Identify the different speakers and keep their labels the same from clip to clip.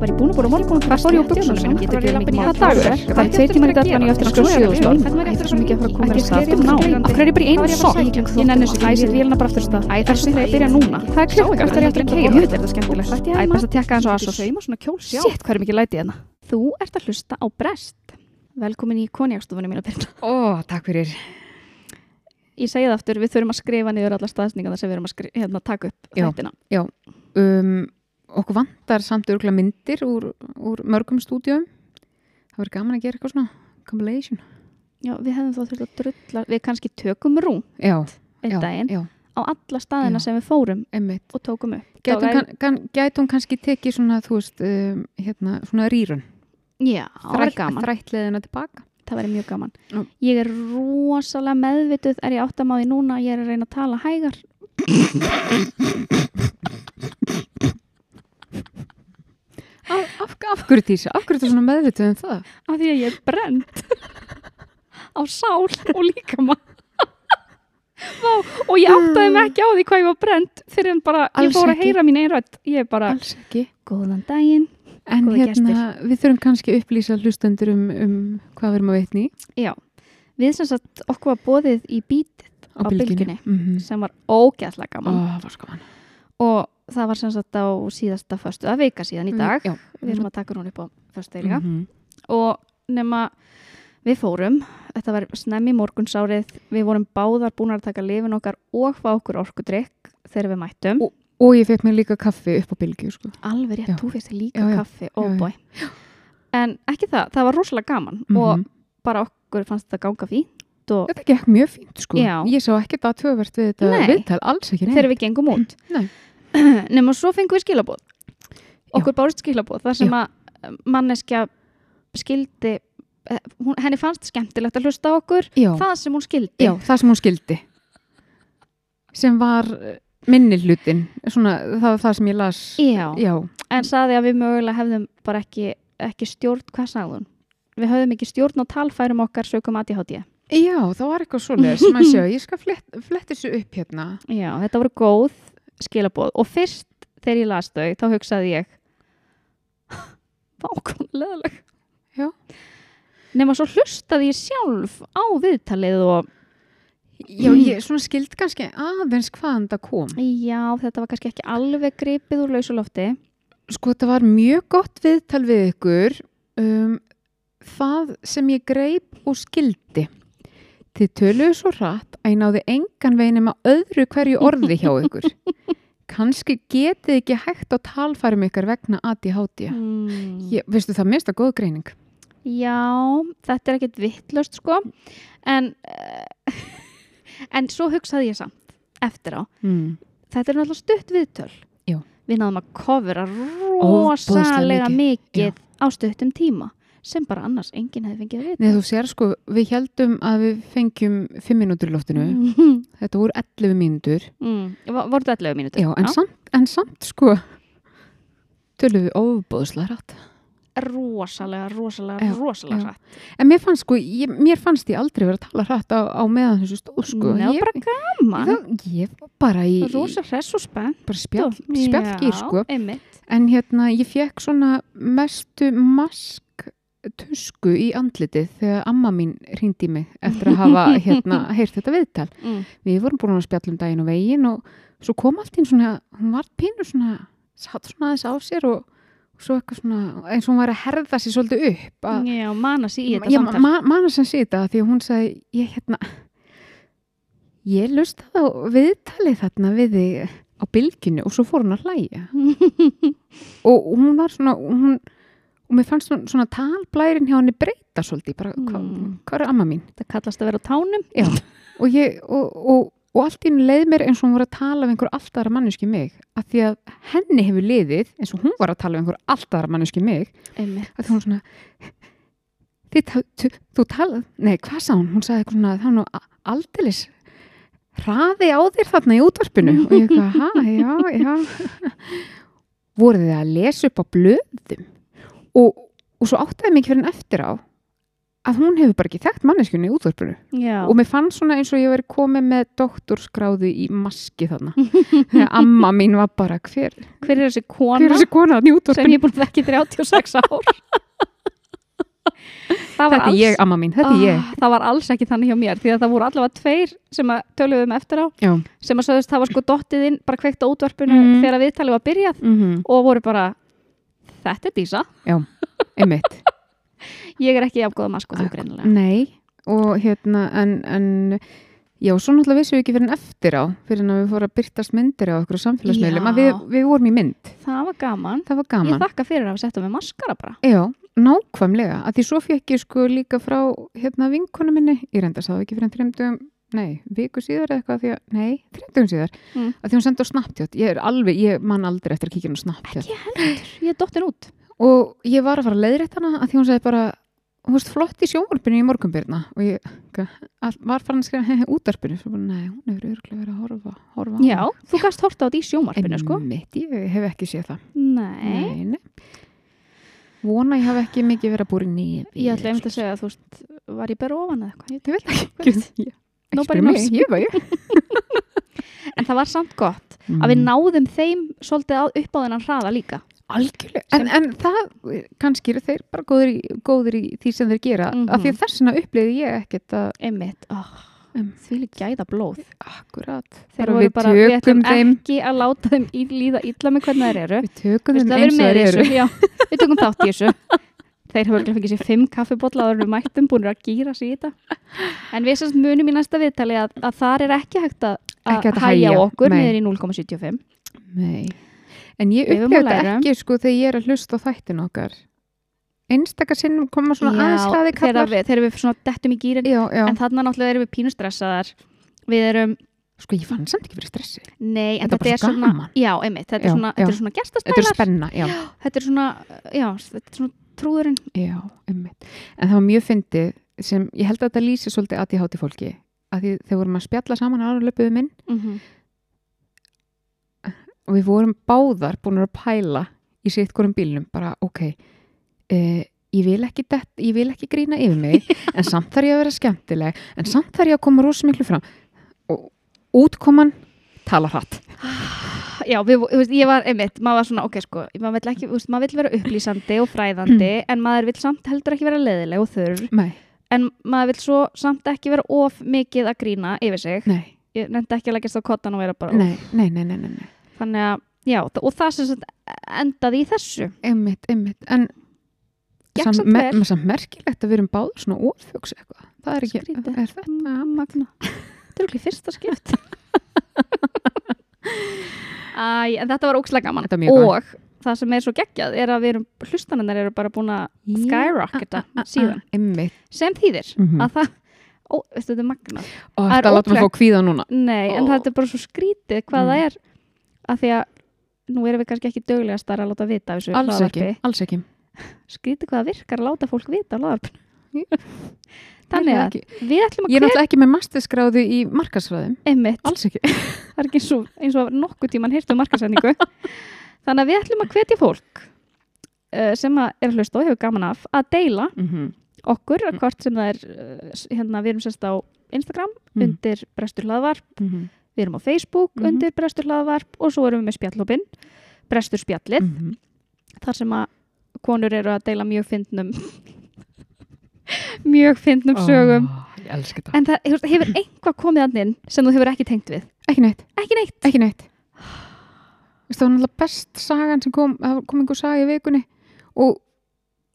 Speaker 1: bara í búin að búin á morgun og fara stóri og buksum sem ég getur ekki mikið dagur það er tveir tímar í dag en ég eftir að skjóða sjóðustól það er svo mikið að fara að koma þér af stað aftur ná af hverju er ég bara í einu sokk ég nenni þessu æ, sér vélina bara aftur af stað æ, það er svo að byrja núna það er klukkan hvert er ég eftir að keira þetta er skemmtilegt æ, best að tekka eins og aðsó shit, hvað er mikið lætið hérna þú ert að hlusta á brest velkomin í konjakstofunni mína Birna
Speaker 2: Ó, takk fyrir.
Speaker 1: ég segi það aftur, við þurfum að skrifa niður alla staðsningarna sem við erum að skri, hérna, taka upp
Speaker 2: Já.
Speaker 1: þættina.
Speaker 2: Um, okkur vantar samt örgulega myndir úr, úr mörgum stúdíum. Það verður gaman að gera eitthvað svona compilation.
Speaker 1: Já, við hefðum þá þurft að drulla við kannski tökum rú
Speaker 2: Já,
Speaker 1: einn
Speaker 2: já,
Speaker 1: daginn
Speaker 2: já,
Speaker 1: á alla staðina
Speaker 2: Já.
Speaker 1: sem við fórum
Speaker 2: emmitt.
Speaker 1: og tókum upp
Speaker 2: Gætum,
Speaker 1: Þá væri-
Speaker 2: kann, kann, gætum kannski tekið svona, þú veist, um, hérna, svona rýrun.
Speaker 1: Já, það var gaman,
Speaker 2: Þrættleðina tilbaka.
Speaker 1: það væri mjög gaman
Speaker 2: Já.
Speaker 1: Ég er rosalega meðvituð er ég áttamáði núna, ég er að reyna að tala hægar
Speaker 2: Af, af, af hverju tísa? Af hverju þetta svona meðvituð um það?
Speaker 1: af því að ég er brend á sál og líkama Vá, og ég áttaði mig ekki á því hvað ég var brend fyrir en bara,
Speaker 2: Alls
Speaker 1: ég fór að
Speaker 2: ekki.
Speaker 1: heyra mín einrætt ég er bara,
Speaker 2: Alls ekki.
Speaker 1: góðan daginn
Speaker 2: En
Speaker 1: Góðir
Speaker 2: hérna, við þurfum kannski að upplýsa hlustendur um, um hvað við erum að veitni
Speaker 1: Já, við sem sagt okkur var bóðið í bítið
Speaker 2: á,
Speaker 1: Á
Speaker 2: bylginni.
Speaker 1: Bylgjunni.
Speaker 2: Mm -hmm.
Speaker 1: sem var ógeðslega gaman
Speaker 2: Ó, það var sko mann.
Speaker 1: og það var sem sagt á síðasta föstu, að veika síðan
Speaker 2: Mm.
Speaker 1: í dag
Speaker 2: Já.
Speaker 1: við erum að taka hún upp á föstu eiginlega
Speaker 2: -hmm.
Speaker 1: og nema við fórum, þetta var snemmi morgunsárið við vorum báðar búin að taka lifin okkar og fá okkur orkudrykk þegar við mættum,
Speaker 2: Og ég fekk mér líka kaffi upp á bylgju, sko.
Speaker 1: alveg rétt,
Speaker 2: Já.
Speaker 1: þú fyrst
Speaker 2: Já,
Speaker 1: líka
Speaker 2: já.
Speaker 1: kaffi,
Speaker 2: Já, já. Mhm.
Speaker 1: óbói en ekki það, það var rosalega gaman og
Speaker 2: Og
Speaker 1: bara okkur fannst þetta ganga fínt og
Speaker 2: þetta gekk mjög fínt, sko.
Speaker 1: Já.
Speaker 2: Ég sá ekkert að töfvert við þetta
Speaker 1: Nei.
Speaker 2: viðtal, alls ekki
Speaker 1: þegar við gengum út
Speaker 2: Nei.
Speaker 1: nema svo fengum við skilabóð okkur bárist skilabóð þar sem að eh, manneskja skildi eh, hún, henni fannst skemmtilegt að hlusta á okkur
Speaker 2: Já.
Speaker 1: það sem hún skildi
Speaker 2: Já, það sem hún skildi. Sem var eh, minni hlutin, svona, það var það sem ég las.
Speaker 1: Já.
Speaker 2: Já.
Speaker 1: en saði að við mögulega hefðum bara ekki, ekki stjórn, hvað sagði hún? Við höfðum ekki stjórn á talfærum okkar sögum ADHD.
Speaker 2: Já, það var eitthvað svoleiðis. Maður sjá, ég skal flett, flett þessu upp hérna.
Speaker 1: Já, þetta voru góð skilaboð og fyrst þegar ég las þau, þá hugsaði ég vákvæm leðaleg.
Speaker 2: Já.
Speaker 1: Nefna svo hlustaði ég sjálf á viðtalið og
Speaker 2: Já, ég svona skild kannski aðeins hvaðan það kom.
Speaker 1: já, þetta var kannski ekki alveg gripið úr lausulofti.
Speaker 2: Sko, þetta var mjög gott viðtal við ykkur. Um, það sem ég greip og skildi. Þið töluðu svo rætt að ég náði engan veginn með öðru hverju orði hjá ykkur. Kanski getið ekki hægt á talfærum ykkar vegna ADHD.
Speaker 1: Mm.
Speaker 2: Ég, veistu það, mér finnst það góð greining.
Speaker 1: Já, þetta er ekkert vittlust sko en uh, en svo hugsaði ég samt eftir á,
Speaker 2: Mm.
Speaker 1: þetta er náttúrulega stutt viðtöl
Speaker 2: Já.
Speaker 1: við náðum að kofra
Speaker 2: Ofboðslega
Speaker 1: rosalega mikið á stuttum tíma sem bara annars enginn hefði fengið að vita
Speaker 2: Nei, þú sér sko, við heldum að við fengjum fimm mínútur í loftinu.
Speaker 1: mm.
Speaker 2: Þetta voru 11 mínútur.
Speaker 1: Mm. Va- voru þetta allega mínútur
Speaker 2: Já, en, Samt, en samt sko, tölum við óbúðslega rætt.
Speaker 1: rosalega, rosalega,
Speaker 2: Já, já.
Speaker 1: rosalega hratt
Speaker 2: En mér fannst sko, ég, mér fannst ég aldrei verið að tala rætt á, á meðan þessu stóð sko.
Speaker 1: Nei, það
Speaker 2: ég,
Speaker 1: var bara gaman
Speaker 2: það, ég var bara í, í
Speaker 1: rosa hress og spennt
Speaker 2: bara spjall, spjallgýr sko.
Speaker 1: Já, einmitt
Speaker 2: En hérna, ég fekk svona mestu mask tusku í andlitið þegar amma mín hringdi í mig eftir að hafa hérna, heyrt þetta viðtal.
Speaker 1: mm.
Speaker 2: Við vorum búin að spjalla um daginn og veginn og svo kom allt inn svona, hún var pínu svona, satt svona aðeins á sér og, og svo eitthvað svona, eins og hún var að herða sér svolítið upp. Að,
Speaker 1: Já, mana sig í þetta
Speaker 2: ég
Speaker 1: samtal
Speaker 2: ma manna sem sé þetta af því að hún sagði, ég hérna, ég lustaði á viðtalið þarna við þig á bylginu og svo fór hún að hlæja og hún var svona hún, og mér fannst svona, svona talblærin hjá henni breyta svolítið bara, hva,
Speaker 1: Mm.
Speaker 2: hvað er amma mín
Speaker 1: Það kallast að vera á tánum
Speaker 2: Já. og, ég, og, og, og allt í henni leið mér eins og hún var að tala við einhver allt aðra manneski mig af því að henni hefur liðið eins og hún var að tala við einhver allt aðra manneski mig
Speaker 1: einmitt
Speaker 2: að því hún svona þið, ta- tu- þú talað, nei hvað sá hún hún sagði eitthvað svona, það var nú a- aldeilis hraði á þér þarna í útvarpinu og ég eitthvað, ha, já, já voruð þið að lesa upp á blöðum og, og svo áttaði mikið fyrir en eftir á að hún hefur bara ekki þekkt manneskjunni í útvarpinu
Speaker 1: Já.
Speaker 2: og mér fann svona eins og ég verið komið með doktorskráðu í maski þarna þegar amma mín var bara hver,
Speaker 1: Hver er þessi kona
Speaker 2: hver er þessi kona þarna í
Speaker 1: sem
Speaker 2: útvarpinu
Speaker 1: ég er búin að þekki í 36 ár? það, var
Speaker 2: þetta er
Speaker 1: alls,
Speaker 2: ég amma mín, þetta er ég
Speaker 1: Ah, það var alls ekki þannig hjá mér því að það voru allavega tveir sem að töluðum eftir á
Speaker 2: Já.
Speaker 1: sem að sögðust það var sko dottið inn bara kveikt á útvarpinu
Speaker 2: Mhm.
Speaker 1: þegar viðtalið var byrjað
Speaker 2: Mm
Speaker 1: og voru bara þetta er Dísa,
Speaker 2: einmitt
Speaker 1: ég er ekki afgóða mask og þú
Speaker 2: Ak-
Speaker 1: greinilega
Speaker 2: Nei, og hérna en, en já, svo náttúrulega vissum við ekki fyrir en eftir á fyrir en að við fórum að byrtast myndir á okkur samfélagsmiðlum
Speaker 1: Já.
Speaker 2: að við, við vorum í mynd,
Speaker 1: það var gaman,
Speaker 2: það var
Speaker 1: ég
Speaker 2: gaman
Speaker 1: þakka fyrir að hafa sett það með maskara bara
Speaker 2: Já, nákvæmlega, að því svo fekk ég sko líka frá hérna vinkonu minni ég reynda sá ekki fyrir en þreymdugum nei, viku síðar eða eitthvað því að, nei, þreymdugum síðar
Speaker 1: Mm.
Speaker 2: að því hún sendi á Snapchat, ég er alveg, ég man aldrei eftir að kíkja hún á Snapchat
Speaker 1: ekki heldur, ég er dottin út
Speaker 2: og ég var að fara að leiðrétt hana að því hún sagði bara hún varst flott í sjónvarpinu í morgunbyrna og ég hva, all, var farin að skrifa hehe útarpinu svo bara, nei, hún hefur örgulega verið að horfa, horfa á
Speaker 1: já,
Speaker 2: hana."
Speaker 1: þú gast horta á því sjómarfinu sko
Speaker 2: Einmitt, ég hef ekki séð það
Speaker 1: nei,
Speaker 2: nei, nei. vona ég hef ekki mikið verið að búri nýfi
Speaker 1: ég ætla einmitt að segja að þú veist, var ég bara ofan eða eitthvað, ég
Speaker 2: ég veit
Speaker 1: veit
Speaker 2: ekki Ég-
Speaker 1: Nobody
Speaker 2: ekki spyrja mig,
Speaker 1: knows.
Speaker 2: ég var ég
Speaker 1: en það var samt gott að
Speaker 2: Mm.
Speaker 1: við náðum þeim svolítið að- upp á þennan hraða líka
Speaker 2: algjörlega, Mm. en, en það kannski eru þeir bara góðir í, góðir í því sem þeir gera,
Speaker 1: Mhm.
Speaker 2: af því að þessina upplýði ég ekkert að
Speaker 1: einmitt, oh,
Speaker 2: Um.
Speaker 1: því gæða blóð
Speaker 2: akkurat,
Speaker 1: þeir
Speaker 2: Bara
Speaker 1: voru
Speaker 2: við
Speaker 1: bara, við ætlum
Speaker 2: tökum þeim.
Speaker 1: ekki að láta þeim í, líða illa með hvernig þeir eru
Speaker 2: við tökum
Speaker 1: Veistu,
Speaker 2: þeim
Speaker 1: það verður
Speaker 2: eins og
Speaker 1: með
Speaker 2: þeir eru
Speaker 1: þessu, já, við tökum þátt í þessu þeir hafa ekki fengið sér fimm kaffibotla áður en við mættum búinir að gýra sig í þetta en við sérst munum í næsta viðtali að, að þar er ekki hægt að,
Speaker 2: Ekki hægt að
Speaker 1: hægja á
Speaker 2: hægja,
Speaker 1: okkur
Speaker 2: nei.
Speaker 1: niður í 0,75
Speaker 2: Nei. En ég
Speaker 1: Við höfum
Speaker 2: upplifði
Speaker 1: að
Speaker 2: þetta
Speaker 1: læra.
Speaker 2: ekki sko þegar ég er að hlusta á þættin okkar. Einstakar sinnum koma svona aðeins hlaði
Speaker 1: þegar
Speaker 2: kallar.
Speaker 1: við, þegar við svona dettum í gýrin
Speaker 2: Já, já.
Speaker 1: en þarna náttúrulega erum við pínustressaðar við erum,
Speaker 2: Sko ég fann samt ekki fyrir stressi.
Speaker 1: nei, en
Speaker 2: Þetta er
Speaker 1: þetta
Speaker 2: bara
Speaker 1: er
Speaker 2: svo
Speaker 1: svona
Speaker 2: gaman.
Speaker 1: já, einmitt, þetta
Speaker 2: Já,
Speaker 1: er svona,
Speaker 2: já.
Speaker 1: þetta er svona
Speaker 2: Þetta er
Speaker 1: gestastælar
Speaker 2: spenna, já.
Speaker 1: þetta er svona, já, þetta er svona trúðurinn
Speaker 2: Já, ummitt. En það var mjög fyndið sem ég held að þetta lýsi svolítið að ég háti fólki. Að því þegar vorum að spjalla saman ára löpuðu minn
Speaker 1: mm -hmm.
Speaker 2: og við vorum báðar búin að pæla í sitt hverjum bílnum bara ok, uh, ég, vil ekki dett, ég vil ekki grína yfir mig en samt þarf ég að vera skemmtileg en samt þarf ég að koma rosa miklu fram og útkoman tala hratt
Speaker 1: Já, við, vo- þú veist, ég var, einmitt, maður var svona, ok, sko, maður vill ekki, þú veist, maður vill vera upplýsandi og fræðandi,
Speaker 2: Mm.
Speaker 1: en maður vill samt heldur ekki vera leiðileg og þurr,
Speaker 2: nei,
Speaker 1: en maður vill svo samt ekki vera of mikið að grína yfir sig.
Speaker 2: nei,
Speaker 1: Ég nefndi ekki að leggjast á kottan og vera bara,
Speaker 2: nei, nei, nei, nei, nei, nei.
Speaker 1: þannig að, já, þa- og það sem sagt endaði í þessu.
Speaker 2: einmitt, einmitt en
Speaker 1: Gekk
Speaker 2: samt
Speaker 1: samt
Speaker 2: me-
Speaker 1: vel.
Speaker 2: samt merkilegt að við erum báður svona ófjöks eitthvað það er ekki,
Speaker 1: Skrítið.
Speaker 2: er þetta
Speaker 1: Magna. Þetta er okkur fyrsta skipt. Æ, en þetta var ókslega gaman.
Speaker 2: Þetta var mjög gaman.
Speaker 1: Og það sem er svo geggjað er að við erum, hlustanarnar eru bara búin að
Speaker 2: Ah,
Speaker 1: skyrocketa síðan.
Speaker 2: einmitt,
Speaker 1: sem þýðir
Speaker 2: Mhm.
Speaker 1: að það ó, veistu, þetta er magna Það
Speaker 2: og
Speaker 1: er
Speaker 2: þetta látum við
Speaker 1: ótrúlegt.
Speaker 2: fá kvíða núna
Speaker 1: nei, en
Speaker 2: Ó.
Speaker 1: þetta er bara svo skrítið hvað
Speaker 2: Mm.
Speaker 1: það er að því að nú erum við kannski ekki döglegast að láta vita af þessu
Speaker 2: alls ekki,
Speaker 1: hlaðvarpi.
Speaker 2: alls ekki
Speaker 1: skrítið hvað það virkar að láta fólk vita af
Speaker 2: Jú.
Speaker 1: hlaðarp þannig að
Speaker 2: Ekki.
Speaker 1: við ætlum að
Speaker 2: Ég er
Speaker 1: hver
Speaker 2: náttúrulega ekki með mastersgráðu í markasfræðum.
Speaker 1: einmitt,
Speaker 2: Alls ekki.
Speaker 1: það er ekki eins og, eins og nokkuð tíman hirtu markasendingu um þannig að við ætlum að hvetja fólk eh, sem að er að hlusta og hefur gaman af að deila
Speaker 2: Mhm,
Speaker 1: okkur hvort sem það er eh, hérna, við erum sérst á Instagram
Speaker 2: Mm.
Speaker 1: undir brestur hlaðvarp
Speaker 2: Mhm.
Speaker 1: Við erum á Facebook
Speaker 2: Mhm.
Speaker 1: undir Brestur hlaðvarp og svo erum við með spjallhópin, Brestur spjallið,
Speaker 2: Mhm.
Speaker 1: þar sem að konur eru að deila mjög fyndnum mjög fyndnum sögum.
Speaker 2: Ó, Ég elska þetta.
Speaker 1: En það þú veist, hefur einhvað komið að inn sem þú hefur ekki tengt við.
Speaker 2: Ekki neitt,
Speaker 1: Ekki neitt.
Speaker 2: ekki neitt. Veistu, Það var náttúrulega best sagan sem kom, það kom einhver saga í vikunni og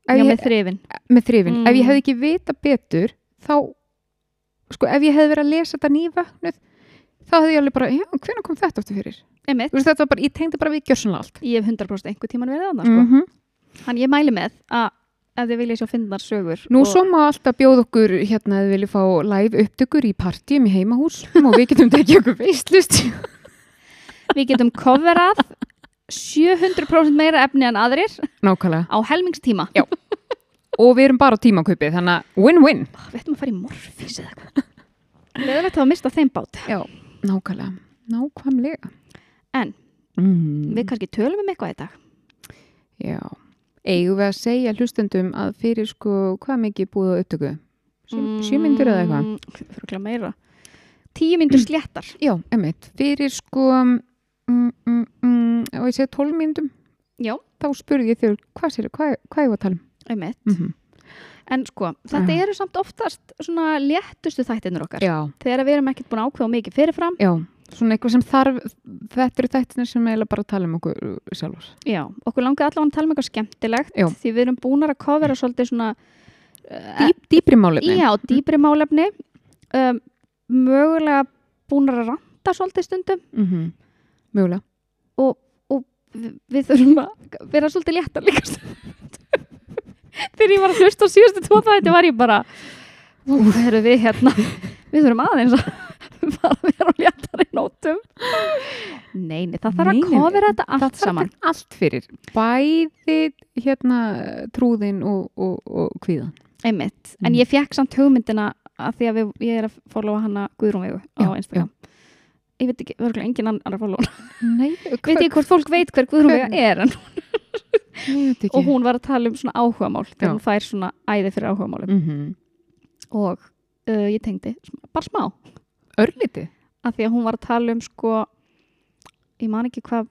Speaker 2: ef
Speaker 1: Já,
Speaker 2: ég,
Speaker 1: með þrifin.
Speaker 2: með þrifin,
Speaker 1: Mm.
Speaker 2: ef ég hefði ekki vita betur þá, sko ef ég hefði verið að lesa þetta nývöknuð þá hefði ég alveg bara, já, hvenær kom þetta aftur fyrir?
Speaker 1: Einmitt.
Speaker 2: Þú veist, þetta var bara, ég tengdi bara við gjörsunlega allt.
Speaker 1: Ég hef 100% einhver tíman verið annað, sko.
Speaker 2: -hmm.
Speaker 1: Þannig ég mæli með að ef þið vilja sjá fyndnar sögur.
Speaker 2: Nú
Speaker 1: og-
Speaker 2: svo má alltaf bjóð okkur hérna að við viljum fá live upptökur í partíum í heimahúsum og við getum tekið okkur veistlust.
Speaker 1: Við getum coverað 700% meira efni en aðrir
Speaker 2: Nákvæmlega.
Speaker 1: á helmingstíma.
Speaker 2: Já. Og við erum bara á tímakaupi, þannig að win-win.
Speaker 1: Ah, Við ættum að fara í morfís eða eitthvað. Leðilegt að mista þeim bát.
Speaker 2: Já. Nákvæmlega. Nákvæmlega.
Speaker 1: En?
Speaker 2: Mm.
Speaker 1: Við kannski tölum um eitthvað í dag.
Speaker 2: Já. eigum við að segja hlustendum að fyrir sko hvað mikið er búið á upptöku? Sjö, sjö myndur eða eitthvað?
Speaker 1: Mm, Fyrir meira. Tíu myndur sléttar.
Speaker 2: Já, emitt. Fyrir sko, mm, mm, mm, og ég segi 12 myndum,
Speaker 1: Já,
Speaker 2: þá spurði ég þér hvað sér, hvað, hvað ég var að tala um?
Speaker 1: einmitt.
Speaker 2: Mm
Speaker 1: En sko, þetta
Speaker 2: Já.
Speaker 1: eru samt oftast svona léttustu þættinur okkar.
Speaker 2: Já,
Speaker 1: Þegar við erum ekkert búin að ákveða mikið fyrirfram.
Speaker 2: já. Svona eitthvað sem þarf, þetta eru þættinir sem eiginlega bara tala um okkur uh, sjálfur.
Speaker 1: Já, okkur langaði allavega að tala um eitthvað skemmtilegt
Speaker 2: Já.
Speaker 1: því við erum búinar að kofera svolítið svona uh,
Speaker 2: Dýp, dýpri málefni.
Speaker 1: já, dýpri málefni um, mögulega búinar að ranta svolítið stundum
Speaker 2: Mm Mjögulega.
Speaker 1: og, og við, við þurfum að vera svolítið léttar líka stundum þegar ég var að hlusta á síðustu tvo þætti var ég bara það eru við hérna við þurfum aðeins að bara vera á léttari nótum nei, nei, það þarf
Speaker 2: Nei,
Speaker 1: að
Speaker 2: nei,
Speaker 1: kofera þetta
Speaker 2: það
Speaker 1: allt
Speaker 2: þarf
Speaker 1: saman
Speaker 2: þetta allt fyrir bæði hérna trúðin og, og, og kvíðan
Speaker 1: Einmitt, en
Speaker 2: Mm.
Speaker 1: ég fekk samt hugmyndina að því að við, ég er að followa hana Guðrún Vegu
Speaker 2: Já,
Speaker 1: á Instagram Ég veit ekki, verður engin annar að followa hana
Speaker 2: nei,
Speaker 1: Veit ekki hvort fólk veit hver Guðrún
Speaker 2: Hver-
Speaker 1: Vega er en,
Speaker 2: ekki
Speaker 1: og hún var að tala um svona áhugamál
Speaker 2: Já.
Speaker 1: þegar hún fær svona æði fyrir áhugamálum
Speaker 2: mm
Speaker 1: og uh, ég tengdi, sm- bara smá
Speaker 2: örliti
Speaker 1: að því að hún var að tala um sko ég man ekki hvað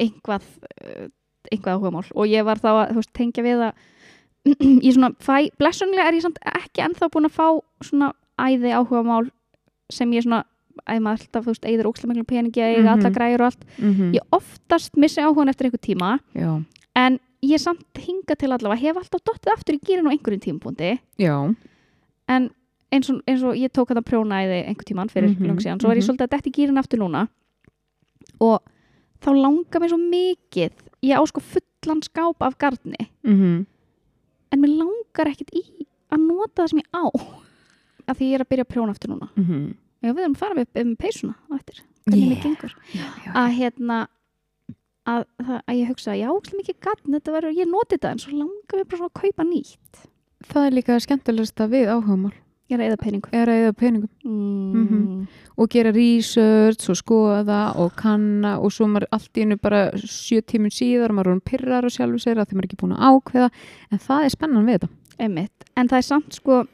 Speaker 1: einhvað, uh, einhvað áhugamál og ég var þá að þú veist, tengja við að ég svona fæ, blessunlega er ég samt ekki ennþá búin að fá svona æði áhugamál sem ég svona æði maður alltaf, þú veist, eigður ókslega miklu peningi að eiga
Speaker 2: Mhm.
Speaker 1: alla græjur og allt ég oftast missi áhugan eftir einhver tíma
Speaker 2: já,
Speaker 1: en ég samt hinga til allavega hef alltaf dottið aftur í gýrin á einhverjum tímapunkti
Speaker 2: já,
Speaker 1: en eins og, eins og ég tók að það prjónaði einhver tíman fyrir mm
Speaker 2: Mhm,
Speaker 1: langt síðan, svo er ég
Speaker 2: mhm.
Speaker 1: svolítið að detti gýrin aftur núna og þá langar mér svo mikið ég á sko fullan skáp af garni
Speaker 2: Mhm.
Speaker 1: en mér langar ekkit í að nota það sem ég á af því ég er að byrja að prjóna aftur núna
Speaker 2: Mhm.
Speaker 1: já, við erum að fara með, með peysuna á eftir hvernig mér
Speaker 2: Yeah.
Speaker 1: gengur
Speaker 2: já, já.
Speaker 1: að hérna að, að, að ég hugsa, já, ókslega mikið garn þetta verður, ég noti þetta en svo langar mér bara svona að kaupa nýtt
Speaker 2: það er líka skemmtilegsta við áhugamál
Speaker 1: ég er að eða peningum
Speaker 2: er að eða peningum
Speaker 1: mm.
Speaker 2: Mhm. og gera research og skoða og kanna og svo maður allt í einu bara sjö tímun síðar og maður er hún pirrar og sjálfur sér að þeim er ekki búin að ákveða en það er spennan við þetta
Speaker 1: Einmitt. En það er samt sko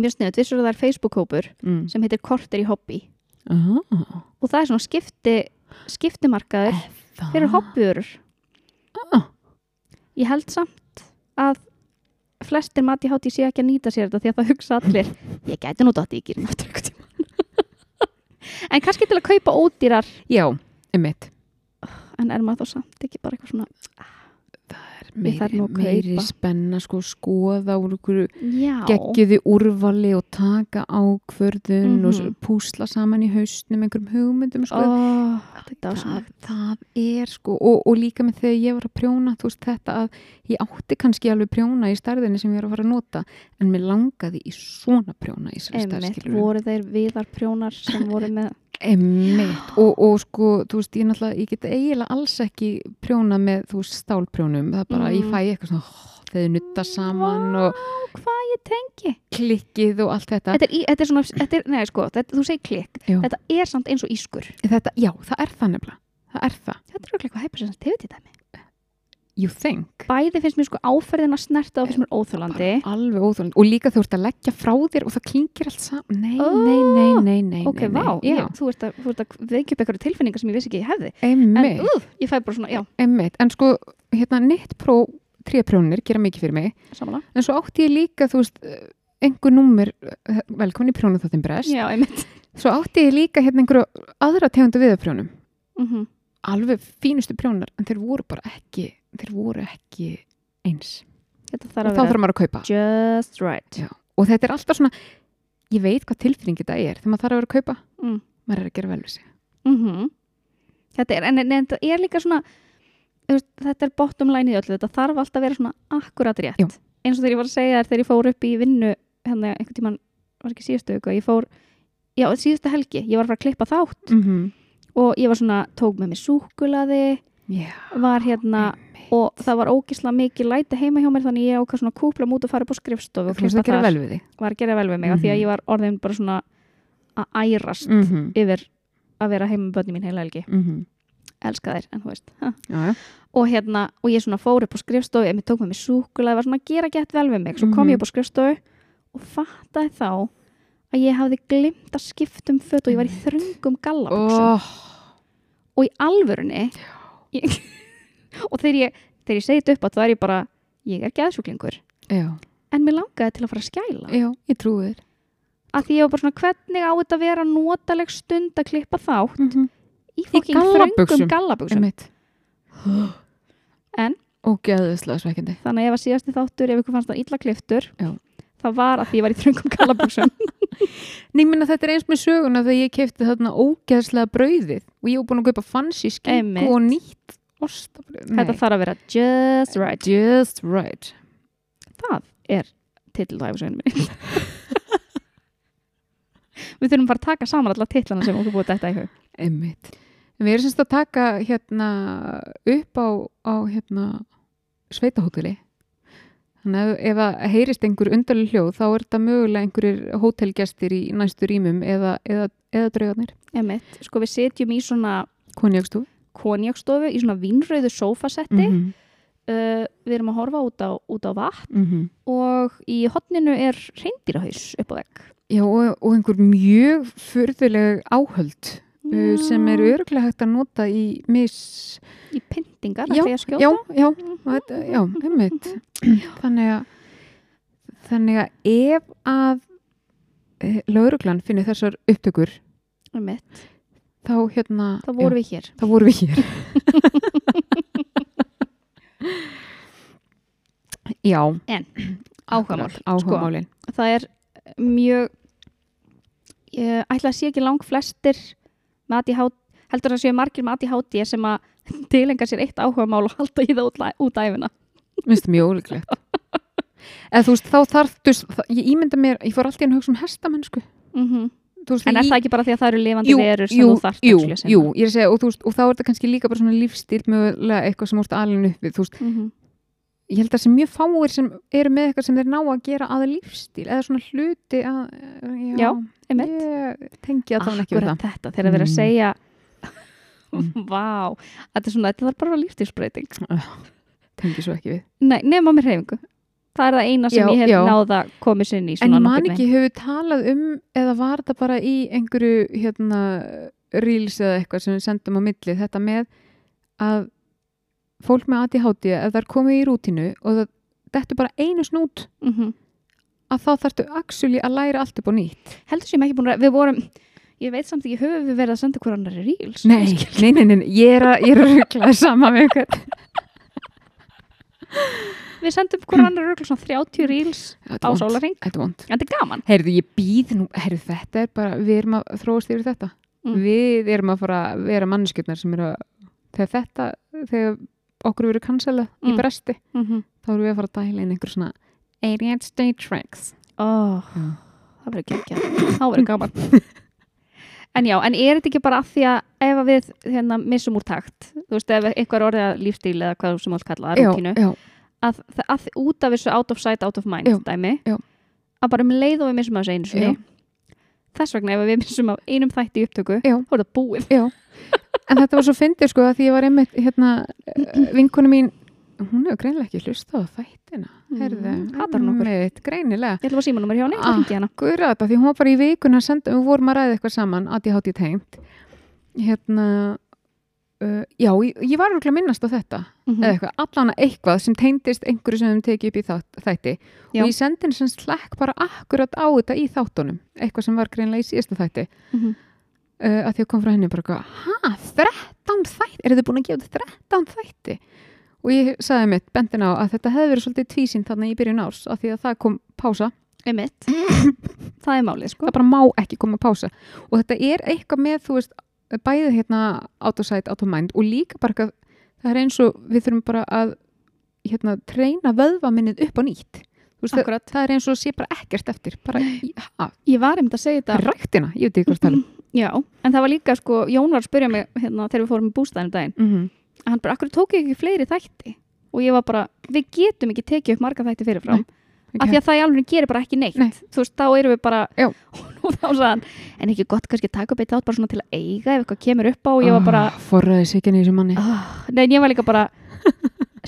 Speaker 1: mjög sniðut, við svo það er Facebook-hópur
Speaker 2: mm.
Speaker 1: sem heitir Korter í hobby
Speaker 2: ah,
Speaker 1: og það er svona skipti, skiptimarkaður
Speaker 2: það
Speaker 1: fyrir hobbyurur.
Speaker 2: Ah.
Speaker 1: Ég held samt að flestir mati hátti sé ekki að nýta sér þetta því að það hugsa allir ég gæti nú dótt í gýrin aftur ykkur tíma en kannski til að kaupa ódýrar
Speaker 2: já, emitt
Speaker 1: en er maður þá samt ekki bara eitthvað svona Við
Speaker 2: meiri,
Speaker 1: þarfum að
Speaker 2: meiri
Speaker 1: kaupa.
Speaker 2: spenna sko skoða úr einhverju
Speaker 1: já,
Speaker 2: geggiðu úrvali og taka ákvörðun
Speaker 1: Mhm.
Speaker 2: og s- púsla saman í hausnum einhverjum hugmyndum sko.
Speaker 1: oh, þetta er
Speaker 2: það,
Speaker 1: svona
Speaker 2: það er sko og, og líka með þegar ég var að prjóna þú veist þetta að ég átti kannski alveg prjóna í stærðinni sem ég var að fara að nota en mér langaði í svona prjóna í þessari stærð,
Speaker 1: einmitt,
Speaker 2: skilurðu.
Speaker 1: voru þeir viðar prjónar sem voru með
Speaker 2: Einmitt, og, og sko, þú veist, ég náttúrulega, ég get eiginlega alls ekki prjóna með, þú veist, stálprjónum, það er bara,
Speaker 1: Mm.
Speaker 2: ég fæ eitthvað svona, oh, þeir nutta saman og
Speaker 1: Vá, hvað ég tengi
Speaker 2: klikkið og allt þetta.
Speaker 1: þetta er, í, þetta er svona, þetta er, nei sko þetta, þú segir klikk,
Speaker 2: Já.
Speaker 1: þetta er samt eins og ískur
Speaker 2: Þetta, já, það er það nefnilega, það er það,
Speaker 1: þetta er örugglega eitthvað hypersensitivity dæmi
Speaker 2: you think.
Speaker 1: bæði finnst mér sko áferðin að snerta og finnst mér óþjólandi
Speaker 2: Bara Alveg óþólandi, og líka þú ert að leggja frá þér og það klingir allt saman, nei,
Speaker 1: Ó,
Speaker 2: nei, nei, nei, nei,
Speaker 1: Ah, ok,
Speaker 2: nei,
Speaker 1: vá, ég,
Speaker 2: nei. já,
Speaker 1: þú ert að, þú ert að veikja upp eitthvað tilfinningar sem ég vissi ekki að ég hefði en
Speaker 2: einmitt,
Speaker 1: uh, ég fæ bara svona, já,
Speaker 2: einmitt, en sko, hérna, neitt pró, tríaprjónir gera mikið fyrir mig,
Speaker 1: samanlega
Speaker 2: En svo átti ég líka, þú veist, eh, einhver númer, eh, velkomin í prjónu þáttin brest,
Speaker 1: já, einmitt
Speaker 2: svo átti ég líka hérna einhverju aðra tegundu viðarprjónum,
Speaker 1: mm
Speaker 2: alveg fínustu prjónar, en þeir voru bara ekki, þeir voru ekki eins.
Speaker 1: þetta
Speaker 2: Og
Speaker 1: þarf
Speaker 2: þá
Speaker 1: að vera
Speaker 2: þarf maður að kaupa.
Speaker 1: just right
Speaker 2: Já. Og þetta er alltaf svona, ég veit hvað tilfinning þetta er, þegar maður þarf að vera að kaupa,
Speaker 1: Mm.
Speaker 2: maður er að gera vel við sig.
Speaker 1: mm þetta er, en, en en þetta er líka svona þú veist, þetta er bottom line í öllu þetta þarf alltaf að vera svona akkurat rétt
Speaker 2: Já.
Speaker 1: eins og þegar ég var að segja þér þegar ég fór upp í vinnu hérna einhvern tímann, var ekki síðustu auka ég fór, já síðustu helgi ég var að fara að klippa þátt
Speaker 2: Mm -hmm.
Speaker 1: og ég var svona, tók með mér súkulaði
Speaker 2: Já.
Speaker 1: var hérna
Speaker 2: einmitt.
Speaker 1: og það var ógisla mikið læti heima hjá mér þannig ég ákvað svona að kúpla mút og fara upp á skrifstofu og
Speaker 2: Þú veist
Speaker 1: klippa
Speaker 2: að gera
Speaker 1: þar,
Speaker 2: vel við þig.
Speaker 1: var að gera vel við mig mm því að
Speaker 2: Mhm.
Speaker 1: ég var orðin bara svona að ærast
Speaker 2: Mm -hmm.
Speaker 1: yfir að vera heima með börnum mín heila helgi
Speaker 2: Mm -hmm.
Speaker 1: elska þær, en þú veist ha.
Speaker 2: já, já.
Speaker 1: og hérna, og ég svona fór upp á skrifstofu ég tók með mér súkulega, var svona að gera gett vel við mig svo kom
Speaker 2: Mhm.
Speaker 1: ég upp á skrifstofu og fattaði þá að ég hafði glimt að skiptum fött og ég var í þröngum gallabuxum
Speaker 2: Oh,
Speaker 1: og í alvörunni ég, og þegar ég, þegar ég segi þetta upp að það er ég bara, ég er geðsjúklingur
Speaker 2: já,
Speaker 1: en mér langaði til að fara að skæla
Speaker 2: já, ég trúi þér
Speaker 1: að því ég var bara svona hvernig á þetta að vera notaleg stund að klippa þá
Speaker 2: mm -hmm.
Speaker 1: í fokkin
Speaker 2: gallabuxum.
Speaker 1: þröngum gallabuxum
Speaker 2: einmitt
Speaker 1: En?
Speaker 2: ógeðislega sveikindi
Speaker 1: þannig að ef að síðasti þáttur, ef ykkur fannst það illa kliftur
Speaker 2: Já.
Speaker 1: það var að því ég var í þröngum gallabuxum
Speaker 2: Nei, minna þetta er eins með söguna þegar ég kefti þarna ógeðslega brauðið og ég var búin að kaupa fancy skinku
Speaker 1: Einmitt.
Speaker 2: og nýtt ostabrauð Nei,
Speaker 1: þetta þarf að vera just right
Speaker 2: just right
Speaker 1: það er titill á æfisögunum minni við þurfum bara að taka saman alla titlana sem okkur búið þetta í hug
Speaker 2: Einmitt. En við erum semst að taka hérna upp á, á hérna sveitahóteli. Þannig að ef að heyrist einhver undarleg hljóð þá er þetta mögulega einhverjir hótelgestir í næstu rýmum eða, eða, eða draugarnir.
Speaker 1: Emitt, sko við setjum í svona
Speaker 2: Konjögstúfi.
Speaker 1: konjakstofu í svona vinnröðu sófasetti
Speaker 2: -hmm.
Speaker 1: uh, við erum að horfa út á, út á vatn
Speaker 2: mm -hmm.
Speaker 1: og í hotninu er reyndirhaus upp á vegg
Speaker 2: Já og, og einhver mjög furðuleg áhöld uh, sem er
Speaker 1: Mm.
Speaker 2: örglega hægt að nota í mis...
Speaker 1: í pyntingar
Speaker 2: Já,
Speaker 1: ætla ég að skjóta Mhm.
Speaker 2: já, já, og þetta, já, einmitt þannig að þannig að ef að e, lauruglan finnir þessar upptökur
Speaker 1: Einmitt,
Speaker 2: þá hérna
Speaker 1: þá vorum við hér
Speaker 2: já, þá voru við hér já,
Speaker 1: áhugamál,
Speaker 2: áhugamálin
Speaker 1: Sko, það er mjög ég ætla að sé ekki lang flestir með ADHD, heldur að séu margir með ADHD sem að tilenga sér eitt áhugamál og halda í það út, la- út æfina
Speaker 2: minnst það mjög ólíklegt eða þú veist þá þarf þú veist, það, ég ímynda mér, ég fór alltaf inn að hugsa um hestamennsku
Speaker 1: mm
Speaker 2: Þú veist,
Speaker 1: en er
Speaker 2: ég-
Speaker 1: það ekki bara því að það eru lifandi verur sem
Speaker 2: Mhm. jú,
Speaker 1: þú þarft
Speaker 2: jú,
Speaker 1: actually að sinna?
Speaker 2: jú, ég er að segja, og, þú veist, og þá er þetta kannski líka bara svona lífstíl mögulega eitthvað sem úrst alin upp við, þú veist,
Speaker 1: Mhm.
Speaker 2: ég held að sem mjög fáir sem eru með eitthvað sem þeir ná að gera aða lífstíl eða svona hluti að, já,
Speaker 1: Já, einmitt
Speaker 2: ég tengi að það ekki við
Speaker 1: Akkurat þetta, þegar það er að
Speaker 2: Mm.
Speaker 1: segja
Speaker 2: Mm.
Speaker 1: Vá, þetta er svona, þetta þarf bara lífstilsbreyting
Speaker 2: það tengi svo ekki við,
Speaker 1: Nei, nema með hreyfingu Það er það eina sem
Speaker 2: Já,
Speaker 1: ég hef
Speaker 2: já.
Speaker 1: náða komið sinni í
Speaker 2: en
Speaker 1: svona
Speaker 2: ég man
Speaker 1: nokkurn
Speaker 2: ekki hefur talað um eða var þetta bara í einhverju hérna, reels eða eitthvað sem við sendum á milli, þetta með að fólk með ADHD ef það er komið í rútinu og það dettur bara einu snút
Speaker 1: veginn. Mhm.
Speaker 2: að þá þarftu actually að læra allt upp á nýtt
Speaker 1: Heldur sem ekki búin að, við vorum Ég veit samt ekki, höfum við verið að senda hver annar í reels
Speaker 2: Nei, nei, nei, nei, nei, ég er að, ég er að rugglaði sama með eitthvað.
Speaker 1: Við sendum hver annar örugglega svona 30 reels á
Speaker 2: Þetta er vont.
Speaker 1: sólarring
Speaker 2: Þetta er vond.
Speaker 1: En þetta er gaman
Speaker 2: Heyrðu, ég býð nú, heyrðu, þetta er bara, við erum að þróast yfir þetta.
Speaker 1: Mm.
Speaker 2: Við erum að fara að vera manneskjöldnar sem eru að, þegar þetta, þegar okkur verið kansalað
Speaker 1: Mm.
Speaker 2: í bresti,
Speaker 1: mm -hmm.
Speaker 2: þá erum við að fara að dæla inn einhver svona ADHD tricks. Já.
Speaker 1: Það verður gekkja, þá verður gaman En já, en er þetta ekki bara að því að ef að við hérna, missum úr takt þú veist, ef eitthvað er orðið að lífstíl eða hvað sem allt kalla það, rútínu
Speaker 2: já,
Speaker 1: að, að, að út af þessu out of sight, out of mind
Speaker 2: Já,
Speaker 1: dæmi,
Speaker 2: já.
Speaker 1: að bara um leið og við missum af þessu einu sinni
Speaker 2: Já.
Speaker 1: þess vegna ef við missum af einum þætti í upptöku
Speaker 2: Já.
Speaker 1: þá er það búið
Speaker 2: já. En þetta var svo fyndið sko að því ég var einmitt, hérna, vinkonu mín, hún hefur greinilega ekki hlustað á þættina. Heyrðu,
Speaker 1: Mm, hatar hún okkur.
Speaker 2: einmitt, Greinilega.
Speaker 1: Ég ætla að fá símanúmer hjá henni, þá
Speaker 2: Ah.
Speaker 1: hringi ég hana
Speaker 2: Akkurat, af því hún var bara í vikuna að senda, við vorum að ræða eitthvað saman, aði hátti tengt. Hérna, uh, já, ég, ég var rúglega minnast á þetta,
Speaker 1: Mhm.
Speaker 2: eða eitthvað, allan eitthvað sem tengdist einhverju sem þeim tekið upp í þátt, þætti.
Speaker 1: Já.
Speaker 2: Og ég sendi henni sem slekk bara akkurat á þetta í þáttunum, eitthvað sem var greinlega í síðasta þætti.
Speaker 1: Mhm.
Speaker 2: Uh, að því að kom frá henni bara eitthvað, hæ, 13 þætti, er þið búin að gefa þetta 13 þætti? Og ég sagði mitt, bendin á að þetta hefði verið svolítið tvísýnt þarna í byrjun árs, af því að það kom pása
Speaker 1: Einmitt. Það er málið sko
Speaker 2: það bara má ekki koma að pása og þetta er eitthvað með, þú veist bæðið hérna out of sight, out of mind og líka bara eitthvað, það er eins og við þurfum bara að hérna, treyna vöðvaminnið upp á nýtt Þú veist, það,
Speaker 1: Akkurat.
Speaker 2: það er eins og sé bara ekkert eftir bara í, ha,
Speaker 1: Ég var einmitt að segja þetta
Speaker 2: ræktina, ég veit ekki hvað það
Speaker 1: Já, en það var líka sko, Jón var að spyrja mig hérna, þegar við fórum í bústæðinu daginn
Speaker 2: er
Speaker 1: að hann bara, akkur tók ég ekki fleiri þætti og ég var bara, við getum ekki tekið upp marga þætti fyrirfram,
Speaker 2: Nei,
Speaker 1: af því að það í alveg gerir bara ekki neitt,
Speaker 2: Nei.
Speaker 1: þú veist, þá erum við bara
Speaker 2: Já.
Speaker 1: og nú og þá sagði hann, en ekki gott kannski að taka upp eitt þátt bara svona til að eiga ef eitthvað kemur upp á og ég
Speaker 2: Ah,
Speaker 1: var bara,
Speaker 2: Forraði sig ekki nýjum manni.
Speaker 1: oh, nei, en ég var líka bara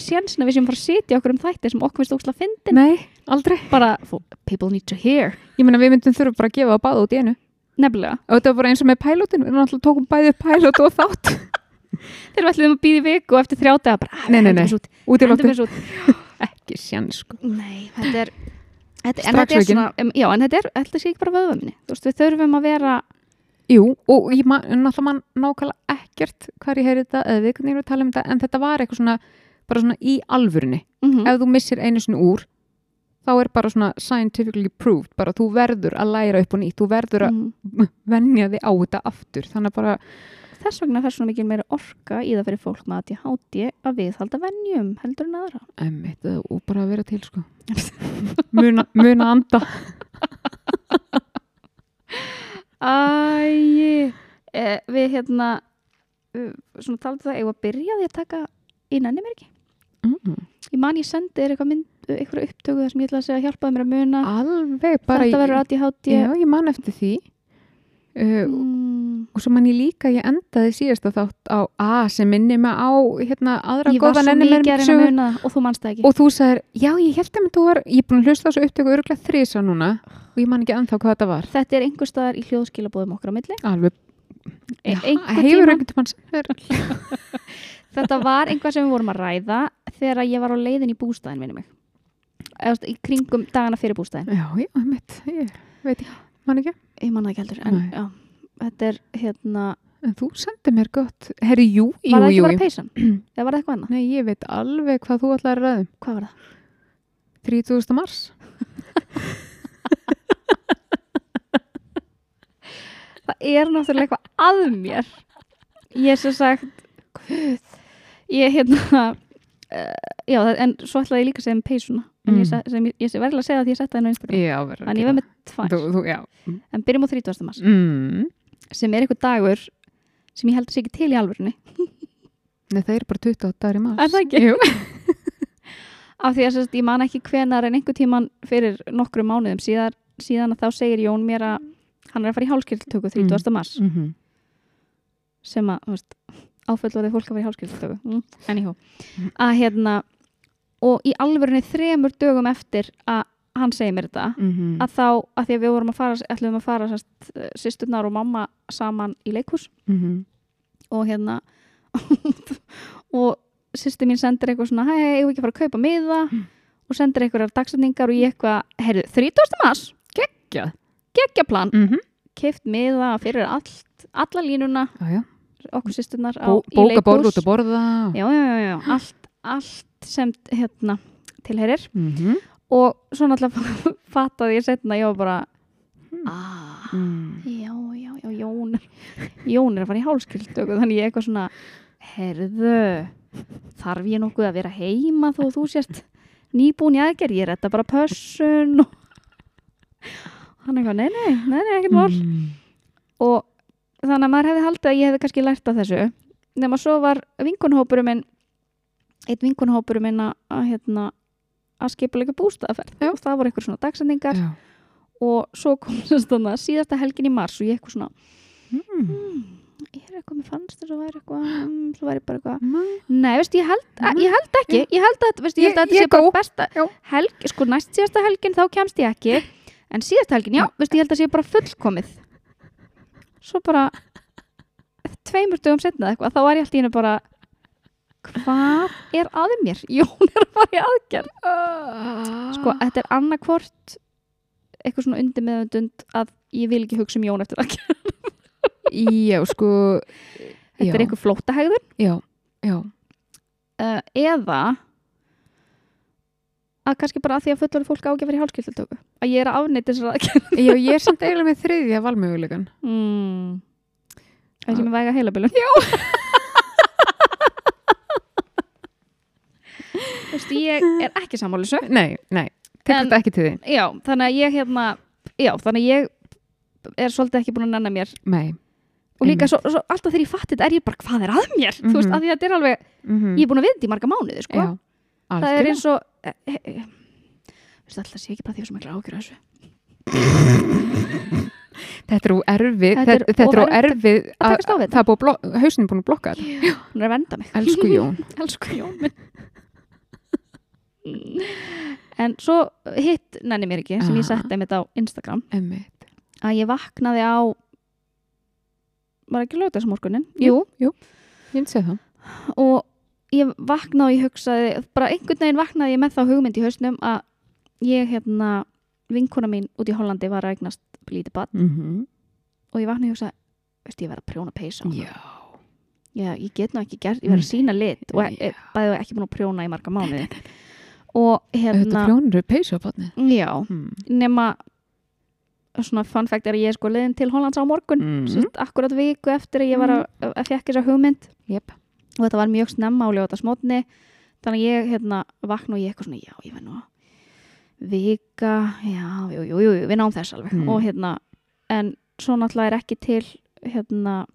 Speaker 1: sjansina við sem fara að sitja í okkur um þætti sem okkur finnst ókslega fyndin,
Speaker 2: Nei, aldrei.
Speaker 1: bara fó- people need to hear,
Speaker 2: Ég meina, við myndum þurfa bara að gefa á báða út í einu.
Speaker 1: nefnilega
Speaker 2: Og þetta var bara eins og með pælótin, við náttúrulega tókum bæði pælót og þátt
Speaker 1: þegar við ætlum að býða í viku og eftir þrjá daga bara, ah,
Speaker 2: Nei, nei,
Speaker 1: hendum
Speaker 2: nei.
Speaker 1: þessu út,
Speaker 2: út í
Speaker 1: hendum
Speaker 2: lóttu.
Speaker 1: þessu út.
Speaker 2: Ekki sjans, sko.
Speaker 1: Nei, þetta er þetta, en
Speaker 2: Strax
Speaker 1: þetta er
Speaker 2: aukin.
Speaker 1: svona, um, já, en þetta er þetta sé ekki bara vöðvömminni, þú veist, við þurfum að vera
Speaker 2: Jú, og ég man, náttúrulega man nákvæmlega ekkert hvar ég heyri þetta eða við hvernig erum að tala um þetta, en þetta var eitthvað svona, bara svona í alvörunni.
Speaker 1: mhm,
Speaker 2: Ef þú missir einu sinni úr, þá er bara svona scientifically proved, bara þú verður að læra upp og nýtt, þú verður að
Speaker 1: mhm.
Speaker 2: Mm. venja þig á þetta aftur, þannig að bara,
Speaker 1: þess vegna fer svona mikil meira orka í það fyrir fólk með ADHD að viðhalda venjum heldur en aðra
Speaker 2: emmitt, og bara vera til, sko. Muna, muna anda.
Speaker 1: Æi eh, Við hérna eh, svona taldi það, ég var að byrja á því að taka inn enni mér ekki
Speaker 2: Mm.
Speaker 1: Ég man ég sendi þér eitthvað mynd, eitthvað upptöku þar sem ég ætla að segja að hjálpaði mér að muna
Speaker 2: Alveg, bara
Speaker 1: Þetta verður
Speaker 2: ég,
Speaker 1: ADHD
Speaker 2: já, ég man eftir því. Uh,
Speaker 1: mm,
Speaker 2: og svo man ég líka, ég endaði síðasta þátt á A sem minni mig á hérna aðra
Speaker 1: Ég var svo
Speaker 2: góða nenni
Speaker 1: mikið
Speaker 2: mér
Speaker 1: að reyna að muna það og þú manst það ekki
Speaker 2: og þú sagðir, já ég held að þú var, ég er búin að hlusta á þessu upptöku öruglega þrisa núna og ég man ekki ennþá hvað þetta var
Speaker 1: Þetta er einhver staðar í hljóðskilabóðum okkar á milli
Speaker 2: alveg,
Speaker 1: e einhver
Speaker 2: hefur
Speaker 1: tíma,
Speaker 2: einhvern tímann sem verið
Speaker 1: Þetta var einhvað sem við vorum að ræða þegar ég var á leiðin í bústæðin minni mig Eða, þú veist, í kringum dagana fyrir bústæðin
Speaker 2: já, já, mitt, ég veit ekki, man ekki
Speaker 1: Ég manna ekki heldur en,
Speaker 2: Nei.
Speaker 1: já, Þetta er hérna
Speaker 2: en þú sendið mér gott, herri, jú,
Speaker 1: Var
Speaker 2: jú,
Speaker 1: það ekki
Speaker 2: jú,
Speaker 1: bara
Speaker 2: jú.
Speaker 1: peysan? Eða var það eitthvað annað?
Speaker 2: nei, ég veit alveg hvað þú ætlaðir að ræðum
Speaker 1: Hvað var það?
Speaker 2: 30. mars
Speaker 1: Það er náttúrulega eitthvað að mér. Ég er sem sagt, guð, ég hérna, uh, já, það- en svo ætlaði ég líka að segja um peysuna. En ég,
Speaker 2: Mm.
Speaker 1: sa- sem, ég, ég verðilega að segja það því ég setta henni á Instagram.
Speaker 2: já, verður
Speaker 1: Þannig ég var með
Speaker 2: þú,
Speaker 1: tvær.
Speaker 2: þú, já
Speaker 1: En byrjum á 30. mars,
Speaker 2: mm.
Speaker 1: sem er eitthvað dagur sem ég held að sé ekki til í alvörunni.
Speaker 2: nei, það er bara 28 dagar í mars
Speaker 1: Er það ekki?
Speaker 2: Jú.
Speaker 1: Af því að sem sagt, ég man ekki hvenar en einhver tíman fyrir nokkru mánuðum síðar, síðan að þá segir Jón mér að hann er að fara í hálskirltöku 30. mars.
Speaker 2: Mhm.
Speaker 1: sem að, þú veist, áföllorðið fólk að vera í hálskilstöku mm. anyhow, að hérna og í alvörunni þremur dögum eftir að hann segir mér þetta
Speaker 2: Mhm.
Speaker 1: að þá, að því að við vorum að fara ætlum að fara sérst, sýsturnar og mamma saman í leikhús
Speaker 2: Mhm.
Speaker 1: og hérna og sýstur mín sendir eitthvað svona hei, ég vil ekki að fara að kaupa miða
Speaker 2: Hmm.
Speaker 1: og sendir eitthvað dagsetningar og ég eitthvað heyrðu, 30. mars,
Speaker 2: Geggjað.
Speaker 1: geggja plan
Speaker 2: Mhm.
Speaker 1: keift miða fyrir allt, alla línuna
Speaker 2: Já, já.
Speaker 1: okkur sýsturnar á-
Speaker 2: Bó-
Speaker 1: í
Speaker 2: Bóka borð
Speaker 1: leikhús.
Speaker 2: út að borða
Speaker 1: já, já, já, já. Allt, allt sem hérna, tilherir
Speaker 2: Mhm.
Speaker 1: og svo náttúrulega fattaði ég setna ég var bara
Speaker 2: Hmm.
Speaker 1: ah,
Speaker 2: Mm.
Speaker 1: já, já, já, Jón er, Jón er að fara í hálskildöku þannig ég eitthvað svona herðu, þarf ég nokkuð að vera heima þó þú sért nýbúin í aðgerð, ég er þetta bara pössun og hann eitthvað, nei, nei, nei, nei, ekkert mál
Speaker 2: Mm.
Speaker 1: og þannig að maður hefði haldið að ég hefði kannski lært af þessu nema svo var vinkunhópurum minn eitt vinkunhópurum minn að, að hérna að skipuleika bústaðaferð
Speaker 2: Já.
Speaker 1: og það voru eitthvað svona dagsendingar
Speaker 2: Já.
Speaker 1: og svo kom þess þannig að síðasta helgin í mars og ég eitthvað svona
Speaker 2: Mm.
Speaker 1: ég er eitthvað, mér fannst þess að væri eitthvað mm, svo væri bara eitthvað
Speaker 2: Mm.
Speaker 1: Nei, veist, ég held, að, ég held ekki, ég held að, veist, ég held að
Speaker 2: Ég-
Speaker 1: þetta
Speaker 2: ég
Speaker 1: sé bara
Speaker 2: gó.
Speaker 1: besta
Speaker 2: Já.
Speaker 1: helg, sko næst síðasta helgin þá kemst ég ekki, en síðasta helgin,
Speaker 2: Mm.
Speaker 1: já, veist, ég held að sé bara fullkomið. Svo bara, tveimur dögum setna eða eitthvað, þá var ég alltaf einu bara, hvað er að mér? Jón er að fara í aðgerð.
Speaker 2: Ah.
Speaker 1: Sko, þetta er annarkvort, eitthvað svona undir meðundund að ég vil ekki hugsa um Jón eftir aðgerð.
Speaker 2: Já, sko
Speaker 1: Þetta er
Speaker 2: já.
Speaker 1: eitthvað flóttahegðun.
Speaker 2: Já, já
Speaker 1: uh, eða að kannski bara að því að fullorðið fólk á ekki að vera í hálskildutöku að ég er að afnýtt þessar aðgerð
Speaker 2: Já, ég er samt eiginlega með þriðja valmögulegan Hmm.
Speaker 1: mm. það
Speaker 2: Ah.
Speaker 1: sem ég væga heilabilun já Vistu, ég er ekki sammáli þessu
Speaker 2: Nei, nei,
Speaker 1: En-
Speaker 2: tekur þetta ekki til því
Speaker 1: já, þannig að ég hérna já, þannig að ég er svolítið ekki búin að nanna mér
Speaker 2: Nei
Speaker 1: og líka svo, svo alltaf þegar ég fatti þetta er ég bara hvað er að mér þú veist,
Speaker 2: Mhm.
Speaker 1: að því að þetta er alveg,
Speaker 2: Mhm.
Speaker 1: ég er búin að við þetta í marga mánuði sko.
Speaker 2: Já,
Speaker 1: það er
Speaker 2: algjörlega
Speaker 1: eins og e, e, e, veistu alltaf sé ekki bara því sem ekki ágjur þessu
Speaker 2: þetta er úr erfið
Speaker 1: Þetta er
Speaker 2: þetta, þetta er
Speaker 1: of
Speaker 2: úr erfið
Speaker 1: að
Speaker 2: að-
Speaker 1: takast á við
Speaker 2: það er búið að blok- hausinn er búin að blokka þetta
Speaker 1: Hún er að venda mig.
Speaker 2: elsku Jón
Speaker 1: Elsku Jón minn. en svo hitt nenni mér ekki sem ég
Speaker 2: Aha.
Speaker 1: setti mitt á Instagram
Speaker 2: Einmitt.
Speaker 1: að ég vaknaði á var ekki lögdags morgunin
Speaker 2: jú, ég myndi segja það
Speaker 1: og ég vaknaði og ég hugsaði bara einhvern veginn vaknaði ég með þá hugmynd í hausnum að ég hérna vinkona mín út í Hollandi var að eignast lítið bad
Speaker 2: mm
Speaker 1: og ég vaknaði og hugsaði veist ég verð að prjóna peysa á hana.
Speaker 2: já,
Speaker 1: Já, ég get nú ekki gert, ég verð að sína lit og e- e- bæði og ekki búin að prjóna í marga mánuði og
Speaker 2: þetta
Speaker 1: hérna
Speaker 2: prjónur er peysu á botni
Speaker 1: já,
Speaker 2: Hmm.
Speaker 1: nema svona fun fact er að ég er sko leiðin til Hollands á morgun
Speaker 2: Mm.
Speaker 1: mm. akkurat viku eftir að ég var að, að, að fekk þessa hugmynd
Speaker 2: yep.
Speaker 1: og þetta var mjög snemma á ljóta smótni þannig að ég hérna vakna og ég eitthvað svona já, ég verð nú að vika, já, jú, jú, jú, jú við náum þess alveg
Speaker 2: Mm.
Speaker 1: og hérna, en svo náttúrulega er ekki til hérna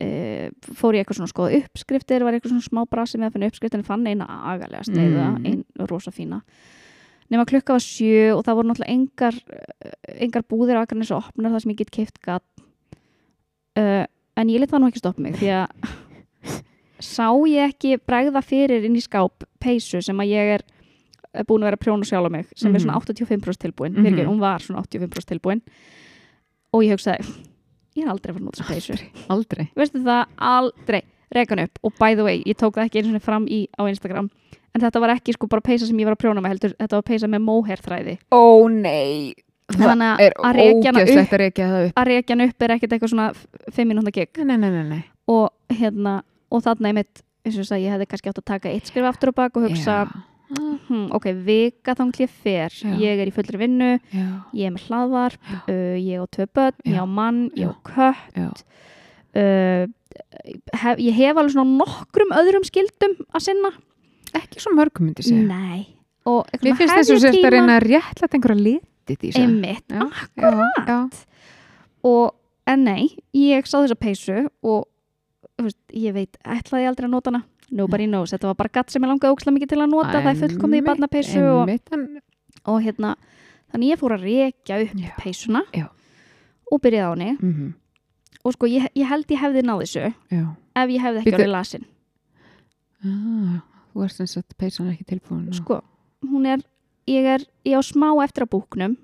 Speaker 1: e, fór ég eitthvað svona að skoða uppskriftir var eitthvað svona smá brasi með að finna uppskriftin en fann eina agalega sneiða,
Speaker 2: Mm.
Speaker 1: ein rosa fína nema klukka var sjö og það voru náttúrulega engar, eh, engar búðir á Akranis og opnar það sem ég get keift gatt uh, en ég let það nú ekki stoppa mig því að sá ég ekki bregða fyrir inn í skáp peysu sem að ég er eh, búin að vera að prjóna sjálf á mig sem er svona
Speaker 2: Mhm.
Speaker 1: 85% tilbúin
Speaker 2: Mhm.
Speaker 1: mm hún var svona 85% tilbúin og ég hugsaði ég er aldrei að fara að nota þessa peysu
Speaker 2: aldrei
Speaker 1: veistu það, aldrei rekan upp og by the way, ég tók það ekki einu svona fram í á Instagram en þetta var ekki sko bara peysa sem ég var að prjóna með heldur þetta var peysa með móherþræði
Speaker 2: ó nei það
Speaker 1: Þannig að-
Speaker 2: er
Speaker 1: að rekja hana
Speaker 2: ógeðslegt að rekja það upp
Speaker 1: að reykjan upp er ekkert eitthvað svona 5 minúnda gig
Speaker 2: nei, nei, nei, nei.
Speaker 1: og hérna, og þarna einmitt eins og ég sagði, ég hefði kannski átt að taka eitt skrif aftur á bak og hugsa,
Speaker 2: já,
Speaker 1: hm, ok, vika þanglið fer,
Speaker 2: Já.
Speaker 1: ég er í fullri vinnu
Speaker 2: já,
Speaker 1: ég er með hlaðvarp,
Speaker 2: Já.
Speaker 1: uh, ég á tvö börn, ég á mann, ég á kött
Speaker 2: já.
Speaker 1: uh, hef, ég hef alveg svona nokkrum öðrum skildum að sinna
Speaker 2: ekki svo mörgum myndi ég segja
Speaker 1: nei og eitthvað
Speaker 2: Mér
Speaker 1: svona
Speaker 2: finnst
Speaker 1: hef
Speaker 2: þessu
Speaker 1: ég
Speaker 2: sérst að
Speaker 1: tíma-
Speaker 2: reyna að réttlætt einhverja litið í þessu.
Speaker 1: einmitt,
Speaker 2: Já,
Speaker 1: akkurat
Speaker 2: já.
Speaker 1: og, en nei, ég sá þessa peysu og þú veist, ég veit, ætlaði ég aldrei að nota hana nobody knows, þetta var bara gatt sem ég langaði ókslega mikið til að nota, það er fullkomði í
Speaker 2: Einmitt,
Speaker 1: barnapeysu og,
Speaker 2: einmitt, en-
Speaker 1: og hérna, þannig ég fór að rekja upp
Speaker 2: Já.
Speaker 1: peysuna
Speaker 2: Já.
Speaker 1: og byrjaði á henni
Speaker 2: mhm,
Speaker 1: og sko, ég, ég held ég hefði náð þessu
Speaker 2: Já.
Speaker 1: ef ég hefði ekki
Speaker 2: Bíddu.
Speaker 1: orðið lasin
Speaker 2: Mm. Ah, Þú ert sem sagt peysan ekki tilbúin og
Speaker 1: sko, hún er, ég er ég á smá eftir að búknum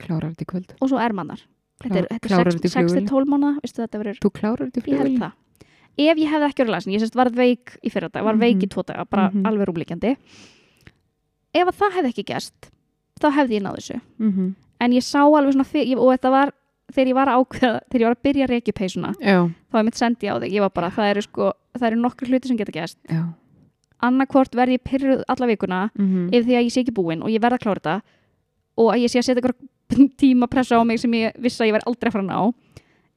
Speaker 2: klárar þetta í kvöld.
Speaker 1: og svo ermannar þetta er,
Speaker 2: Klá-
Speaker 1: þetta
Speaker 2: klárar
Speaker 1: er
Speaker 2: þetta
Speaker 1: 6
Speaker 2: í
Speaker 1: til
Speaker 2: flugvélinni?
Speaker 1: 12 mánuða, veistu þetta verður
Speaker 2: Þú klárar þetta í
Speaker 1: ég held
Speaker 2: flugvélina?
Speaker 1: það ef ég hefði ekki orðið lasin, ég sérst varð veik í fyrra dag, var veik í
Speaker 2: Mhm.
Speaker 1: tvo daga, bara
Speaker 2: Mhm.
Speaker 1: alveg rúblikjandi ef að það hefði ekki gerst þá hefði ég náð þessu
Speaker 2: Mhm,
Speaker 1: en ég sá alveg svona, fyr, og þetta var þegar ég var að ákveða, þegar ég var að byrja að reykja peysuna
Speaker 2: Já,
Speaker 1: þá er mitt sendi á þig, ég var bara það eru sko, það eru nokkur hluti sem geta gerst
Speaker 2: já.
Speaker 1: annarkvort verð ég pyrruð alla vikuna
Speaker 2: mhm.
Speaker 1: ef því að ég sé ekki búin og ég verð að klára þetta og að ég sé að setja eitthvað tíma pressa á mig sem ég vissi að ég verð aldrei að fara að ná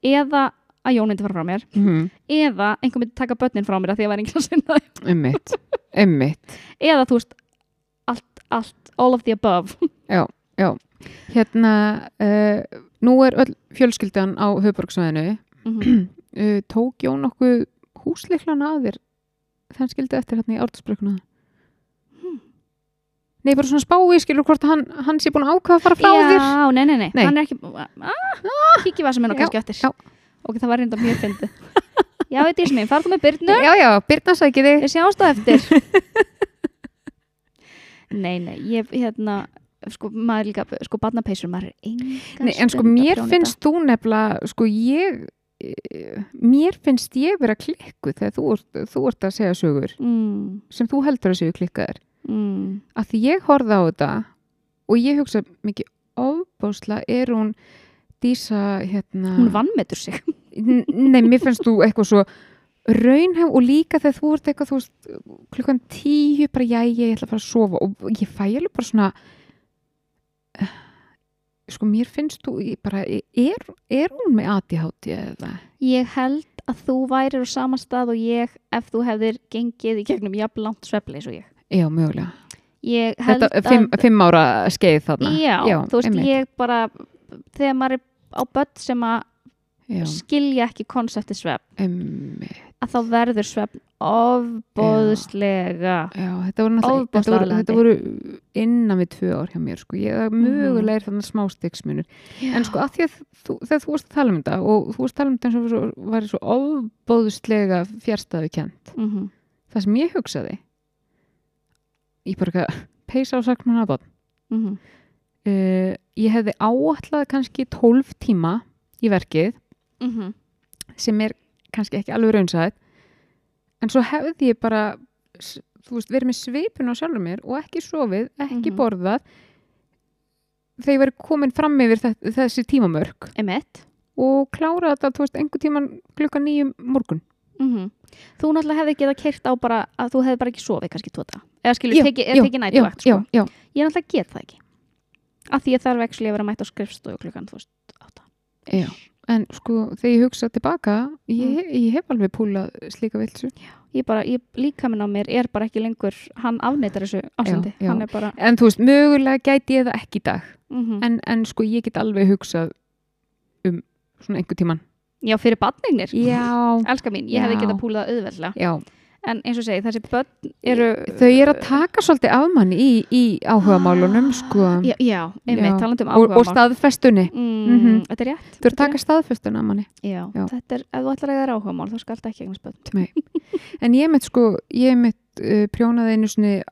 Speaker 1: eða að Jón myndi fara frá mér
Speaker 2: Mhm,
Speaker 1: eða einhver myndi taka börnin frá mér að því að væri enginn að sinna þeim
Speaker 2: Einmitt, einmitt.
Speaker 1: eða þú veist, allt, allt, all of the above
Speaker 2: Hérna, uh, nú er öll fjölskyldan á höfborgsvæðinu.
Speaker 1: Mhm.
Speaker 2: Uh, tók Jón okkur húsleiklana að þér þann skildi eftir hérna í ártusbrekuna?
Speaker 1: Hmm.
Speaker 2: Nei, bara svona spái, skilur hvort hann, hann sé búin að ákvaða að fara frá þér.
Speaker 1: Já, nei, nei, nei,
Speaker 2: Nei.
Speaker 1: hann er ekki ah, Kikki var sem henn og
Speaker 2: Já,
Speaker 1: kannski öttir
Speaker 2: já.
Speaker 1: Ok, það var reynda mjög fyndi Já, þetta er sem ég, farðu með Byrnu
Speaker 2: Já, já, Birna sækir þig.
Speaker 1: Við sjáumst á eftir Nei, nei, ég, hérna sko, maður líka, sko, barnapeysur maður er engan
Speaker 2: Nei, en sko, mér finnst þú nefnilega, sko, ég, eh, mér finnst ég vera klikkuð þegar þú ert, þú ert að segja sögur
Speaker 1: mm,
Speaker 2: sem þú heldur að séu klikkaðir.
Speaker 1: mm,
Speaker 2: Að því ég horfði á þetta og ég hugsa mikið ofbásla er hún Dísa, hérna...
Speaker 1: Hún vannmetur sig
Speaker 2: N- Nei, mér finnst þú eitthvað svo raunhæf og líka þegar þú ert eitthvað, þú veist, klukkan tíu bara jæja, ég ætla að fara að sofa og ég fæ alveg bara svona eh, sko, mér finnst þú ég bara, er, er hún með ADHD eða?
Speaker 1: Ég held að þú værir á sama stað og ég ef þú hefðir gengið í gegnum jafn langt svefli eins og ég.
Speaker 2: Já, mögulega.
Speaker 1: Ég held
Speaker 2: Þetta er fimm,
Speaker 1: að...
Speaker 2: fimm ára skeið þarna.
Speaker 1: já, þú veist,
Speaker 2: einmitt.
Speaker 1: ég bara, þegar maður er á börn sem að
Speaker 2: já,
Speaker 1: skilja ekki konsepti svefn
Speaker 2: emmi,
Speaker 1: að þá verður svefn ofbóðslega
Speaker 2: já, þetta voru náttúrulega, þetta voru,
Speaker 1: Ofboðslega
Speaker 2: þetta voru innan við tvö ár hjá mér, sko, ég það mögulega er þannig smá stigsmunur, en sko að því að þú, þegar þú varst að tala um þetta og þú varst að tala um þetta eins og svo, var svo ofbóðslega fjärstaðu kent,
Speaker 1: mm -hmm.
Speaker 2: það sem ég hugsaði, ég bara ekki að peysa á sakmann að
Speaker 1: Mm -hmm.
Speaker 2: uh, ég hefði áallað kannski 12 tíma í verkið
Speaker 1: Mm -hmm.
Speaker 2: sem er kannski ekki alveg raunsæð en svo hefði ég bara s- þú veist, verið með svipun á sjálfur mér og ekki sofið, ekki
Speaker 1: Mhm.
Speaker 2: borðað þegar ég verið komin fram yfir þe- þessi tímamörk og klára þetta, þú veist, einhver tíman klukka nýjum morgun
Speaker 1: Mhm. Þú náttúrulega hefði getað kert á bara að þú hefði bara ekki sofið kannski tóta eða skilur,
Speaker 2: Já,
Speaker 1: teki, eða tekið nættuvakt
Speaker 2: já,
Speaker 1: sko.
Speaker 2: já,
Speaker 1: ég náttúrulega get það ekki af því ég þarf ekki að vera mætt á skrifstofu klukkan þú veist, átta
Speaker 2: já, já. En sko, þegar ég hugsa tilbaka,
Speaker 1: Mhm.
Speaker 2: ég, ég hef alveg púlað slíka vilsu.
Speaker 1: ég bara, ég, líkaminn á mér er bara ekki lengur hann afneitar þessu ástandi
Speaker 2: Já, já.
Speaker 1: hann er bara
Speaker 2: En þú veist, mögulega gæti ég það ekki í dag.
Speaker 1: mhm.
Speaker 2: en, en sko ég get alveg hugsað um svona einhver tíman
Speaker 1: já, fyrir badningnir,
Speaker 2: já,
Speaker 1: elska mín ég hefði
Speaker 2: Já.
Speaker 1: getað púlað auðveldlega
Speaker 2: já.
Speaker 1: en eins og ég segi, þessi börn eru eh,
Speaker 2: þau eru að taka svolítið af manni í, í áhugamálunum sko
Speaker 1: já, já einmitt,
Speaker 2: Já.
Speaker 1: talandi um
Speaker 2: og,
Speaker 1: áhugamál
Speaker 2: og staðfestunni
Speaker 1: mm,
Speaker 2: Mhm.
Speaker 1: þetta er rétt
Speaker 2: þau eru að taka staðfestun af manni
Speaker 1: já,
Speaker 2: Já.
Speaker 1: þetta er, ef þú ætlar að það er áhugamál þá skal þetta ekki eignast börn
Speaker 2: en ég mitt sko, ég mitt uh, prjónaði einu svona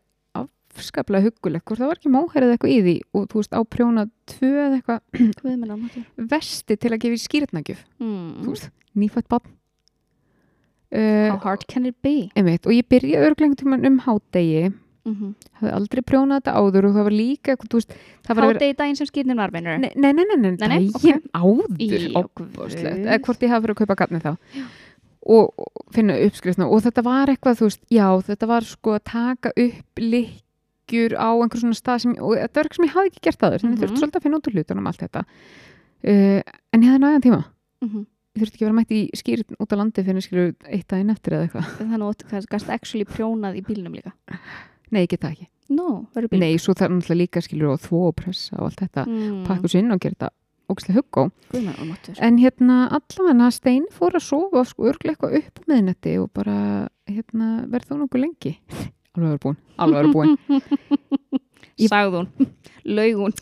Speaker 2: afskaplega huggulegt, hvort það var ekki móherið eitthvað í því og þú veist á prjóna tvö eða eitthvað
Speaker 1: hvað minn ámáttur
Speaker 2: vesti til að gefa í skýrtnagjöf þú
Speaker 1: mm.
Speaker 2: veist, nýfætt bann uh,
Speaker 1: how hard can it be
Speaker 2: einmitt, og ég byrjaði örglengt um hádegi
Speaker 1: mm -hmm.
Speaker 2: hafði aldrei prjónað þetta áður og það var líka eitthvað, þú veist, það var að vera
Speaker 1: hátegi daginn sem skýrnin var vinnur
Speaker 2: Nei, nei, nei, nei, nei,
Speaker 1: Nei, nei,
Speaker 2: daginn áður
Speaker 1: Í, ó,
Speaker 2: óbúðslegt,
Speaker 1: guð.
Speaker 2: eða hvort ég hafa verið að kaupa garni þá og, og finna uppskrifna og þetta var eitthvað, þú veist, já, þetta var sko að taka upp lykkjur á einhver svona stað sem, og þetta var eitthvað sem ég hafði ekki gert áður, þannig
Speaker 1: Mhm.
Speaker 2: ég þurfti svolítið að finna út úr hlutunum allt þetta uh, en ég hafði nægan tíma
Speaker 1: Mhm.
Speaker 2: ég þurfti ekki að vera mætt í skýrn út á landi fyrir skilur eitt daginn eftir eða eitthvað
Speaker 1: þannig að þú gæst actually prjónað í bílnum líka
Speaker 2: nei, ég get það ekki,
Speaker 1: no, verður bíl
Speaker 2: nei, svo það er náttúrulega líka skilur og þvó og pressa og allt þetta
Speaker 1: mm.
Speaker 2: pakka sér inn og gera þetta ógæslega huggó.
Speaker 1: Guð minn almáttugur.
Speaker 2: En hérna allavega Stein fór að sofa sko örglega eitthvað upp á miðnætti og bara hérna verð þú nokkuð lengi. Alveg verið búin, alveg verið búin. Ég-
Speaker 1: sagði hún, laug hún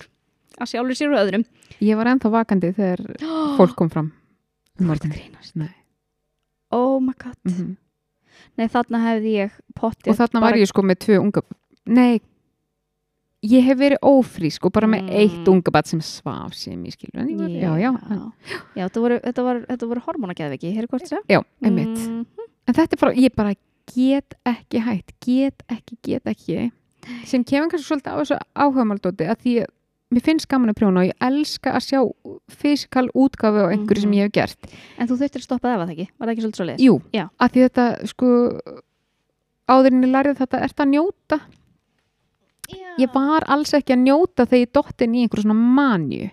Speaker 1: að sjálfur sér og öðrum
Speaker 2: Ég var ennþá vakandi þegar
Speaker 1: Ah.
Speaker 2: fólk kom fram. Um morguninn.
Speaker 1: grínast
Speaker 2: Nei.
Speaker 1: oh my god,
Speaker 2: Mhm.
Speaker 1: nei þarna hefði ég pottið
Speaker 2: Og þarna var ég sko með tvö unga... Nei, ég hef verið ófrísk og bara með
Speaker 1: Mm.
Speaker 2: eitt ungabat sem svaf sem ég skilur. En ég var, já, já. En,
Speaker 1: já. já þetta, voru, þetta, var, þetta voru hormonageðviki, ég heyrðu hvort þess að
Speaker 2: já, einmitt.
Speaker 1: mm,
Speaker 2: En þetta er bara, ég bara get ekki hægt, get ekki, get ekki sem kemur kannski svolítið á þessu áhugamaldóti að því að mér finnst gaman að prjóna og ég elska að sjá fysikal útgafu á einhverju sem
Speaker 1: Mhm.
Speaker 2: ég hef gert.
Speaker 1: en þú þurftir að stoppa það var það ekki, var það ekki svolítið svolítið
Speaker 2: Jú,
Speaker 1: Já.
Speaker 2: að því þetta sko áðurinn ég lærið þetta, ert að njóta? Ég var alls ekki að njóta þegar ég dottin í einhverju svona manju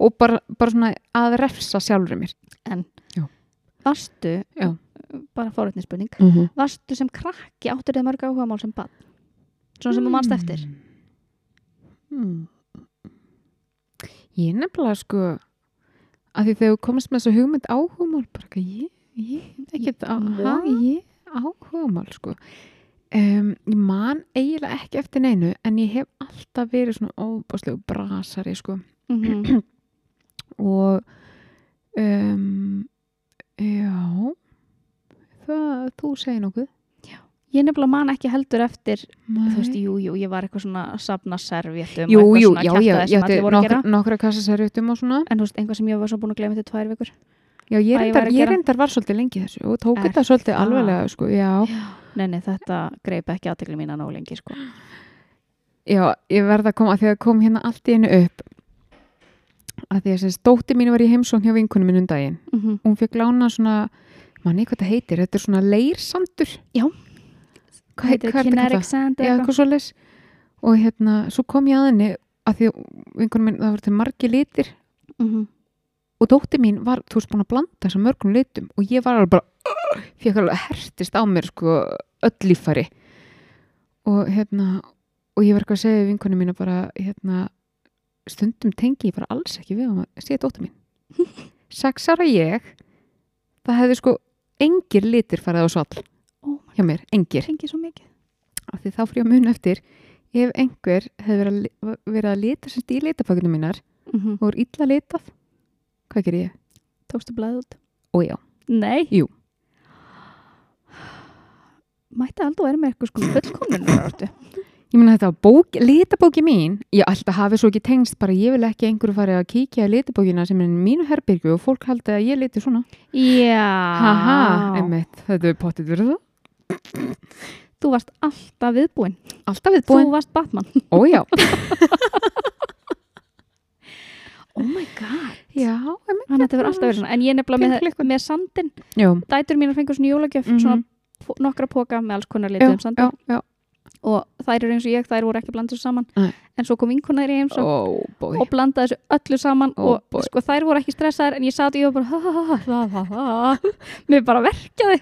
Speaker 2: og bara, bara svona að refsa sjálfur mér.
Speaker 1: varstu,
Speaker 2: Já.
Speaker 1: bara fórhættinspurning
Speaker 2: Mm -hmm.
Speaker 1: varstu sem krakki áttur þið mörg áhugamál sem bann svona sem þú manst eftir
Speaker 2: Hmm. Ég nefnilega sko að því þegar þú komst með þessu hugmynd áhugamál bara ekki ég, ég ekkert á, ha,
Speaker 1: What?
Speaker 2: ég áhugamál sko um, ég man eiginlega ekki eftir neinu en ég hef alltaf verið svona óbáslegu brasari sko
Speaker 1: Mhm.
Speaker 2: og um, já það, þú segir nokkuð
Speaker 1: ég nefnilega man ekki heldur eftir
Speaker 2: Nei.
Speaker 1: þú veist, jú, jú, ég var eitthvað svona að safna servjettum
Speaker 2: jú,
Speaker 1: og eitthvað
Speaker 2: jú,
Speaker 1: svona
Speaker 2: já,
Speaker 1: kjaftaði
Speaker 2: já,
Speaker 1: sem
Speaker 2: já
Speaker 1: allir voru að gera
Speaker 2: nokkra kassasarjutum og svona
Speaker 1: en þú veist, einhvað sem ég var svo búin að gleyma til tvær vikur
Speaker 2: Já,
Speaker 1: Hvað
Speaker 2: ég
Speaker 1: ég
Speaker 2: reyndar,
Speaker 1: væri að
Speaker 2: ég
Speaker 1: gera. Ah,
Speaker 2: reyndar var svolítið lengi í þessu og tók
Speaker 1: Er
Speaker 2: þetta svolítið
Speaker 1: það?
Speaker 2: alveglega, sko, já.
Speaker 1: nei, nei, þetta greip ekki aðtekli mína nóg lengi sko.
Speaker 2: Já, ég verða að koma, að því að kom hérna allt í einu upp. Að því að þessi stótti mín var í heimsókn hjá vinkunum minn um daginn.
Speaker 1: mm
Speaker 2: Hún fekk lána svona, manni, hvað þetta heitir, þetta er svona leirsandur.
Speaker 1: Já.
Speaker 2: Hvað heit- hvað er þetta kallað?
Speaker 1: sand
Speaker 2: Já, eitthvað svoleiðis. Og hérna, svo kom ég að henni, að því að vinkunum minn, það voru til margi litir
Speaker 1: Mhm.
Speaker 2: og dótti mín var, þú veist, búin að blanda þessum mörgum litum og ég var alveg bara fekk alveg hertist á mér sko öll líffari og hérna, og ég var eitthvað að segja vinkonu mína um bara, hérna stundum tengi ég bara alls ekki við að sé dótti mín sex ára ég það hefði sko engir litir farið á svall
Speaker 1: Oh my
Speaker 2: hjá mér, engir
Speaker 1: god, hringi svo mikið.
Speaker 2: af því þá fyrir ég að muna eftir ef einhver hefði verið að, li- verið að lita sem í litapakkunum mínar
Speaker 1: Mm -hmm.
Speaker 2: og er illa litað hvað ger ég?
Speaker 1: Tókstu blæð út?
Speaker 2: Ó já,
Speaker 1: Nei.
Speaker 2: Jú.
Speaker 1: Mætti aldrei vera með eitthvað sko fullkomlunar áttu.
Speaker 2: ég meina þetta var bók, litabóki mín ég alltaf hafi svo ekki tengst bara ég vil ekki að einhverju farið að kíkja í litabókina sem er í mínu herbyrgu og fólk haldi að ég liti svona
Speaker 1: Já.
Speaker 2: haha, einmitt, þetta er pottit verið það
Speaker 1: Þú varst alltaf viðbúin.
Speaker 2: alltaf við
Speaker 1: Þú
Speaker 2: búin,
Speaker 1: varst Batman.
Speaker 2: ó já
Speaker 1: Oh my god.
Speaker 2: já, einmitt
Speaker 1: Þannig að þetta verður alltaf verið svona. En ég nefnilega með, með sandin.
Speaker 2: já,
Speaker 1: Dætur mínar fengur svona jólagjöf,
Speaker 2: Mhm.
Speaker 1: svona po- nokkra póka með alls konar
Speaker 2: já,
Speaker 1: litum sandi.
Speaker 2: já, já.
Speaker 1: Og þær eru eins og ég, þær voru ekki blandið þessu saman.
Speaker 2: Nei.
Speaker 1: En svo kom vinkunar í heimsó
Speaker 2: ó bói
Speaker 1: og blandaði þessu öllu saman
Speaker 2: Ó,
Speaker 1: og
Speaker 2: Oh boy.
Speaker 1: sko þær voru ekki stressaðar en ég sat í og bara ha, ha, ha, ha, ha, ha, ha. mér bara verkjaði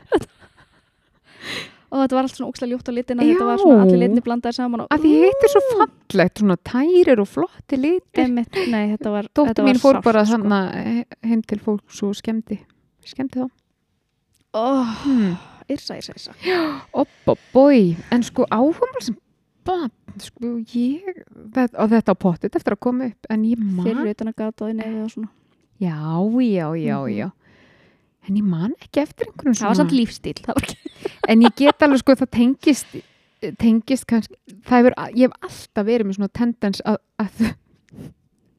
Speaker 1: og þetta var allt svona ókslega ljótt á litina
Speaker 2: Já.
Speaker 1: þetta var svona allir litni blandaði saman og
Speaker 2: að því hitt er svo fallegt svona tærir og flotti litir
Speaker 1: Einmitt, nei, þetta var þetta
Speaker 2: dóttir
Speaker 1: var
Speaker 2: mín fór
Speaker 1: sárt,
Speaker 2: bara
Speaker 1: sko.
Speaker 2: þannig sko. heim til fólk svo skemmti skemmti þá
Speaker 1: oh,
Speaker 2: hmm.
Speaker 1: Írsa, írsa, írsa
Speaker 2: oppa bói, en sko áhugamál sem bann, sko ég það, og þetta á pottit eftir að koma upp en ég man,
Speaker 1: Fyrir utan að gata og nefið og svona
Speaker 2: já, já, já,
Speaker 1: Mhm.
Speaker 2: já en ég man ekki eftir einhverjum
Speaker 1: Það var samt lífstíl það var ekki-
Speaker 2: en ég get alveg sko það tengist tengist kannski það hefur, ég hef alltaf verið með svona tendens að, að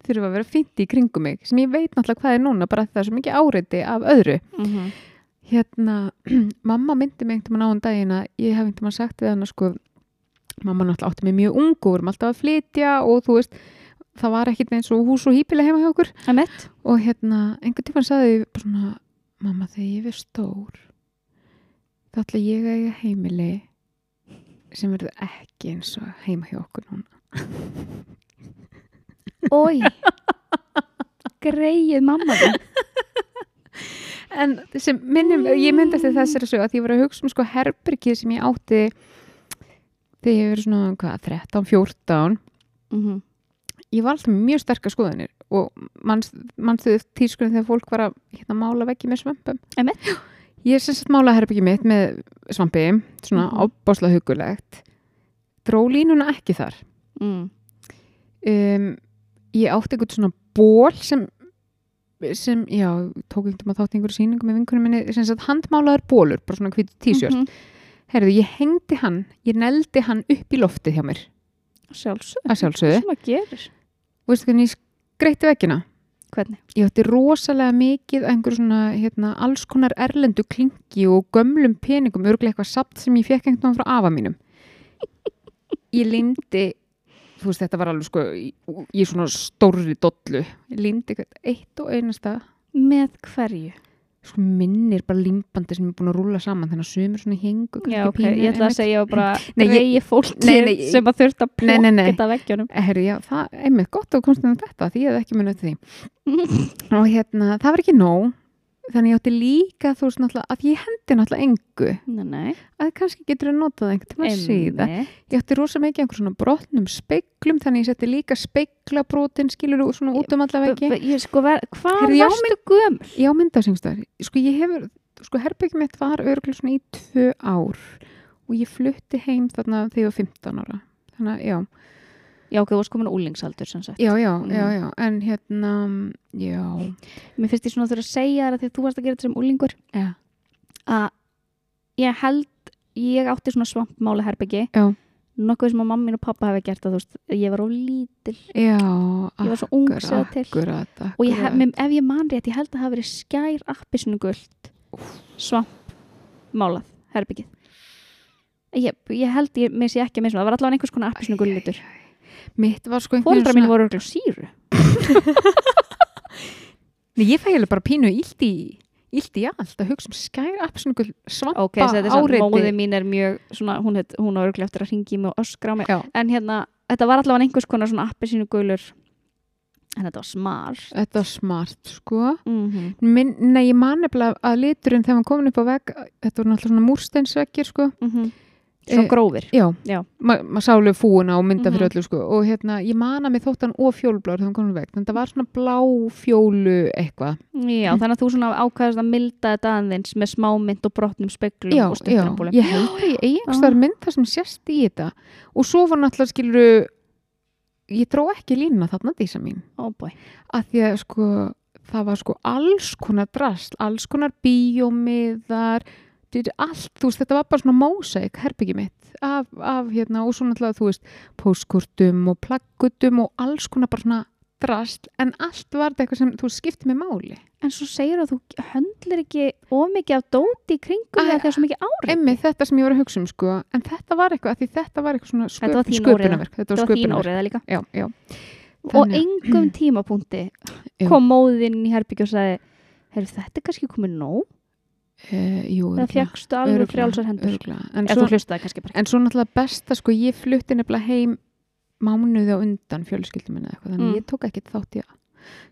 Speaker 2: þurfa að vera fint í kringum mig sem ég veit náttúrulega hvað er núna bara að það er svo mikið áreiti af öðru
Speaker 1: Mhm.
Speaker 2: hérna, mamma myndi mig einhvern veginn á um daginn að ég hef einhvern veginn sagt við hann sko, mamma náttúrulega átti mig mjög ung og erum alltaf að flytja og þú veist það var ekkit eins og hús og hýpileg heima hjá okkur
Speaker 1: Einmitt.
Speaker 2: og hérna, einhvern tímann sagði ég bara svona, mamma þegar ég er stór þá ætla ég að eiga heimili sem verður ekki eins og heima hjá okkur núna
Speaker 1: Oj Greið mamma þín
Speaker 2: en sem minnum, ég myndi eftir þessari sög að ég var að hugsa um sko herbergið sem ég átti þegar ég verið svona hvað, 13, 14
Speaker 1: Mhm.
Speaker 2: ég var alltaf með mjög sterkar skoðanir og manst- manstu þið tískunum þegar fólk var að hérna, mála veggi með svampum
Speaker 1: Einmitt.
Speaker 2: ég er sem sagt mála herbyggi mitt með svampi svona mm
Speaker 1: Mhm.
Speaker 2: ábáslega hugulegt dró línuna ekki þar
Speaker 1: Mm.
Speaker 2: um, ég átti einhvern svona ból sem, sem já, tók einhvern að þátt í einhverju sýningu með vinkunum minni, sem sagt handmálaður bólur bara svona hvítu tísjörn, mm
Speaker 1: Mhm.
Speaker 2: herðu, ég hengdi hann, ég neldi hann upp í loftið hjá mér,
Speaker 1: Sjálfsög
Speaker 2: að sjálfsögðu
Speaker 1: Sem að gerir
Speaker 2: og veistu hvernig ég skreitti veggina
Speaker 1: Hvernig?
Speaker 2: ég átti rosalega mikið af einhverju svona hérna, alls konar erlendu klingi og gömlum peningum, örgulega eitthvað sapt sem ég fekk einhvern veginn frá afa mínum ég limdi þú veist þetta var alveg sko í í svona stórri dollu ég limdi eitthvað eitt og einasta
Speaker 1: Með hverju?
Speaker 2: sko minnir bara limbandi sem ég er búin að rúla saman þannig að sömur svona hengu
Speaker 1: Já, ok, ég ætla að segja bara
Speaker 2: Nei, ég-
Speaker 1: reyji fólki
Speaker 2: Nei, nei, ég-
Speaker 1: sem að þurft að
Speaker 2: Nei, nei, nei.
Speaker 1: plokka þetta af veggjunum
Speaker 2: Herri, já, það er einmitt gott að komst um þetta því ég hef ekki munið eftir því og hérna, það var ekki nóg þannig ég átti líka þú veist náttúrulega að ég hendi náttúrulega engu
Speaker 1: Nei, nei,
Speaker 2: að kannski getur að nota það einhvern tímann síðan
Speaker 1: einmitt.
Speaker 2: ég átti rosa mikið einhver svona brotnum speiklum þannig ég setti líka speiklabrotin skilur þú svona út um allaveggi
Speaker 1: B- b- Ég sko, ver- hvað
Speaker 2: Heyrðu, já,
Speaker 1: varstu gömur?
Speaker 2: já, myndasengstar, sko ég hefur sko herbyggjum mitt var örgulega svona í tvö ár og ég flutti heim þarna þegar ég var 15 ára þannig að, já,
Speaker 1: Já, ok, þú varst komin á úlingsaldur sem sagt
Speaker 2: já, já, já,
Speaker 1: Mm.
Speaker 2: já en hérna, já
Speaker 1: Mér finnst ég svona þurfa að segja þér að því að þú varst að gera þetta sem úlingur
Speaker 2: já,
Speaker 1: að ég held ég átti svona svampmála herbyggi
Speaker 2: Já.
Speaker 1: nokkuð sem að mamma mín og pappa hafi gert það, þú veist, ég var of lítil
Speaker 2: já
Speaker 1: ég var svo ung
Speaker 2: akkurat,
Speaker 1: sér til
Speaker 2: akkurat, akkurat.
Speaker 1: og ég, hef- mér- ef ég man rétt, ég held að það hafi verið skær appisnugult svampmálað herbyggið ég, ég held, ég missi ekki að missi það var allavega einhvers konar appisnugul litur
Speaker 2: mitt var sko einhvern
Speaker 1: fóreldra mín voru örugglega á síru
Speaker 2: Nei, ég fæ hefði bara pínu illt í, illt í allt að hugsa um skær apsnugul svampa
Speaker 1: ok, þess að þess að
Speaker 2: áreiti.
Speaker 1: móði mín er mjög svona, hún, heit, hún á örugglega eftir að ringi mig og öskra á mig
Speaker 2: Já,
Speaker 1: en hérna, þetta var allavega einhvers konar svona appisnugulur en þetta var smar
Speaker 2: þetta var smart sko.
Speaker 1: mm
Speaker 2: Minn, nei, ég man nefnilega að liturinn þegar hann komin upp á vegg, þetta voru náttúrulega svona múrsteinsveggir sko.
Speaker 1: Svo
Speaker 2: Eh,
Speaker 1: grófir.
Speaker 2: já,
Speaker 1: Já.
Speaker 2: maður ma sá alveg fúuna og mynda fyrir
Speaker 1: Mhm.
Speaker 2: öllu sko og hérna, ég man að mér þótt hann og fjólblár þegar hann komið veg, þannig að það var svona blá fjólu eitthvað, Mhm.
Speaker 1: Já, þannig að þú svona ákvæðast að milda þetta aðeins með smámynd og brotnum speglum
Speaker 2: já,
Speaker 1: og Ah.
Speaker 2: já
Speaker 1: stuttrambúlum.
Speaker 2: ég held að ég einhvers þar mynd það sem sérst í þetta og svo var náttúrulega skiluru ég dró ekki lína þarna dísa mín
Speaker 1: Ó bói.
Speaker 2: að því að sko það var sko alls konar drasl alls konar bíómiðar þetta er allt, þú veist, þetta var bara svona mósæk herbyggi mitt af, af hérna og svo náttúrulega, þú veist, póskortum og plaggutum og alls konar bara svona drasl, en allt var þetta eitthvað sem þú veist, skipti með máli
Speaker 1: En svo segir að þú höndlir ekki ómikið af dóti í kringum
Speaker 2: Æ,
Speaker 1: þegar það er svo mikið árið.
Speaker 2: emmi þetta sem ég var að hugsa um sko en þetta var eitthvað, af því þetta var eitthvað svona
Speaker 1: Þetta var
Speaker 2: sköp,
Speaker 1: þín
Speaker 2: sköpunarverk þetta
Speaker 1: Það
Speaker 2: var
Speaker 1: var þín
Speaker 2: sköpunarverk,
Speaker 1: árið það líka.
Speaker 2: já, já
Speaker 1: Og
Speaker 2: Þannig að-
Speaker 1: engum tímapunkti
Speaker 2: Já.
Speaker 1: kom móðinn í herbyggju og sagði Hefur þetta kannski komið nóg?
Speaker 2: Eh, jú,
Speaker 1: Það
Speaker 2: örugglega,
Speaker 1: fjekkstu alveg
Speaker 2: örugglega,
Speaker 1: frjálsar hendur.
Speaker 2: örugglega. En
Speaker 1: Ef
Speaker 2: svo-
Speaker 1: þú hlustaði kannski bara.
Speaker 2: En svo náttúrulega besta, sko, ég flutti nefnilega heim mánuði á undan fjölskyldum minna eitthvað, þannig
Speaker 1: Mm.
Speaker 2: mm. ég tók ekkert þátt í að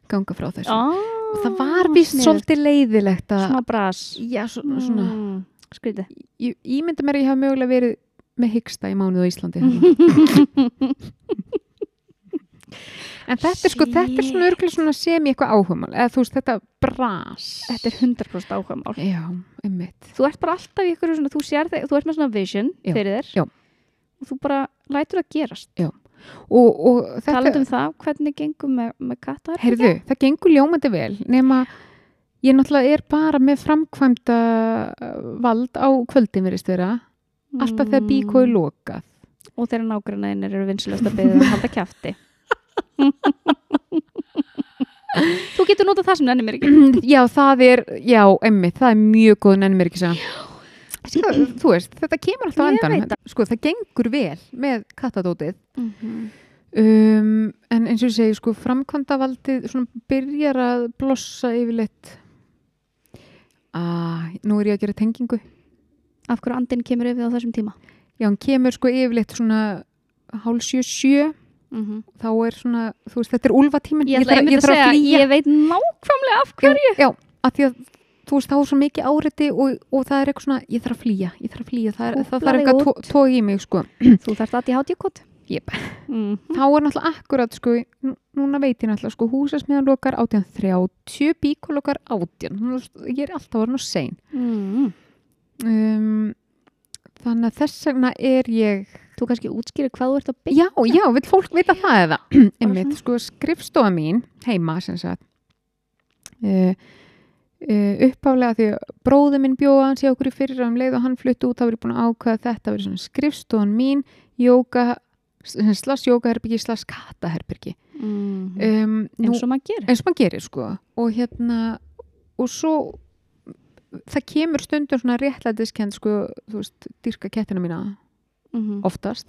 Speaker 2: ganga frá þessu.
Speaker 1: Ah,
Speaker 2: og það var vist svolítið leiðilegt að,
Speaker 1: Smá bras.
Speaker 2: já, svo, svona,
Speaker 1: Mm, Skrítið.
Speaker 2: ég, ég myndi mér að ég hafa mögulega verið með hyggsta í mánuði á Íslandi. þarna. en þetta er sko, þetta er svona
Speaker 1: Shit.
Speaker 2: örgulega svona sem ég eitthvað áhugamál, eða þú veist, þetta bras.
Speaker 1: Þetta er 100% áhugamál.
Speaker 2: Já, einmitt.
Speaker 1: þú ert bara alltaf í ykkur svona, þú sér þegar, þú ert með svona vision
Speaker 2: Já,
Speaker 1: fyrir þér
Speaker 2: já.
Speaker 1: og þú bara lætur það gerast
Speaker 2: Og, og þetta...
Speaker 1: talað um það, hvernig gengum með, með kattar
Speaker 2: Heyrðu, það gengur ljómandi vel nema ég náttúrulega er bara með framkvæmda uh, vald á kvöldin verist vera alltaf þegar bíkó er lokað
Speaker 1: Mm. og þeirra nágrannaðinir eru vinsilegast að beða að halda kjafti þú getur notað það sem nennir mér ekki
Speaker 2: Já, það er, já, emmi, það er mjög góð nennir ekki sem Þú veist, þetta kemur alltaf á
Speaker 1: Ég veit
Speaker 2: endan Sko, það gengur vel með kattadótið Mhm. um, en eins og ég segi, sko, framkvæmdavaldið svona byrjar að blossa yfirleitt Ah, nú er ég að gera tengingu
Speaker 1: af hverju andin kemur yfir á þessum tíma
Speaker 2: Já, hann kemur sko yfirleitt svona hálsjö sjö, þá er svona, þú veist, þetta er úlfatíminn.
Speaker 1: ég ætla einmitt að segja, ég veit nákvæmlega af hverju
Speaker 2: Já, já, af því að þú veist, þá er svo mikið áriti og, og það er eitthvað svona, ég þarf að flýja, ég þarf að flýja, það, er,
Speaker 1: Kúpla
Speaker 2: það þarf
Speaker 1: þig Mm.
Speaker 2: eitthvað að tóa í mig, sko.
Speaker 1: þú þarft að ég hát ég kott
Speaker 2: Jep.
Speaker 1: mm.
Speaker 2: Þá er náttúrulega akkurat, sko, nú- núna veit ég náttúrulega, sko, húsasmiðan lokar 18.30, bíkolokar 18, Nú, þú veist, ég er alltaf orðin og sein.
Speaker 1: Mm.
Speaker 2: Um, þannig að þess vegna er ég
Speaker 1: þú kannski útskýri hvað þú ert að byggja
Speaker 2: Já, já, vill fólk vita það eða einmitt,
Speaker 1: svona.
Speaker 2: sko, skrifstofa mín heima, sem sagt uh, uh, uppálega því að bróði minn bjóða hans í okkur í fyrir um leið og hann flutti út, þá var ég búin að ákveða að þetta verið svona skrifstofan mín jóka, slags jókaherbyggi slags kataherbyggi
Speaker 1: mm.
Speaker 2: um, nú,
Speaker 1: eins og maður gerir
Speaker 2: eins og maður gerir, sko og hérna, og svo það kemur stundum svona réttlætiskend, sko, þú veist dyrka kettina mína
Speaker 1: Mhm.
Speaker 2: oftast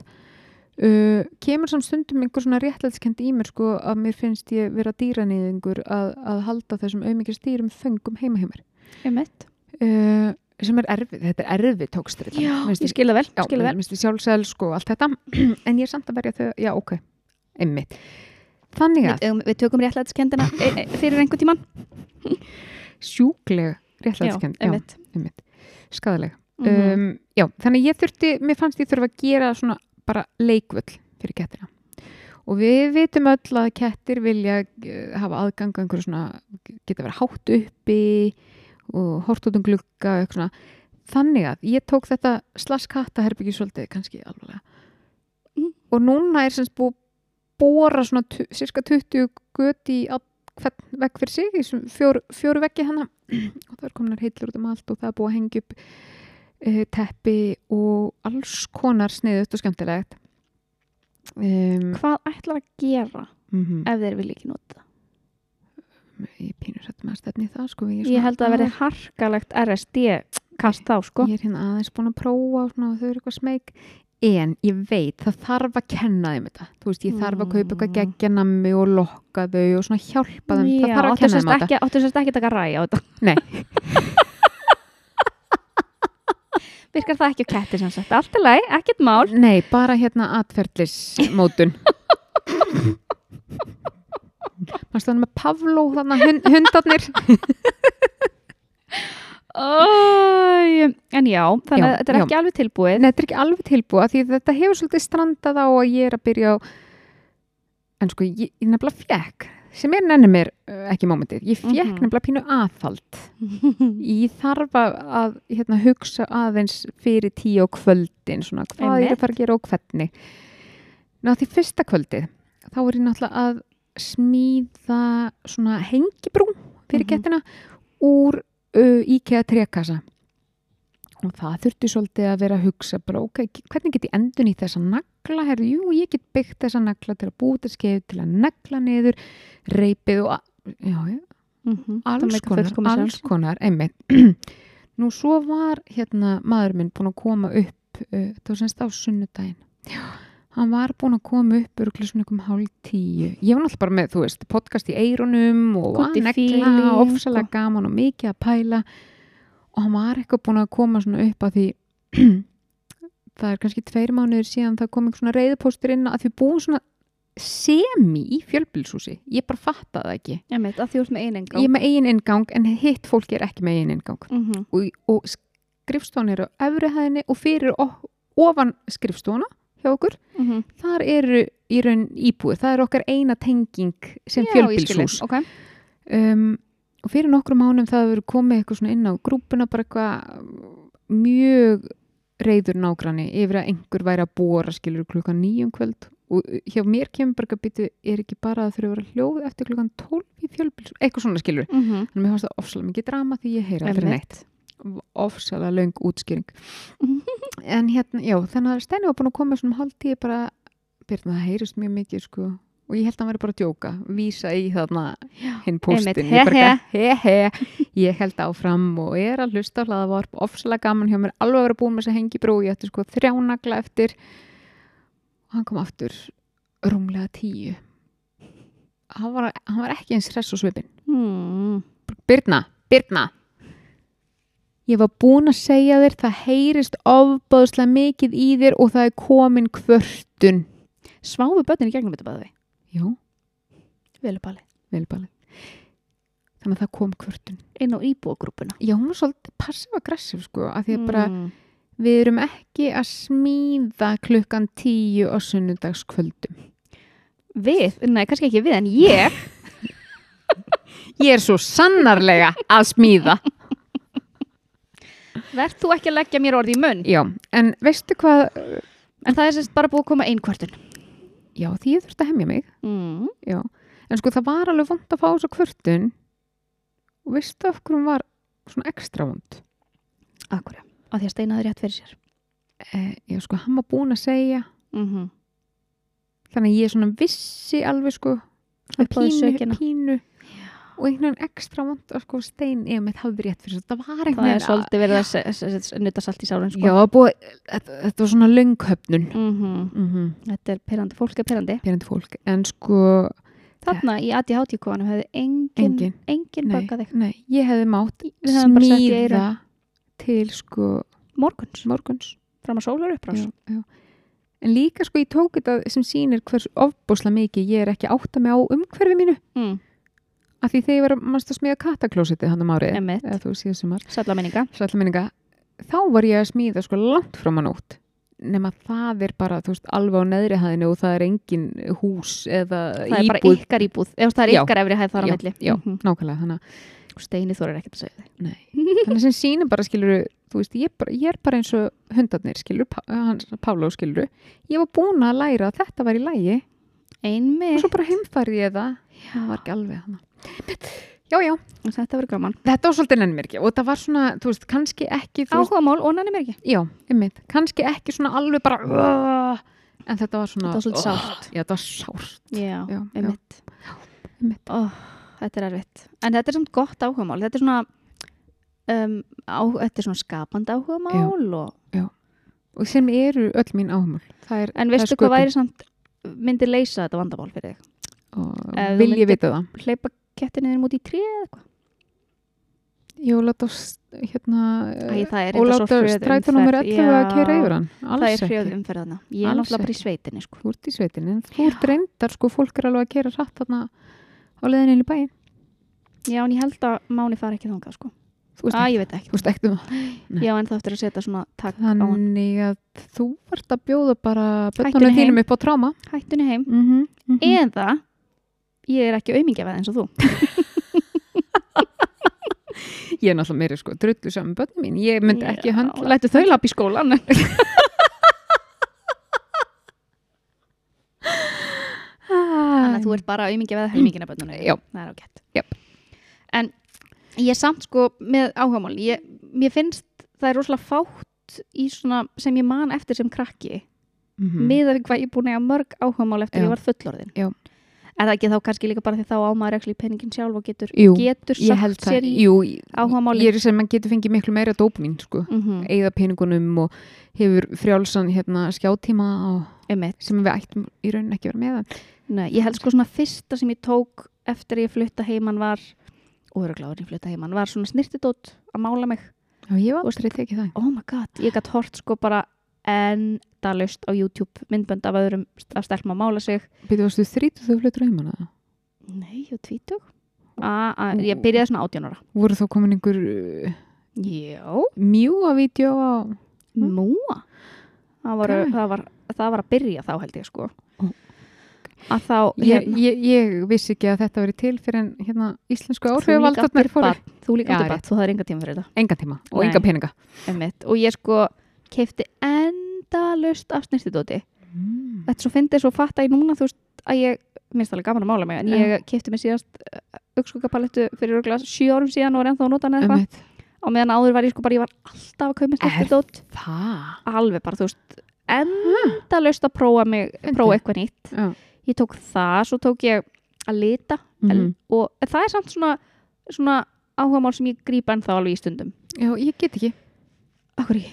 Speaker 2: uh, kemur samt stundum einhver svona réttlætskend í mér sko að mér finnst ég vera dýranýðingur að, að halda þessum auðmikið stýrum föngum heima heimar
Speaker 1: Einmitt.
Speaker 2: uh, sem er erfið, þetta er erfið tókstur
Speaker 1: Já, ég skil það vel,
Speaker 2: já,
Speaker 1: já, skil það vel.
Speaker 2: minnst við sjálfselsk og sko, allt þetta en ég er samt að verja þau, já ok einmitt, þannig að
Speaker 1: Við, um, við tökum réttlætiskendina e, e, fyrir einhver tíman.
Speaker 2: sjúkleg réttlætskend, já,
Speaker 1: eh, einmitt.
Speaker 2: einmitt skadaleg,
Speaker 1: Mhm.
Speaker 2: um, já, þannig að ég þurfti mér fannst ég þurfa að gera svona bara leikvöll fyrir kettina og við vitum öll að kettir vilja eh, hafa aðgang að einhverju svona geta verið hátt uppi og hort út um glugga og eitthvað svona þannig að ég tók þetta slaskatta herbyggi svolítið kannski alveg
Speaker 1: Mm.
Speaker 2: og núna er sem sagt búið að bóra svona tu- sirka 20 göt í all, hvern vegg fyrir sig í þessum fjóru, fjóru veggi hana og það er kominar heillur út um allt og það er búið að hengja upp uh, teppi og alls konar sniðut og skemmtilegt um,
Speaker 1: Mm-hmm. Hvað ætlar að gera
Speaker 2: mm -hmm.
Speaker 1: ef þeir vilja ekki nota það?
Speaker 2: ég pínur þetta með að stefni í það sko, ég, er svona
Speaker 1: Ég held að það verði
Speaker 2: aðeins-
Speaker 1: harkalegt RSD kast þá, sko.
Speaker 2: ég er hérna aðeins búin að prófa og svona, og þau eru eitthvað smeg en ég veit, það þarf að kenna þeim þetta þú veist, ég þarf að kaupa eitthvað
Speaker 1: Mm.
Speaker 2: geggjanami og lokka þau og svona hjálpa þeim það þarf að
Speaker 1: áttu
Speaker 2: kenna
Speaker 1: sérst
Speaker 2: þeim þetta
Speaker 1: ekki, áttu sérst ekki að taka ræði á þetta.
Speaker 2: Nei.
Speaker 1: Virkar það ekki á ketti sem sagt. Allt er leið, ekkert mál.
Speaker 2: nei, bara hérna atferðlismótun maður stannum með Pavló þannig hundarnir
Speaker 1: Æ, En já, þannig að
Speaker 2: Já,
Speaker 1: þetta er
Speaker 2: já.
Speaker 1: ekki alveg tilbúið
Speaker 2: Nei, þetta er ekki alveg tilbúið af því að þetta hefur svolítið strandað á að ég er að byrja á en sko, ég, ég nefnilega fjekk sem er nenni mér eh, ekki mómentið ég fjekk
Speaker 1: Mhm.
Speaker 2: nefnilega pínu aðfald ég þarf að, að hérna, hugsa aðeins fyrir tíu á kvöldin svona, hvað ég er að fara að gera og hvernig Ná, því fyrsta kvöldið þá er ég náttúrulega að smíða svona hengibrú fyrir
Speaker 1: Mhm.
Speaker 2: kettina úr uh, IKEA trekassa og það þurfti svolítið að vera að hugsa bara, ok, hvernig get ég endun í þessa nagla, herru, jú, ég get byggt þessa nagla til að búta skeið, til að negla niður, reypið og a- já, já,
Speaker 1: Mhm. Það
Speaker 2: alls
Speaker 1: make a
Speaker 2: konar,
Speaker 1: fullkomið
Speaker 2: alls
Speaker 1: sens.
Speaker 2: konar, einmitt. Nú svo var hérna maður minn búinn að koma upp, uh, það var semst á sunnudaginn. Hann var búinn að koma upp örglisum ykkur um hálf tíu. Ég var náttúrulega bara með, þú veist, podcast í eirunum og
Speaker 1: Good
Speaker 2: að negla
Speaker 1: feeling
Speaker 2: og ofsalega gaman og mikið að pæla og hann var eitthvað búinn að koma svona upp að því það er kannski tveir mánuður síðan það kom einhver svona reyðupóstur inn að því við búum svona semi í fjölbilshúsi. Ég bara fatta það ekki
Speaker 1: Ég veit að þú ert með einengang
Speaker 2: ég er með eigin ingang en hitt fólk er ekki með eigin ingang
Speaker 1: Mhm.
Speaker 2: og, og skrifstofan eru á efri hæðinni og fyrir og, ofan skrifstofana hjá okkur
Speaker 1: Mhm.
Speaker 2: þar eru í raun íbúið það er okkar eina tenging sem
Speaker 1: Já, ég skil
Speaker 2: fjölbilshús
Speaker 1: þig. Ok.
Speaker 2: um, og fyrir nokkrum mánum það hefur komið eitthvað svona inn á grúpuna bara eitthvað um, mjög reyður nágranni yfir að einhver væri að bóra skilur klukkan nýjum kvöld og uh, hjá mér kemur bara eitthvað býtu er ekki bara að þurfa að vera hljóð eftir klukkan 12 í fjölbils eitthvað svona skilur
Speaker 1: Mhm.
Speaker 2: Þannig að mér fannst það ofsalega mikið drama því ég heyri aldrei neitt. Ofsalega löng útskýring. en hérna, já, þannig að Steini var búin að koma svona hálf tíu bara, byrna það heyrist mjög mikið, sko. Og ég held að hann væri bara að djóka, vísa í þarna hinn
Speaker 1: einmitt,
Speaker 2: postin.
Speaker 1: he,
Speaker 2: he, he. Ég held áfram og er að hlusta á hlaðavarp, ofsalega gaman hjá mér, alveg að vera búin með þess að hengi brú, ég ætti sko þrjánagla eftir. Og hann kom aftur rúmlega tíu. Hann var, hann var ekki eins stress og svipin.
Speaker 1: Mhm.
Speaker 2: Birna, Birna Ég var búin að segja þér það heyrist ofbáðslega mikið í þér og það er komin kvörtun
Speaker 1: Sváfu börnin í gegnum þetta bæði
Speaker 2: Jú,
Speaker 1: Velubali
Speaker 2: velbalið Þannig að það kom kvörtun
Speaker 1: Inn á íbúagrúpuna
Speaker 2: Já, hún var svolítið passiv-aggressiv sko af því að bara, við erum ekki að smíða klukkan tíu á sunnudagskvöldum
Speaker 1: Við, nei kannski ekki við en ég
Speaker 2: Ég er svo sannarlega að smíða
Speaker 1: Verð þú ekki að leggja mér orði í munn
Speaker 2: Já, en veistu hvað
Speaker 1: En það er semst bara búið að koma ein kvartun
Speaker 2: Já, því ég þurfti að hemja mig
Speaker 1: mm.
Speaker 2: Já, en sko það var alveg vond að fá þessa kvörtun og veistu af hverjum var svona ekstra vond?
Speaker 1: Akkurja Af því að steinaði rétt fyrir sér
Speaker 2: Eh, já, sko, hann var búinn að segja
Speaker 1: mm -hmm.
Speaker 2: Mhm. þannig að ég svona vissi alveg sko svona
Speaker 1: Upphafið
Speaker 2: pínu,
Speaker 1: sökina.
Speaker 2: pínu og einhvern veginn ekstra vond að sko stein ef mitt hafði rétt fyrir sér. Það var einhvern
Speaker 1: Það er
Speaker 2: veginn
Speaker 1: svolítið verið að se- se- se- nutta salt í sálinn sko.
Speaker 2: Já, búið, þetta, þetta var svona lönghöfnun
Speaker 1: mm
Speaker 2: mm -hmm.
Speaker 1: Þetta er perandi, fólk er perandi
Speaker 2: Pyrrandi fólk, en sko
Speaker 1: Þarna í ADHD-kóðanum hefði engin, engin,
Speaker 2: engin,
Speaker 1: bakað þig
Speaker 2: nei, ég hefði mátt
Speaker 1: Við hefðum bara sett í
Speaker 2: smíða
Speaker 1: eyrun.
Speaker 2: til sko
Speaker 1: Morguns,
Speaker 2: morguns
Speaker 1: fram að sólar upprás
Speaker 2: já, já. en líka sko ég tók þetta sem sýnir hversu ofbúslega mikið ég er ekki átt að mig á umhverfi mínu
Speaker 1: mm.
Speaker 2: af því þegar ég var mannst að smíða kataklósiti hann um árið
Speaker 1: Emmett,
Speaker 2: eða þú síðan sumar
Speaker 1: sætla minninga
Speaker 2: minninga, þá var ég að smíða sko langt fram að nótt nema það er bara þú veist alveg á neðri hæðinu og það er engin hús eða
Speaker 1: Það er bara
Speaker 2: íbúð
Speaker 1: ykkar íbúð, eða það er
Speaker 2: Já.
Speaker 1: ykkar efri hæð þar á
Speaker 2: Já,
Speaker 1: milli
Speaker 2: já.
Speaker 1: Mhm.
Speaker 2: nákvæmlega þannig,
Speaker 1: Og Steini þorir ekkert að segja þig
Speaker 2: að- þannig sem sýnir bara skiluru þú veist ég er bara, ég er bara eins og hundarnir skiluru, Pá, hans, Pála skiluru ég var búin að læra að þetta var í lægi og
Speaker 1: Einmitt,
Speaker 2: svo bara heimfærið ég það það var ekki alveg hana já, já,
Speaker 1: þetta verður gaman
Speaker 2: þetta var svolítið nefnir ekki og það var svona, þú veist, kannski ekki þú veist,
Speaker 1: Áhuga mál, ónæni mér ekki
Speaker 2: já, einmitt, kannski ekki svona alveg bara uh, en þetta var svona
Speaker 1: Þetta var svolítið
Speaker 2: oh,
Speaker 1: sárt.
Speaker 2: já, þetta var sárt
Speaker 1: Já,
Speaker 2: Já,
Speaker 1: einmitt.
Speaker 2: einmitt.
Speaker 1: Ó, þetta er erfitt. En þetta er samt gott áhugamál. Þetta er svona, um, á, þetta er svona skapandi áhugamál. Og,
Speaker 2: og sem eru öll mín áhumul það er,
Speaker 1: en
Speaker 2: það er
Speaker 1: veistu
Speaker 2: sköpun.
Speaker 1: hvað væri samt, myndi leysa þetta vandamál fyrir þig? Ef þú
Speaker 2: og vil
Speaker 1: myndir-
Speaker 2: ég vita það
Speaker 1: Hleypa kettinni þinn út í tré eða eitthvað?
Speaker 2: ég vil láta s- hérna
Speaker 1: Æ, það er
Speaker 2: og
Speaker 1: enda
Speaker 2: láta
Speaker 1: hröð
Speaker 2: strætónumir 11 að
Speaker 1: Já,
Speaker 2: keira yfir hann
Speaker 1: Það
Speaker 2: alls
Speaker 1: er hrjöð
Speaker 2: ekki
Speaker 1: umferðana. Ég er
Speaker 2: Alls
Speaker 1: náttúrulega bara í sveitinni, sko.
Speaker 2: þú ert í sveitinni, en þú ert reyndar sko, fólk er alveg að keira hratt þarna á leðinni í bæinn
Speaker 1: Já, en ég held að Máni fari ekki þangað, sko.
Speaker 2: Þú
Speaker 1: Æ,
Speaker 2: veist, ekki-
Speaker 1: ég veit ekki
Speaker 2: þú veist ekki um það. Nei.
Speaker 1: Ég á ennþá eftir að setja svona takk á hann
Speaker 2: Þannig að þú vart að bjóða bara
Speaker 1: Hættunni
Speaker 2: bönnunum þínum upp á tráma.
Speaker 1: Hættunni heim
Speaker 2: Mm -hmm.
Speaker 1: mhm.
Speaker 2: Mm
Speaker 1: Eða ég er ekki aumingjafæð eins og þú
Speaker 2: Ég er náttúrulega meira sko drullu saman bönnum mín. Ég myndi ekki
Speaker 1: Já,
Speaker 2: höndla.
Speaker 1: Lætur þau lapp í skólan
Speaker 2: Ah.
Speaker 1: Þannig að þú ert bara aumingjafæð helmingina bönnunum
Speaker 2: Já.
Speaker 1: Það er ágætt
Speaker 2: Jep.
Speaker 1: En ég samt sko með áhugamál ég, Mér finnst það er rosalega fátt í svona sem ég man eftir sem krakki
Speaker 2: mm
Speaker 1: mm. miða við hvað ég er búin að eiga mörg áhugamál eftir
Speaker 2: Já.
Speaker 1: ég var fullorðin
Speaker 2: Já.
Speaker 1: Er það ekki þá kannski líka bara því þá á maður ekki peningin sjálf og getur,
Speaker 2: Jú,
Speaker 1: getur
Speaker 2: Ég held
Speaker 1: sagt
Speaker 2: það.
Speaker 1: sér í
Speaker 2: Jú, ég-
Speaker 1: áhugamálin.
Speaker 2: ég er sem að maður getur fengið miklu meira dópmín sko.
Speaker 1: mm
Speaker 2: Eða peningunum og hefur frjálsan hérna, skjátíma og sem við ættum í raunin ekki að vera með það.
Speaker 1: Nei, ég held sko svona fyrsta sem ég tók eftir að ég flutta heiman var óraugláður ég flutta heiman, var svona snirtidót að mála mig.
Speaker 2: Já, ég var aldrei tekið það.
Speaker 1: Oh my god, ég gætt hort sko bara endalaust á YouTube myndbönd af öðrum að stelma að mála sig.
Speaker 2: Býtu, varstu þrítu þú flutur heim hana?
Speaker 1: Nei, ég var tvítug. A, a, ég byrjaði svona átjánara.
Speaker 2: Voru þá komin einhver uh,
Speaker 1: Já,
Speaker 2: mjúa-vídeó á... Mm.
Speaker 1: múa. Hm? Það var,
Speaker 2: Ok.
Speaker 1: það, var, það var að byrja þá held ég sko.
Speaker 2: Ó.
Speaker 1: Að þá, hérna,
Speaker 2: Ég, ég, ég vissi ekki að þetta verið til fyrir en hérna íslensku áhrifavaldarnar
Speaker 1: áttir
Speaker 2: fóru
Speaker 1: barn, þú líka
Speaker 2: Já,
Speaker 1: áttir
Speaker 2: rétt.
Speaker 1: bat, þú það er enga tíma fyrir þetta.
Speaker 2: enga tíma og
Speaker 1: Nei.
Speaker 2: enga peninga.
Speaker 1: Einmitt. og ég sko keipti endalaust af snirtidóti þetta er svo fyndið svo fatta ég núna þú veist að ég minnst alveg gaman að mála mig en ég
Speaker 2: Já.
Speaker 1: keipti mér síðast augskuggapalettu fyrir örgulega sjö árum síðan og er ennþá að nota hana eða eitthvað
Speaker 2: Einmitt.
Speaker 1: og meðan áður var ég sko bara ég var alltaf að kaupa mér snirtidót
Speaker 2: Það?
Speaker 1: alveg bara þú veist endalaust að prófa mig
Speaker 2: Fyndið.
Speaker 1: prófa eitthvað nýtt
Speaker 2: Já.
Speaker 1: ég tók það svo tók ég að lita
Speaker 2: Mhm.
Speaker 1: en, og en það er samt svona svona áhugamál sem ég grípa ennþá alveg í stundum
Speaker 2: Já, ég get ekki.
Speaker 1: Akkur í,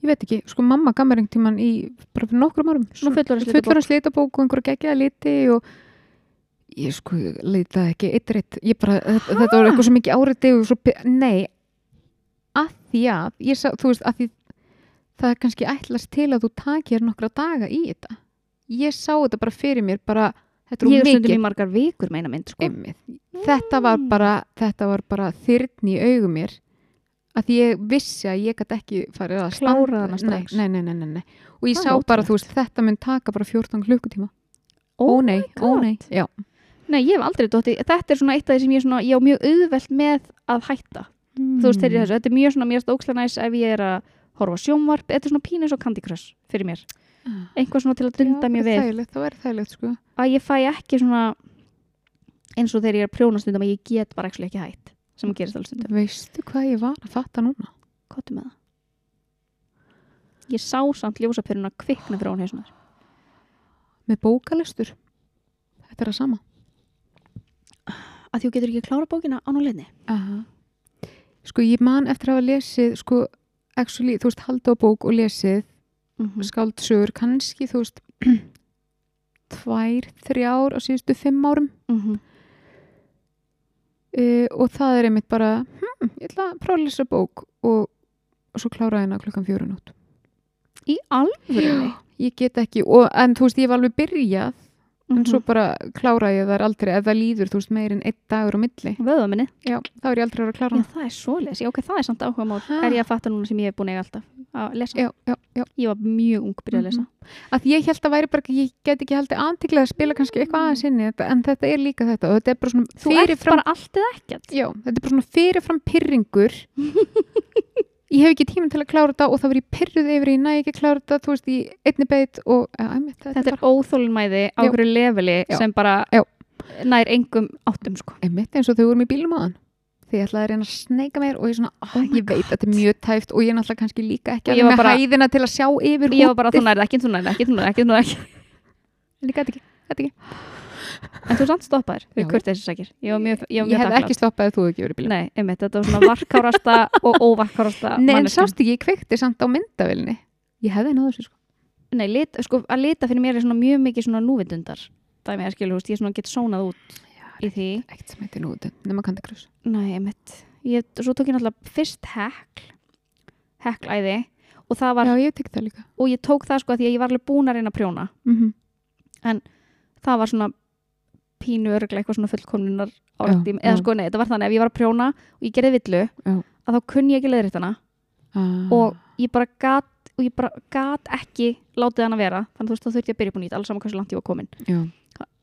Speaker 2: Ég veit ekki. Sko mamma gaf mér einhvern tíman í bara fyrir nokkrum árum.
Speaker 1: svona fullorðins
Speaker 2: Fullur að slita bók og einhverju geggjaða liti og ég sko leitaði ekki eitt reitt. Ég bara, þetta, þetta voru eitthvað svo mikið áriði og svo, pe- nei, að því að, ég sá, þú veist, að því það er kannski ætlast til að þú takir nokkra daga í þetta. Ég sá þetta bara fyrir mér, bara, þetta er
Speaker 1: ég
Speaker 2: of
Speaker 1: er stundum
Speaker 2: mikið.
Speaker 1: í margar vikur meina mynd sko.
Speaker 2: Einmitt. þetta
Speaker 1: mm.
Speaker 2: var bara þetta var bara þyrn í augum mér að því ég vissi að ég gæti ekki farið
Speaker 1: Klárað
Speaker 2: að standa-
Speaker 1: hana strax.
Speaker 2: nei, nei, nei, nei, nei. og ég
Speaker 1: Það
Speaker 2: sá
Speaker 1: er
Speaker 2: bara, þú veist, þetta mun taka bara 14 klukkutíma
Speaker 1: Oh
Speaker 2: ó nei, ó
Speaker 1: God.
Speaker 2: nei, já
Speaker 1: Nei, ég hef aldrei dotti, þetta er svona eitt af því sem ég, er svona, ég á mjög auðvelt með að hætta Mm. þú veist
Speaker 2: Mm.
Speaker 1: þegar ég þessu, þetta er mjög svona mér stókslega næs ef ég er að horfa á sjónvarp þetta er svona pínus og Candy Crush fyrir mér
Speaker 2: þessu
Speaker 1: einhvað svona til að dunda mér við
Speaker 2: þægilegt, það verður þægilegt, sko
Speaker 1: að ég fæ ekki svona eins og þegar ég er að prjóna stundum að ég get bara actually ekki hætt sem gerist alveg stundum,
Speaker 2: veistu hvað ég var að fatta núna um
Speaker 1: kottu með það ég sá samt ljósapyruna kvikna fyrir án hessunar
Speaker 2: með bókalestur þetta er að sama
Speaker 1: að þú getur ekki klára bókina án og leðni
Speaker 2: Aha. sko, ég man eftir að hafa lesið sko, actually, þú veist, halda á bók og lesið
Speaker 1: Mhm,
Speaker 2: skáldsögur kannski þú veist tvær, þrjár á síðustu fimm árum
Speaker 1: mhm.
Speaker 2: uh, og það er einmitt bara hm, ég ætla að prófa að lesa bók og, og svo klára hérna klukkan fjórun út
Speaker 1: í alvöru
Speaker 2: ég get ekki, og, en þú veist ég var alveg byrjað en
Speaker 1: Mhm.
Speaker 2: svo bara klára ég þar aldrei ef það líður þú veist meir en einn dagur á milli
Speaker 1: vöðvaminni
Speaker 2: já, þá er ég aldrei að vera að klára
Speaker 1: Já,
Speaker 2: hana
Speaker 1: það er svoleiðis. Já, ok, það er samt áhuga mál.
Speaker 2: Ha.
Speaker 1: Er ég að fatta núna sem ég hef búin að eiga alltaf að lesa?
Speaker 2: já, já, já,
Speaker 1: Ég var mjög ung byrjað að lesa.
Speaker 2: að ég held að væri bara ekki- ég get ekki haldið antiklega að spila kannski eitthvað aðeins inni þetta, en þetta er líka þetta og þetta er bara svona
Speaker 1: Þú ert
Speaker 2: fyrirfram
Speaker 1: bara allt eða ekkert.
Speaker 2: Já, þetta er bara svona fyrirfram pyrringur Ég hef ekki tíma til að klára þetta og það verið pyrruð yfir í næ ekki að klára þetta, þú veist, í einni beitt og ja, æmi, þetta,
Speaker 1: Þetta
Speaker 2: er
Speaker 1: er óþólinmæði á
Speaker 2: Já.
Speaker 1: hverju leveli
Speaker 2: Já.
Speaker 1: sem bara
Speaker 2: Já.
Speaker 1: nær engum áttum, sko.
Speaker 2: bara einmitt eins og þau vorum í bílum á þann Þið ætlaði að reyna að sneika mér og ég svona, oh,
Speaker 1: my
Speaker 2: ég veit, þetta er mjög tæft og ég er náttúrulega kannski líka
Speaker 1: Og
Speaker 2: ekki
Speaker 1: ég
Speaker 2: alveg
Speaker 1: var
Speaker 2: með
Speaker 1: bara-
Speaker 2: hæðina til að sjá yfir
Speaker 1: Ég var bara, þú nærði ekki, þú nærði ekki, þú nærði ekki, þú nærði ekki.
Speaker 2: En ég gæti ekki, gæti ekki.
Speaker 1: En þú samt stoppaðir
Speaker 2: Já,
Speaker 1: fyrir kurteisins sakir. Ég var mjög, ég var
Speaker 2: Ég
Speaker 1: mjög
Speaker 2: hef ekki stoppað að þú ekki verið í bílum
Speaker 1: Nei, einmitt, þetta var svona varkárasta og óvarkárasta
Speaker 2: Nei, en
Speaker 1: manneskjan.
Speaker 2: sást ekki, ég kveikti samt á myndavilni Ég hefði náðu þessu sko
Speaker 1: Nei, lit, sko, að lita fyrir mér er svona mjög mikið svona núvitundar. Dæmi, ég skilur, þú veist, ég svona get sónað út í því.
Speaker 2: Ekkert sem heitir nú, nema kandi krus
Speaker 1: Nei, einmitt. Ég, svo tók ég náttúrulega fyrst hekl, heklæði og það var,
Speaker 2: Já, ég tek það líka Mhm.
Speaker 1: og ég tók það sko að því að ég var alveg búin að reyna að prjóna.
Speaker 2: mm
Speaker 1: Það var svona pínu örglega eitthvað svona fullkomlunar álætti eða sko nei, þetta var þannig ef ég var að prjóna og ég gerði villu
Speaker 2: Já.
Speaker 1: að þá kunni ég ekki leiðrétt hana
Speaker 2: Ah.
Speaker 1: og ég bara gat og ég bara gat ekki látið hana vera þannig að þú veist þá þurfti ég að byrja upp á nýtt alls saman hversu langt ég var komin
Speaker 2: Já.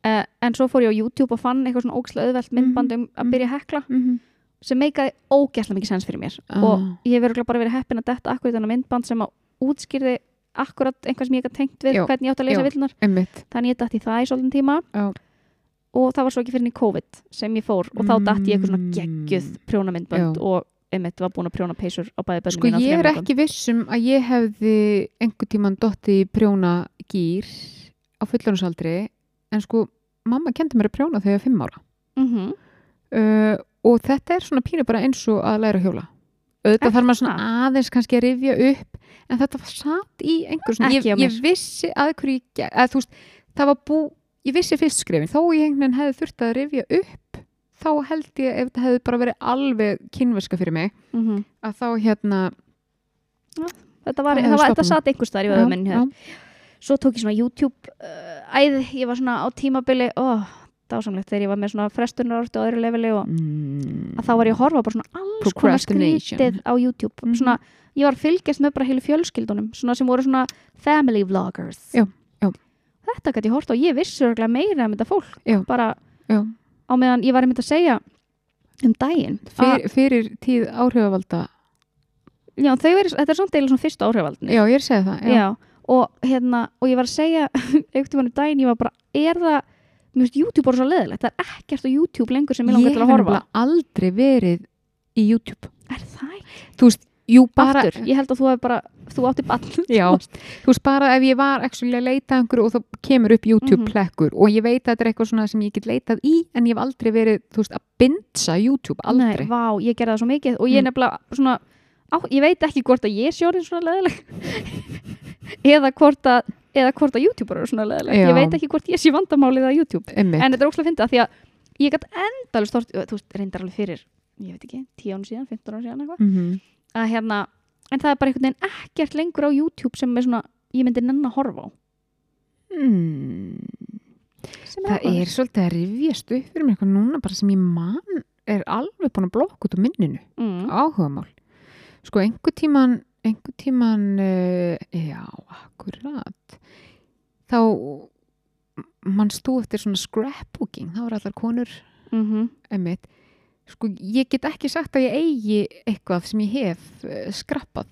Speaker 1: uh, en svo fór ég á YouTube og fann eitthvað svona ógæslega auðvelt myndband um
Speaker 2: mhm.
Speaker 1: að byrja að hekla
Speaker 2: Mhm.
Speaker 1: sem meikaði ógæslega mikið sens fyrir mér
Speaker 2: Ah.
Speaker 1: og ég hef örugglega bara verið heppin að detta akkurat þennan myndband sem að útskýrði akkurat einhvað sem ég ekki tengt við
Speaker 2: Já.
Speaker 1: hvernig ég átt að leysa
Speaker 2: Já.
Speaker 1: villunar
Speaker 2: Einmitt.
Speaker 1: þannig ég datt í það í svolítinn tíma
Speaker 2: Já.
Speaker 1: og það var svo ekki fyrir niður COVID sem ég fór og þá datt ég eitthvað svona geggjuð prjónamyndbönd
Speaker 2: Mm. Já.
Speaker 1: og einmitt var búin að prjóna peysur á bæði börnum
Speaker 2: Sko ég er ekki vissum að ég hefði einhvern tíman dotti prjóna gýr á fullorðinsaldri en sko mamma kendi mér að prjóna þegar ég var fimm ára
Speaker 1: mm
Speaker 2: uh, og þetta er svona pínu bara eins og að læra að hjóla auðvitað þarf maður svona aðeins kannski að rifja upp en þetta var satt í einhver svona
Speaker 1: Ekki hjá
Speaker 2: ég, ég vissi að hverju ég ge- að, þú veist, það var bú, ég vissi fyrst skrifin þó ég einhvern veginn hefði þurft að rifja upp þá held ég ef þetta hefði bara verið alveg kynverska fyrir mig að þá hérna
Speaker 1: mhm. þetta var,
Speaker 2: Það
Speaker 1: það
Speaker 2: hefur
Speaker 1: var, þetta
Speaker 2: stofnun.
Speaker 1: satt einhver staðar í
Speaker 2: Já,
Speaker 1: vöðum minni
Speaker 2: já.
Speaker 1: hér svo tók ég svona YouTube uh, æði, ég var svona á tímabili ó, dásamlegt þegar ég var með svona frestunarort og öðru leveli og
Speaker 2: mm.
Speaker 1: að þá var ég að horfa bara svona alls konar
Speaker 2: Procrastination.
Speaker 1: skrítið á YouTube
Speaker 2: Mhm.
Speaker 1: svona, ég var að fylgjast með bara heilu fjölskyldunum svona sem voru svona family vloggers
Speaker 2: Já, já.
Speaker 1: þetta gæti ég hort og ég vissi örgulega meira um þetta fólk
Speaker 2: Já,
Speaker 1: bara
Speaker 2: já.
Speaker 1: á meðan ég var einmitt að segja um daginn að,
Speaker 2: fyrir, fyrir tíð áhrifavalda
Speaker 1: já, þau er, þetta er samt deil svona fyrstu áhrifaldin
Speaker 2: já, ég er að segja það já,
Speaker 1: já, og hérna og ég var að segja einhvern veginn um daginn ég var bara, er það mér finnst YouTube bara svo leðilegt, það er ekkert á YouTube lengur sem ég langar
Speaker 2: ég
Speaker 1: til að
Speaker 2: hef
Speaker 1: horfa
Speaker 2: nefnilega aldrei verið í YouTube
Speaker 1: er það ekki?
Speaker 2: þú veist, jú bara
Speaker 1: Aftur, ég held að þú hefur bara, þú átti ball
Speaker 2: Já, þú veist bara ef ég var actually að leita að einhverju og þá kemur upp YouTube
Speaker 1: Mhm.
Speaker 2: plekkur og ég veit að þetta er eitthvað svona sem ég get leitað í en ég hef aldrei verið, þú veist, að bindsa YouTube, aldrei.
Speaker 1: Nei, vá, ég gerði það svo mikið og ég
Speaker 2: Mm.
Speaker 1: nefnilega svona, á, ég veit ekki hvort að ég sjórin svona leðileg eða hvort að eða hvort að YouTuber eru svona leðileg
Speaker 2: Já.
Speaker 1: ég veit ekki hvort ég sé vandamálið að YouTube
Speaker 2: Einmitt.
Speaker 1: en þetta er óslega fyndið að því að ég gætt endalist stort, þú veist, reyndar alveg fyrir ég veit ekki, 10 án síðan, 15 án síðan eitthvað
Speaker 2: Mhm.
Speaker 1: að hérna, en það er bara einhvern veginn ekkert lengur á YouTube sem er svona ég myndi nenn að horfa á
Speaker 2: mm.
Speaker 1: Sem
Speaker 2: Það
Speaker 1: áhugavert.
Speaker 2: er svolítið að rifjast upp fyrir mér eitthvað núna bara sem ég man er alveg búin að blokka út úr minninu.
Speaker 1: mm.
Speaker 2: áhugamál sko einhver tíman einhver tíman uh, já, akkurat þá mann stú eftir svona scrapbooking þá eru allar konur
Speaker 1: Mm
Speaker 2: emitt sko ég get ekki sagt að ég eigi eitthvað sem ég hef uh, skrappað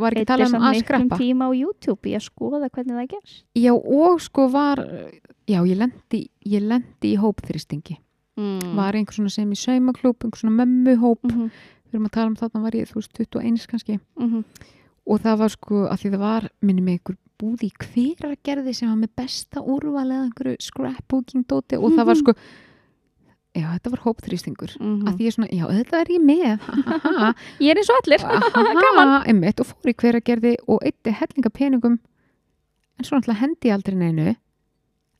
Speaker 2: var ekki talað um að skrappa
Speaker 1: tíma á YouTube í að skoða hvernig það gerst
Speaker 2: já og sko var já ég lendi, ég lendi í hópþristingi
Speaker 1: mm.
Speaker 2: var einhver svona sem í saumaklúb einhver svona mömmuhóp
Speaker 1: mm -hmm.
Speaker 2: við erum að tala um þarna var ég þú veist 21 kannski
Speaker 1: mhm,
Speaker 2: og það var sko að því það var minni með einhver búð í hveragerði sem var með besta úrval eða einhverju scrapbooking dóti og það var sko já þetta var hópþrýstingur
Speaker 1: Mm.
Speaker 2: að því ég svona, já þetta er ég með ha, ha, ha,
Speaker 1: mhm. Ég er eins og allir
Speaker 2: ha, ha, einmitt, og fór í hveragerði og eitti hellinga peningum en svo náttúrulega hendi ég aldrei neinu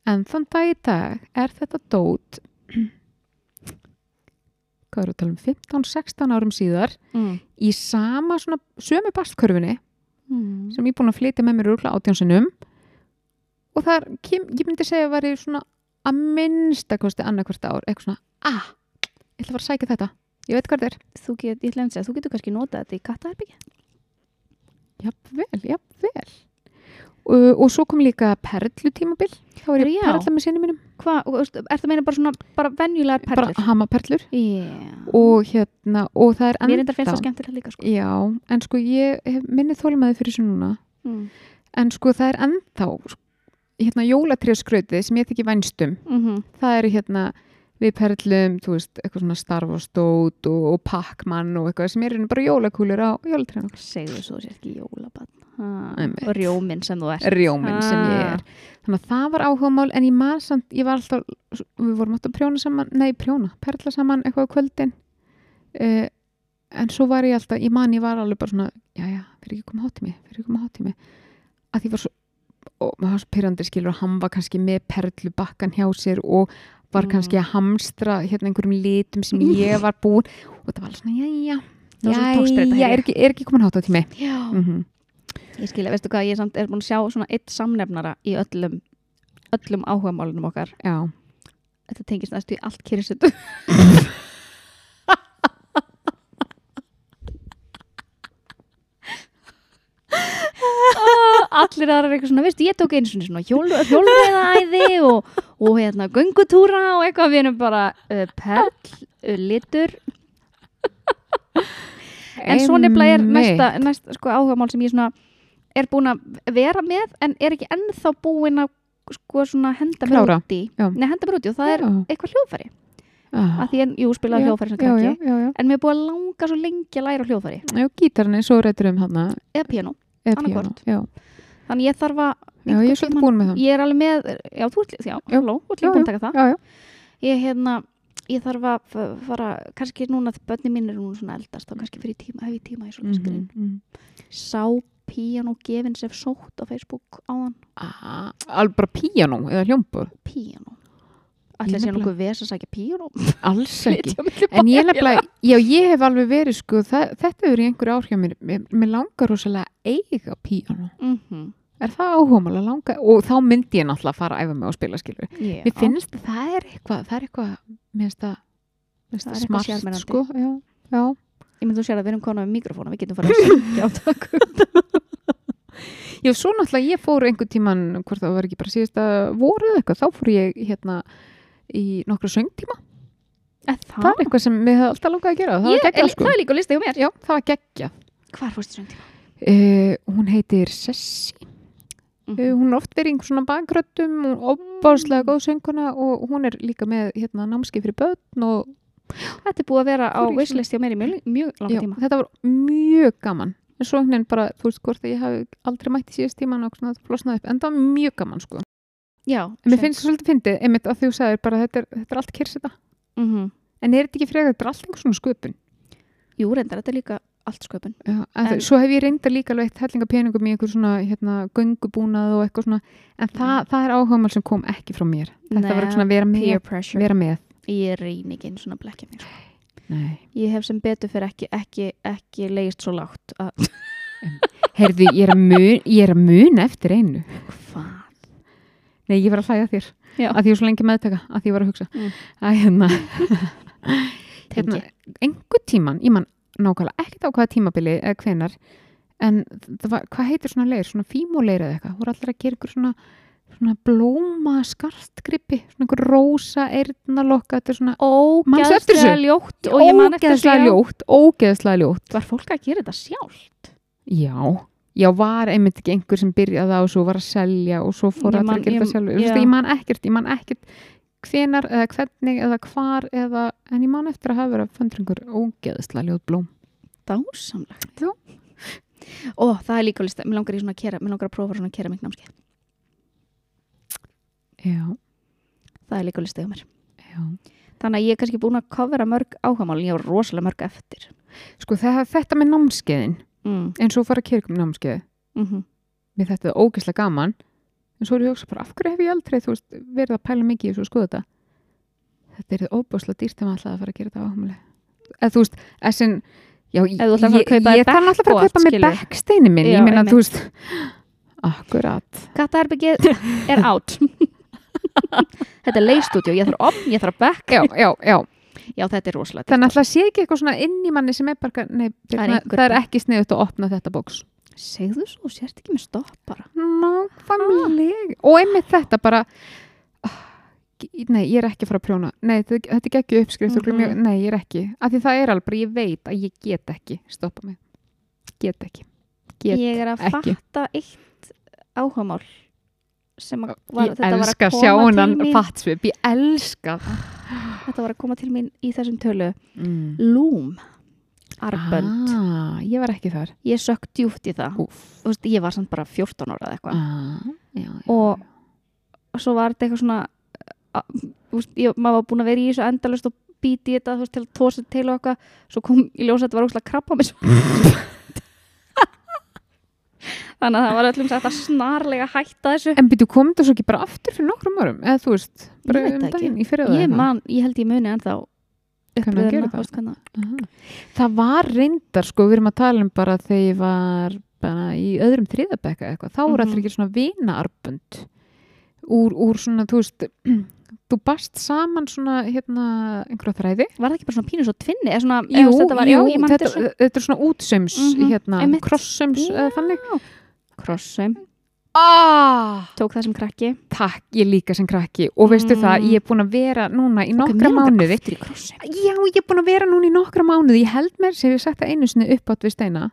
Speaker 2: en þann dag í dag er þetta dót hvað eru að tala um 15-16 árum síðar
Speaker 1: mm.
Speaker 2: í sama svona sömu bastkörfunni sem ég er búin að flytja með mér rúkla átjánsinum og þar kem, ég myndi segja að væri svona að minnstakosti annarkvart ár eitthvað svona, ah, ég ætla að fara að sækja þetta ég veit hvað þetta er,
Speaker 1: Þú get, ég ætla að segja, þú getur kannski notað þetta í kattaherbyggja
Speaker 2: jafnvel, jafnvel og, og svo kom líka perlutímabil þá er
Speaker 1: Heyrðu, já.
Speaker 2: ég perla með sinni mínum
Speaker 1: Hvað, og veist, er það meina bara svona, bara venjulegar perlur?
Speaker 2: bara hamaperlur
Speaker 1: yeah.
Speaker 2: og hérna, og það er
Speaker 1: Mér reyndar finnst það skemmtilega líka sko.
Speaker 2: já, en sko ég hef minni þólimaði fyrir þessu núna
Speaker 1: mm.
Speaker 2: en sko það er ennþá sko, hérna jólatréskrautið sem ég þykir um. vænstum
Speaker 1: Mm
Speaker 2: það eru hérna við perlum, þú veist, eitthvað svona starfastót og, og pakkmann og eitthvað sem eru nú bara jólakúlur á jólatræðan
Speaker 1: Segðu svo sér ekki jólabann
Speaker 2: Einmitt.
Speaker 1: Og rjóminn sem þú ert
Speaker 2: rjóminn sem ég
Speaker 1: Ah.
Speaker 2: er þannig að það var áhugamál en ég man samt, ég var alltaf við vorum alltaf að prjóna saman, nei prjóna perla saman eitthvað á kvöldin uh, en svo var ég alltaf, ég man ég var alveg bara svona, já já, fyrir ekki koma hátt í mig fyrir ekki koma hátt í mig að ég var svo, og maður var svo pyrrandi skilur og hann var kannski með perlubakkan hjá sér og var
Speaker 1: Mm.
Speaker 2: kannski að hamstra hérna einhverjum litum sem ég var búin og það var alveg svona, já já
Speaker 1: Það var svo tókst þetta,
Speaker 2: já,
Speaker 1: heyri
Speaker 2: er ekki, er ekki komin hátt á tími
Speaker 1: Já,
Speaker 2: mm
Speaker 1: ég skilja, veistu hvað, ég samt er búin að sjá svona eitt samnefnara í öllum öllum áhugamálunum okkar
Speaker 2: já,
Speaker 1: Þetta tengist næstu í allt kyrrisetu. Allir aðrar eitthvað svona, veistu, ég tók einu svona, svona hjól, hjólreiðaæði og, og hérna, göngutúra og eitthvað við erum bara uh, perl, uh, litur. En svo nefnilega er næsta, næsta sko, áhugamál sem ég svona er búin að vera með en er ekki ennþá búin að sko svona henda mér
Speaker 2: Klára,
Speaker 1: út í.
Speaker 2: já.
Speaker 1: Nei, henda mér út í og það er eitthvað hljóðfæri
Speaker 2: að
Speaker 1: að því en, jú, spilaði hljóðfæri sem
Speaker 2: já,
Speaker 1: krakki
Speaker 2: já, já, já.
Speaker 1: en mér er búið að langa svo lengi að læra á hljóðfæri
Speaker 2: já, gítarinn er svo rættur um hann
Speaker 1: eða piano,
Speaker 2: eða
Speaker 1: Annað
Speaker 2: píano
Speaker 1: hvort.
Speaker 2: já.
Speaker 1: þannig ég þarf að
Speaker 2: já, ég er svolítið búin með það
Speaker 1: ég er alveg með, já, þú ert, já,
Speaker 2: Já,
Speaker 1: halló, þú ert
Speaker 2: já,
Speaker 1: líka búin að taka það
Speaker 2: já, já.
Speaker 1: ég, hérna, ég þarf að f- fara kannski núna, þegar börni mín er núna svona eldast þá kannski fyrir tíma, hef ég tíma í svona mm
Speaker 2: Mhm, mhm.
Speaker 1: sá piano gefins ef sótt á Facebook áðan
Speaker 2: Ah, alveg bara píano eða hljómbor
Speaker 1: piano
Speaker 2: Ég
Speaker 1: Ætli að sé
Speaker 2: nefnilega-
Speaker 1: nokkuð ves að sækja píano
Speaker 2: alls ekki
Speaker 1: en
Speaker 2: En ég nefnilega, já ég hef alveg verið sko, það, þetta hefur í einhverju ár hjá mér, mér, mér langar rosalega að eiga píano.
Speaker 1: mm
Speaker 2: Er það áhugamál að langa? Og þá myndi ég náttúrulega að fara að æfa mig og spila skilur.
Speaker 1: yeah.
Speaker 2: Mér finnst að það er eitthvað, það er eitthvað, mér finnst það, mér
Speaker 1: Það
Speaker 2: finnst
Speaker 1: er
Speaker 2: það
Speaker 1: eitthvað
Speaker 2: smart
Speaker 1: sjarmerandi.
Speaker 2: sko. Já, já.
Speaker 1: ég mynd þú sér að við erum konar með mikrofóna við getum farið að segja á takku
Speaker 2: Já, svo náttúrulega ég fór einhvern tíman, hvort það var ekki bara síðasta voru eða eitthvað, þá fór ég hérna í nokkru söngtíma. Það er eitthvað sem mér hefði alltaf langað að gera. og Það
Speaker 1: Ég-
Speaker 2: var
Speaker 1: en
Speaker 2: geggja
Speaker 1: Það
Speaker 2: sko.
Speaker 1: er líka á lista hjá mér
Speaker 2: Já, það var geggja.
Speaker 1: Hvar fórstu svona tíma?
Speaker 2: Uh, hún heitir Sessi. Uh,
Speaker 1: Mhm.
Speaker 2: hún er oft verið í einhver svona bakröttum hún er opbáslega góð sönguna og hún er líka með hérna, námski fyrir börn og
Speaker 1: Mhm. Þetta er búið að vera á
Speaker 2: Fór í svona-
Speaker 1: wishlist hjá mér í mjög, mjög langa
Speaker 2: já,
Speaker 1: tíma
Speaker 2: þetta var mjög gaman en svo henni bara, þú veist hvort að ég hafi aldrei mætt í síðast tíman og svona það flosnaði upp en það var mjög gaman sko en
Speaker 1: Já,
Speaker 2: mér finnst það svolítið fyndið, einmitt að þú sagðir bara þetta er, þetta er allt kyrsita
Speaker 1: mm
Speaker 2: en er þetta ekki frekar, þetta er allt einhver svona sköpun
Speaker 1: Jú, reyndar, þetta er líka allt sköpun
Speaker 2: já, en,
Speaker 1: En-
Speaker 2: en, svo hef ég reynda líka alveg eitt hellinga peningum í einhver svona hérna, göngubúnað og eitthvað svona en það, það er áhugamál sem kom ekki frá mér þetta var
Speaker 1: Nei,
Speaker 2: svona að vera með,
Speaker 1: Peer pressure
Speaker 2: vera með.
Speaker 1: Ég reyni ekki einu svona blekja mér sko.
Speaker 2: Nei.
Speaker 1: Ég hef sem betur fyrir ekki, ekki, ekki leist svo lágt að
Speaker 2: Herðu, ég er að mun, ég er að mun eftir einu.
Speaker 1: Hvað?
Speaker 2: Nei, ég var að hlæga þér.
Speaker 1: Já.
Speaker 2: Að því ég var svo lengi að meðtaka, að því ég var að hugsa.
Speaker 1: Mm.
Speaker 2: Að hérna,
Speaker 1: Tengi
Speaker 2: hérna einhver tíman, ég man nákvæmlega ekkert á hvaða tímabili eða hvenar, en það var, hvað heitir svona leir, svona fímuleir eða eitthvað, voru allir að gera ykkur svona, svona blóma skartgrippi, svona ykkur rósa eirnalokka, þetta er svona Manstu eftir
Speaker 1: Ógeðslega
Speaker 2: þessu?
Speaker 1: ljótt og ég man eftir
Speaker 2: ógeðslega
Speaker 1: því, já.
Speaker 2: ljótt, ógeðslega ljótt.
Speaker 1: Var fólk að gera þetta sjálft?
Speaker 2: Já, já var einmitt ekki einhver sem byrjaði á þessu og var að selja og svo fór
Speaker 1: Ég
Speaker 2: allir
Speaker 1: man-
Speaker 2: að gera
Speaker 1: ég-
Speaker 2: þetta sjálfur. Ég,
Speaker 1: já.
Speaker 2: ég man ekkert, ég man ekkert hvenar eða hvernig eða hvar eða, en ég man eftir að hafa verið að föndur einhver ógeðslega ljóð blóm.
Speaker 1: Dásamlegt
Speaker 2: Já.
Speaker 1: Ó, það er líka á lista, mér langar, í svona kera, mér langar að prófa svona kera námskeið
Speaker 2: Já,
Speaker 1: Það er líka á lista hjá mér
Speaker 2: já.
Speaker 1: Þannig að ég er kannski búin að covera mörg áhagamál en ég var rosalega mörg eftir.
Speaker 2: Sko þetta, þetta með námskeiðin,
Speaker 1: Mm.
Speaker 2: eins og fara að kyrkum námskeið,
Speaker 1: Mm
Speaker 2: mér þetta er ógeðslega gaman, en svo er ég að hugsa bara, af hverju hef ég aldrei, þú veist, verið að pæla mikið í þessu og skoða þetta? Þetta er óbúslega dýrt ef maður ætlaði að fara að gera þetta áhumlega. Eða þú veist, essin, já, ég,
Speaker 1: Ef þú ætlar að fara að
Speaker 2: ég-
Speaker 1: kaupa þér
Speaker 2: ég þarf náttúrulega að fara að
Speaker 1: backboard,
Speaker 2: kaupa með
Speaker 1: skilur.
Speaker 2: backsteini minn,
Speaker 1: Já,
Speaker 2: ég meina,
Speaker 1: einmitt.
Speaker 2: þú veist, akkurat.
Speaker 1: Kattaherbyggið er átt. þetta er leistúdjó, ég þarf om, ég þarf bekk.
Speaker 2: Já, já, já,
Speaker 1: Já, þetta er rosalega.
Speaker 2: þannig að það sé ekki eitthvað svona inn í manni sem er bara, eitthvað, nei,
Speaker 1: er
Speaker 2: Birna,
Speaker 1: einhver-
Speaker 2: það er ekki sniðut að opna þetta bóks.
Speaker 1: Segðu svo, sért ekki með stoppara. Ah.
Speaker 2: Nákvæmlega, og einmitt þetta bara, ah, nei, ég er ekki að fara að prjóna, nei, þetta þetta er ekki uppskrift, mm
Speaker 1: Mhm.
Speaker 2: -hmm. nei, ég er ekki, af því það er alveg, bara, ég veit að ég get ekki, stoppa mig, get ekki, get
Speaker 1: Ég er að
Speaker 2: ekki.
Speaker 1: fatta eitt áhagamál sem að var,
Speaker 2: Ég
Speaker 1: þetta var
Speaker 2: elska
Speaker 1: að
Speaker 2: að
Speaker 1: koma
Speaker 2: sjá
Speaker 1: til
Speaker 2: hennan
Speaker 1: mín.
Speaker 2: fattsvip, ég elska það.
Speaker 1: Þetta var að koma til mín í þessum tölu.
Speaker 2: Mm.
Speaker 1: Loom, arbönd.
Speaker 2: Ah, ég var ekki þar.
Speaker 1: Ég sökk djúft í það.
Speaker 2: Úf.
Speaker 1: Þú veist, ég var samt bara 14 ára eða eitthvað.
Speaker 2: Ah, já, já.
Speaker 1: og svo var þetta eitthvað svona að, þú veist, ég, maður var búin að vera í þessu endalust og bíti í þetta þú veist, til að tósa til og eitthvað svo kom í ljós að þetta var óslega krabba með þannig að það var öllum sagt að snarlega hætta þessu
Speaker 2: En byrju, kom þetta svo ekki bara aftur fyrir nokkrum árum? Eða þú veist, bara
Speaker 1: Ég veit
Speaker 2: um
Speaker 1: það
Speaker 2: daginn í fyrir
Speaker 1: ég man, ég held ég muni ennþá
Speaker 2: Hvernig að gera
Speaker 1: uppröðuna,
Speaker 2: það?
Speaker 1: þú veist, hvernig að-
Speaker 2: Það var reyndar, sko, við erum að tala um bara þegar ég var bara í öðrum þriðabekka eitthvað. Þá
Speaker 1: Mhm.
Speaker 2: voru allir ekki svona vinaarbund úr, úr svona, þú veist, þú bast saman svona hérna einhverja þræði
Speaker 1: Var það ekki bara svona pínu svo tvinni? Eða svona, jú, þetta var, já, ég mann
Speaker 2: þetta,
Speaker 1: þetta
Speaker 2: þetta er svona útsöms
Speaker 1: Mhm,
Speaker 2: hérna,
Speaker 1: einmitt.
Speaker 2: krossöms eða þannig
Speaker 1: Krossum,
Speaker 2: ah,
Speaker 1: tók það sem krakki
Speaker 2: Takk, ég líka sem krakki og veistu
Speaker 1: Mm.
Speaker 2: það, ég er búin að vera núna í
Speaker 1: Ok,
Speaker 2: nokkra
Speaker 1: mig langar
Speaker 2: mánuði
Speaker 1: aftur í krossum.
Speaker 2: Já, ég er búin að vera núna í nokkra mánuði ég held mér, sem ég sagt það einu sinni upp átt við steina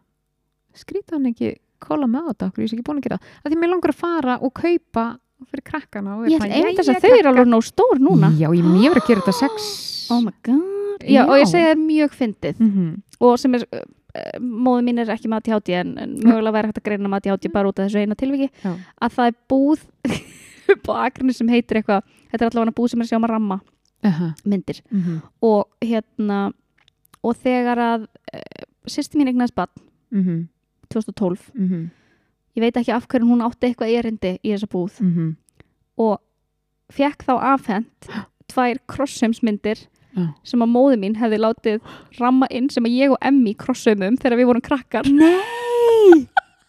Speaker 2: skrýta hann ekki kóla með á þetta, okkur ég er ekki búin að gera það að því mér langar að fara og kaupa fyrir krakkana og er
Speaker 1: Ég
Speaker 2: bara,
Speaker 1: ætla einmitt þess
Speaker 2: jæja,
Speaker 1: að þau eru
Speaker 2: krakkar.
Speaker 1: alveg nóg stór núna
Speaker 2: Já, ég mér verið að gera þetta sex
Speaker 1: Oh my god Mm. Já, og ég segi það er mjög fyndið
Speaker 2: Mhm.
Speaker 1: og sem er, uh, móðu mín er ekki mati hátti en, en mögulega væri hægt að greina mati hátti bara út af þessu eina tilviki
Speaker 2: Já.
Speaker 1: að það er búð upp á akrinni sem heitir eitthvað þetta er allavega búð sem er að sjá um að ramma
Speaker 2: Aha,
Speaker 1: myndir
Speaker 2: mhm,
Speaker 1: og hérna og þegar að uh, sýsti mín eignast bann
Speaker 2: mhm,
Speaker 1: 2012
Speaker 2: mhm,
Speaker 1: ég veit ekki af hverju hún átti eitthvað erindi í þessa búð
Speaker 2: mhm.
Speaker 1: og fekk þá afhent tvær krosshemsmyndir
Speaker 2: Já.
Speaker 1: sem að móðu mín hefði látið ramma inn sem að ég og Emmi krosshemum þegar við vorum krakkar
Speaker 2: Nei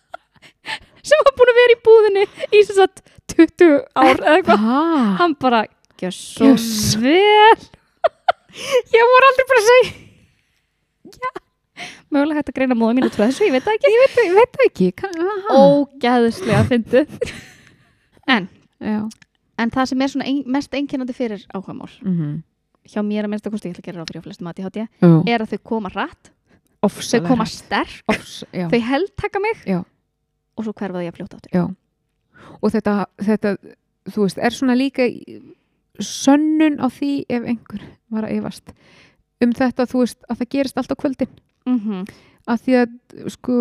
Speaker 1: sem var búin að vera í búðinni í sem sagt 20 ár eða eitthvað
Speaker 2: Hvað?
Speaker 1: hann bara, gjöss svo
Speaker 2: Gjöss.
Speaker 1: vel
Speaker 2: Ég voru aldrei bara að segja
Speaker 1: mögulega hægt að greina móðu mín út frá þessu, ég veit það ekki
Speaker 2: Ég veit, ég veit það ekki kann, aha.
Speaker 1: ógeðslega fyndu
Speaker 2: Já
Speaker 1: en það sem er svona ein, mest einkennandi fyrir áhugamál
Speaker 2: mhm.
Speaker 1: hjá mér að minnsta kosti, ég ætla að gera ráð fyrir á flestum að ég
Speaker 2: Já.
Speaker 1: er að þau koma rætt, þau
Speaker 2: Ofsalega
Speaker 1: koma
Speaker 2: hrætt.
Speaker 1: sterk
Speaker 2: Ofs- já.
Speaker 1: þau heldtaka mig
Speaker 2: Já.
Speaker 1: og svo hverfaði ég að fljóta áttur
Speaker 2: og þetta, þetta þú veist, er svona líka í- sönnun á því ef einhver var að efast um þetta, þú veist, að það gerist allt á kvöldin
Speaker 1: mm
Speaker 2: Mhm. að því að, sko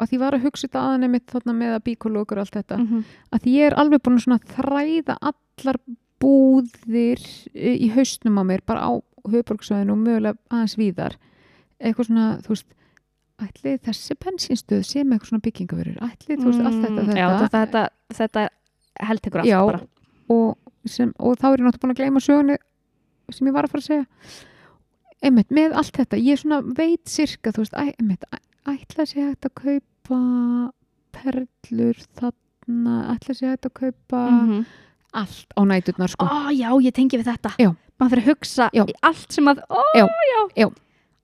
Speaker 2: að því var að hugsa þetta aðan einmitt þarna með að bíkologur og allt þetta,
Speaker 1: Mm. Mhm.
Speaker 2: að því ég er alveg búin að svona þræða allar búðir eh, í haustnum á mér, bara á höfborgsvæðinu og mögulega aðeins víðar eitthvað svona, þú veist ætli þessi bensinstöð sé með eitthvað svona byggingavörur ætli, þú veist, allt þetta, þetta
Speaker 1: Mm. Já, þetta, þetta, þetta heldtekur allt
Speaker 2: Já.
Speaker 1: bara
Speaker 2: og, sem, og þá er ég náttúrulega búin að gleyma sögunni sem ég var að fara að segja einmitt, með allt þetta, ég svona veit sirka, þú veist, æ, einmitt æ- ætla sé hægt að kaupa perlur þarna ætla sé hægt að kaupa
Speaker 1: Mhm.
Speaker 2: allt á næturnar sko
Speaker 1: Ó, já, ég tengi við þetta
Speaker 2: Já.
Speaker 1: maður fyrir að hugsa
Speaker 2: Já.
Speaker 1: í allt sem að ó,
Speaker 2: Já, já.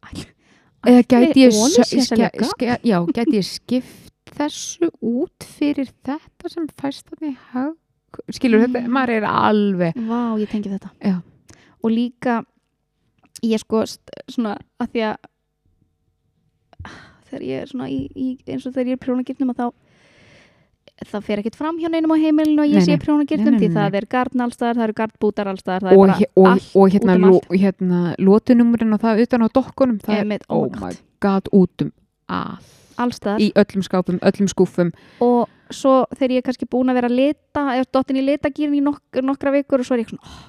Speaker 1: Ætli-
Speaker 2: eða gæti ég,
Speaker 1: Vonir
Speaker 2: sö-
Speaker 1: sé að
Speaker 2: ske-
Speaker 1: selja
Speaker 2: ske- já, gæti ég skipt þessu út fyrir þetta sem fæst þarna í hag skilur þetta,
Speaker 1: Mm.
Speaker 2: maður er alveg
Speaker 1: vá, ég tengi við þetta
Speaker 2: Já.
Speaker 1: og líka ég sko st- svona að því að þegar ég er svona í, í, eins og þegar ég er prjónagirnum að þá það fer ekkert fram hjá neinum á heimilinu að ég
Speaker 2: Nei,
Speaker 1: sé
Speaker 2: nei.
Speaker 1: í prjónagirnum
Speaker 2: Nei, nei,
Speaker 1: því
Speaker 2: nei,
Speaker 1: það er gardn allstaðar, það eru gardbútar allstaðar það er
Speaker 2: og,
Speaker 1: bara
Speaker 2: he- og,
Speaker 1: allt
Speaker 2: og hérna,
Speaker 1: út um
Speaker 2: lo,
Speaker 1: allt.
Speaker 2: hérna lotunumurinn og það utan á dokkunum það er,
Speaker 1: Einmitt,
Speaker 2: oh my god, út um allt,
Speaker 1: allstaðar
Speaker 2: í öllum skápum, öllum skúfum
Speaker 1: og svo þegar ég er kannski búin að vera að lita eða dottin í litagýrin í nok nokkra vikur og svo er ég svona oh,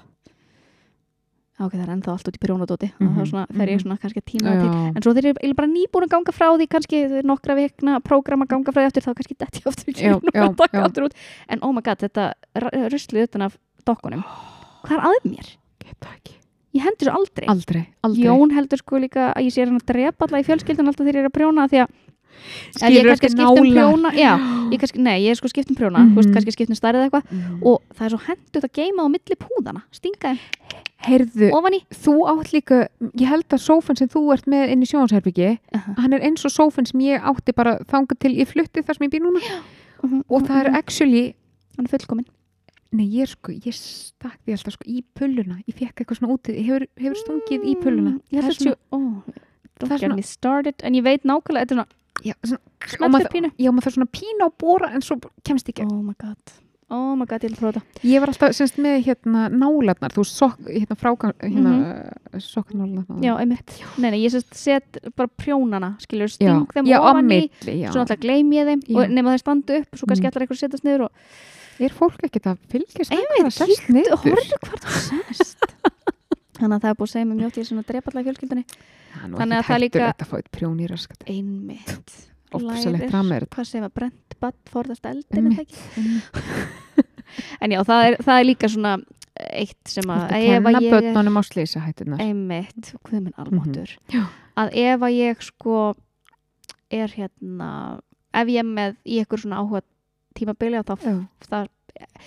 Speaker 1: ok, það er ennþá allt út í prjónadóti mm
Speaker 2: Mhm,
Speaker 1: -hmm, svona, þegar ég er
Speaker 2: mhm.
Speaker 1: svona kannski að tíma það til
Speaker 2: Já.
Speaker 1: en svo þegar ég er bara nýbúin að ganga frá því kannski nokkra vikna, prógram að ganga frá því aftur þá kannski detti ég aftur í
Speaker 2: Já,
Speaker 1: kýrinu
Speaker 2: já,
Speaker 1: og taka
Speaker 2: já.
Speaker 1: aftur út en oh my god, þetta ra- ruslið utan af dokkunum hvað er að mér?
Speaker 2: Get það ekki.
Speaker 1: Ég hendi svo aldrei
Speaker 2: aldrei, aldrei
Speaker 1: Jón heldur sko líka að ég sé hann að drepa alla í fjölskyldun alltaf þegar ég er að prjóna af því að ef ég
Speaker 2: Skilur
Speaker 1: kannski
Speaker 2: eftir
Speaker 1: skipt um
Speaker 2: nálar.
Speaker 1: prjóna já, ég kannski, nei, ég er sko skipt um prjóna mm
Speaker 2: Mhm.
Speaker 1: veist, kannski skipt um stærð eða eitthvað
Speaker 2: Mm.
Speaker 1: og það er svo hendut að geima á milli púðana stinga þeim
Speaker 2: heyrðu,
Speaker 1: ofan í
Speaker 2: þú átt líka ég held að sófan sem þú ert með inn í sjónsherbyggi
Speaker 1: Aha.
Speaker 2: hann er eins og sófan sem ég átti bara þangað til ég flutti þar sem ég býr núna og það er actually
Speaker 1: hann er fullkomin
Speaker 2: Nei, ég sko, ég stakk því alltaf sko í pulluna, ég fekk eitthvað svona úti, hefur, hefur stungið í pulluna.
Speaker 1: Mm, ég
Speaker 2: Það er
Speaker 1: held að
Speaker 2: svona-
Speaker 1: sé, ó,
Speaker 2: það er
Speaker 1: don't get
Speaker 2: svona-
Speaker 1: me started en ég veit nákvæmlega, þetta er svona
Speaker 2: Já, svona, og
Speaker 1: smeltir
Speaker 2: maður,
Speaker 1: pínu
Speaker 2: já, maður þarf svona pína og bóra en svo kemst ekki.
Speaker 1: oh my god, oh my god, ég vil prófa þetta
Speaker 2: Ég var alltaf semst með hérna nálarnar, þú sokk, hérna frágang, hérna mm -hmm. sokknálarnar.
Speaker 1: Mhm. já, einmitt, nei, nei, ég sérst set bara prjónana, skilur, sting þeim
Speaker 2: já, á
Speaker 1: ofan í
Speaker 2: milli, já.
Speaker 1: svo alltaf gleym ég þeim og
Speaker 2: Já.
Speaker 1: nema þeir standu upp, svo kannski
Speaker 2: Mm.
Speaker 1: allar eitthvað setjast niður og
Speaker 2: Er fólk ekkert að fylgjast með
Speaker 1: Einmitt,
Speaker 2: hvað það sest
Speaker 1: Þú
Speaker 2: niður?
Speaker 1: horfðu hvað þú sest Þannig að það er búið að segja mér mjótt ég er svona að drepa allar í fjölskyldunni
Speaker 2: Þannig
Speaker 1: Þannig að það líka-
Speaker 2: Þetta fóðið prjóni í raskat.
Speaker 1: Einmitt
Speaker 2: Ofsalegt
Speaker 1: Lærir.
Speaker 2: ramið er
Speaker 1: Hvað segir maður, brent, badd, forðast eldin er það ekki?
Speaker 2: þetta.
Speaker 1: En já, það er, það er líka svona eitt sem að
Speaker 2: Þetta
Speaker 1: ef
Speaker 2: kenna
Speaker 1: að ég er
Speaker 2: börnunum á slísahættunar.
Speaker 1: einmitt, hvað minn almáttur
Speaker 2: Mhm. Já.
Speaker 1: að ef að ég sko er hérna ef ég er með í eitthvað svona áhuga tímabili að þá
Speaker 2: Já,
Speaker 1: það,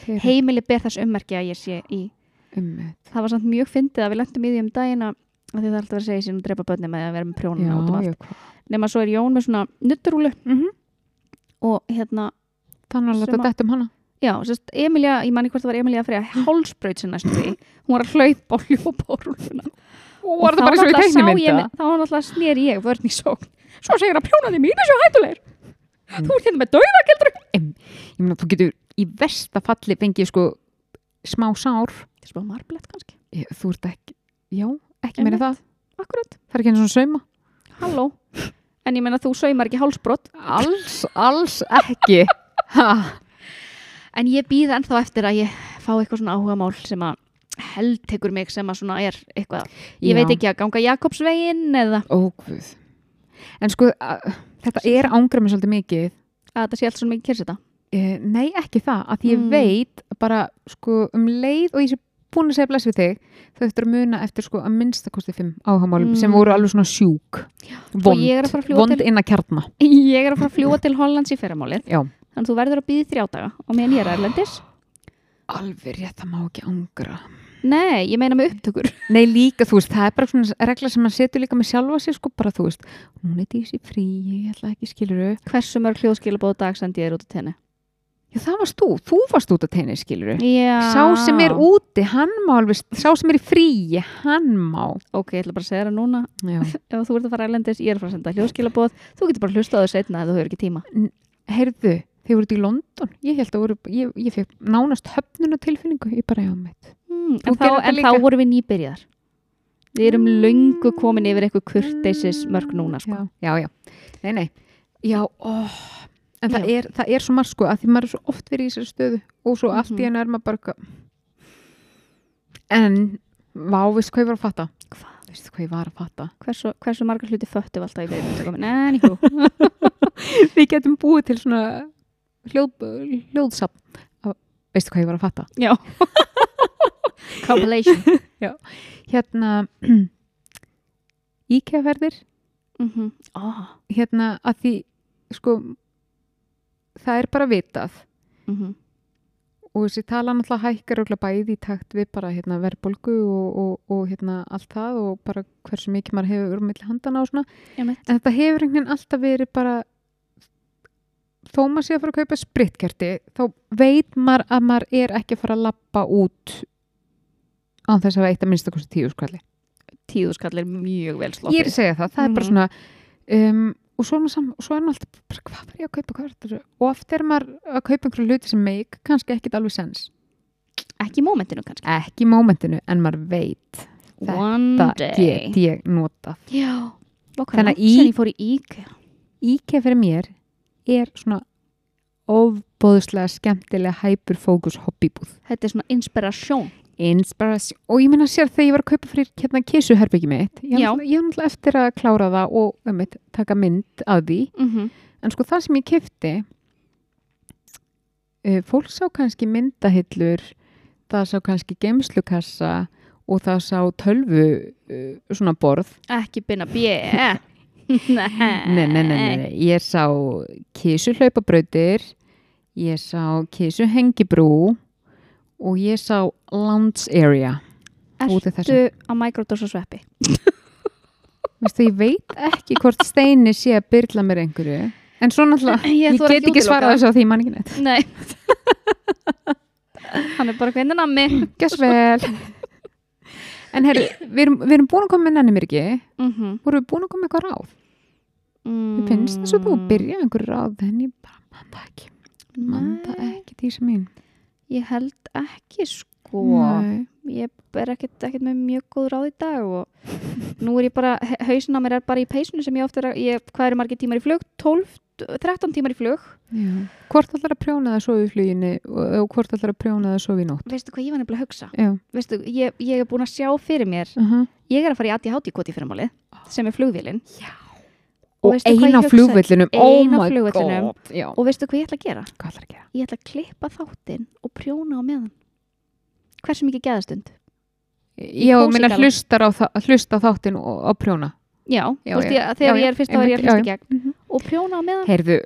Speaker 2: þeir- um
Speaker 1: heimili ber þess ummerki að ég sé í
Speaker 2: Einmitt.
Speaker 1: það var samt mjög fyndið að við lendum í því um dagina að því það er alltaf að segja sín að drepa börnum með að vera með prjónum átum
Speaker 2: Já,
Speaker 1: um allt
Speaker 2: já, hvað?
Speaker 1: nema svo er Jón með svona nutturúlu
Speaker 2: Mm -hmm.
Speaker 1: og hérna,
Speaker 2: Þannig að
Speaker 1: Sem
Speaker 2: þetta
Speaker 1: að-
Speaker 2: dætt um hana.
Speaker 1: já, sérst, Emilia ég manni hvort það var Emilia Freyja hálsbraut sem næstu því, hún var að hlaupa á hljóparúluna
Speaker 2: Og
Speaker 1: þá náttúrulega sá ég mig- þá var náttúrulega snér ég vörn í sókn svo segir að prjónandi mínu séu hættulegir
Speaker 2: Mm.
Speaker 1: þú ert hérna með dauða
Speaker 2: Ég meina, þú getur í versta falli fengið sko smá sár.
Speaker 1: þetta er smá marblett kannski,
Speaker 2: Ég- Þú ert ekki, já, ekki meira það.
Speaker 1: akkurat,
Speaker 2: Það er ekki einu svona sauma.
Speaker 1: halló en ég meina þú saumar ekki hálsbrott
Speaker 2: Alls, alls ekki. Ha,
Speaker 1: en ég býð ennþá eftir að ég fá eitthvað svona áhuga mál sem að heldtekur mig sem að svona er eitthvað ég
Speaker 2: Já.
Speaker 1: veit ekki að ganga Jakobsvegin eða
Speaker 2: Ó, guð. En sko, að, þetta er ángra mig svolítið mikið.
Speaker 1: að þetta sé allt svona mikið kyrseta
Speaker 2: Eh, nei, ekki það. Að því ég
Speaker 1: Mm.
Speaker 2: veit bara sko um leið og ég sé búin að segja bless við þig, þau eftir að muna eftir sko að minnstakosti fimm áhagamálum
Speaker 1: Mm.
Speaker 2: sem voru alveg svona sjúk. Vond,
Speaker 1: ég er að fara að fljúga
Speaker 2: vond
Speaker 1: til-
Speaker 2: inn að kjarna.
Speaker 1: ég er að fara að fljúa til Hollands í fyrramálið
Speaker 2: Já.
Speaker 1: þannig að þú verður að býði þrjá daga og meðan ég er erlendis
Speaker 2: Alveg rétt, það má ekki ángra.
Speaker 1: nei, ég meina með upptökur
Speaker 2: Nei, líka, þú veist, það er bara svona regla sem maður setur líka með sjálfa sér, sko, bara, þú veist, núna er dísi frí, ég ætla ekki, skiluru.
Speaker 1: hversu mörg hljóðskilabóð dag sendi ég þér út á tenni
Speaker 2: Já, það varst þú, þú varst út að teina, skiluru.
Speaker 1: já.
Speaker 2: Sá sem
Speaker 1: Ah.
Speaker 2: er úti, hann má alveg, sá sem er í fríi, hann má.
Speaker 1: ok, ég ætla bara að segja það núna
Speaker 2: Já.
Speaker 1: ef þú ert að fara erlendis, ég er að fara að senda hljóðskilabóð þú getur bara að hlusta á þau setna ef þú hefur ekki tíma
Speaker 2: Heyrðu, þið voruð í London, ég held að voru, ég, ég fekk nánast höfnuna tilfinningu, ég bara, já, mitt.
Speaker 1: mm,
Speaker 2: Þú
Speaker 1: en, þá,
Speaker 2: gerir þetta
Speaker 1: en þá
Speaker 2: líka.
Speaker 1: vorum við nýbyrjar við erum
Speaker 2: Mm.
Speaker 1: löngu komin yfir eitthvað kurteisis mörg núna sko.
Speaker 2: Já, já, já. nei, nei. Já, ó, en það
Speaker 1: Já.
Speaker 2: er, það er svo margt, sko, að því maður er svo oft verið í þessari stöðu og svo allt í
Speaker 1: Mhm.
Speaker 2: hennu er maður bara, eitthvað- en, vá, veistu hvað ég var að fatta?
Speaker 1: Hvað?
Speaker 2: Veistu hvað ég var að fatta?
Speaker 1: hversu, hversu margar hluti föttu alltaf í byrjum anywho,
Speaker 2: Við getum búið til svona hljóð, hljóðsapn. af- Veistu hvað ég var að fatta?
Speaker 1: já compilation
Speaker 2: Hérna, íkjaferðir,
Speaker 1: mm -hmm. oh.
Speaker 2: hérna að því sko það er bara vitað
Speaker 1: mm
Speaker 2: og þessi tala náttúrulega hækkar örugglega bæði í takt við bara hérna verðbólgu og, og, og hérna allt það og bara hversu mikið maður hefur um milli handana og svona
Speaker 1: Einmitt.
Speaker 2: en þetta hefur einhvern veginn alltaf verið bara þó maður sé að fara að kaupa spritkerti þá veit maður að maður er ekki að fara að lappa út án þess að veita minnstakosti tíu skalli
Speaker 1: tíðuskall er mjög vel sloppið
Speaker 2: ég er að segja það, það er bara
Speaker 1: Mhm.
Speaker 2: svona um, og svo er, maður sam, svo er maður alltaf bara, hvað var ég að kaupa, hvað var þetta og oft er maður að kaupa einhverju hluti sem make kannski ekkit alveg sens
Speaker 1: ekki í mómentinu kannski
Speaker 2: ekki í mómentinu, en maður veit
Speaker 1: one
Speaker 2: það
Speaker 1: day
Speaker 2: get ég notað
Speaker 1: já Vá,
Speaker 2: Þannig
Speaker 1: Þannig
Speaker 2: að í-
Speaker 1: að ég fór í ík
Speaker 2: íkja fyrir mér er svona ofbóðslega skemmtilega hyperfókus hobbybúð
Speaker 1: Þetta er svona inspirasjón
Speaker 2: Inspiration. og ég minna sér þegar ég var að kaupa fyrir hérna kissuherbyggi mitt ég
Speaker 1: Já.
Speaker 2: var náttúrulega eftir að klára það og um taka mynd af því
Speaker 1: mm -hmm.
Speaker 2: En sko það sem ég kefti, uh, fólk sá kannski myndahillur, það sá kannski geimslukassa og það sá tölvu uh, svona borð.
Speaker 1: Ekki byrna E, bjö Nei,
Speaker 2: Nei, nei, nei,
Speaker 1: Eh,
Speaker 2: nei, nei. ég sá kísu hlaupabrautir, ég sá kísu hengibrú og ég sá lounge area. Út af þessu.
Speaker 1: Ertu á microdose og sveppi?
Speaker 2: Vistu, ég veit ekki hvort Steini sé að byrla mér einhverju. En svo náttúrulega,
Speaker 1: Ég
Speaker 2: ég,
Speaker 1: þori
Speaker 2: get
Speaker 1: ekki
Speaker 2: ekki
Speaker 1: útiloka
Speaker 2: svarað
Speaker 1: það.
Speaker 2: þessu á því mann ekki neitt.
Speaker 1: Nei Hann er bara hvernig nammi
Speaker 2: Gjast vel En herru, við erum, við erum búin að koma með nenni mér ekki
Speaker 1: mm -hmm.
Speaker 2: vorum við búin að koma með eitthvað ráð
Speaker 1: mm.
Speaker 2: Mér Mhm. finnst þess að þú byrja einhver ráð en ég bara man það ekki man það ekki því sem mín
Speaker 1: Ég held ekki sko
Speaker 2: Nei.
Speaker 1: Ég er ekkert, ekkert með mjög góð ráð í dag og nú er ég bara hausin á mér er bara í peysinu sem ég oft er að ég, hvað eru margir tímar í flug? 12, 13 tímar í flug
Speaker 2: Já. Hvort allar að prjóna það svo í fluginu og, og hvort allar að prjóna það svo í nótt
Speaker 1: Veistu hvað ég var nefnilega að hugsa?
Speaker 2: Já,
Speaker 1: Veistu, ég, ég er búin að sjá fyrir mér
Speaker 2: uh
Speaker 1: Ég er að fara í ADHD koti fyrir málið sem er flugvélinn
Speaker 2: Og
Speaker 1: veistu hvað
Speaker 2: eina
Speaker 1: ég hugsaði?
Speaker 2: flugvöllunum Oh
Speaker 1: Ein á
Speaker 2: my
Speaker 1: flugvellinum.
Speaker 2: god Já,
Speaker 1: og veistu hvað ég ætla að gera?
Speaker 2: hvað allar að gera?
Speaker 1: Ég ætla að klippa þáttinn og prjóna á meðan Hversu mikið geðastund?
Speaker 2: Já,
Speaker 1: kósí
Speaker 2: minna
Speaker 1: galla.
Speaker 2: hlustar á, það- hlusta á þáttin og, og prjóna
Speaker 1: Já,
Speaker 2: Já,
Speaker 1: já, veist,
Speaker 2: já.
Speaker 1: ég, þegar
Speaker 2: Já,
Speaker 1: ég
Speaker 2: já,
Speaker 1: er fyrst þá er ég að
Speaker 2: einmitt,
Speaker 1: hlusta
Speaker 2: já,
Speaker 1: gegn og prjóna á meðan
Speaker 2: Heyrðu,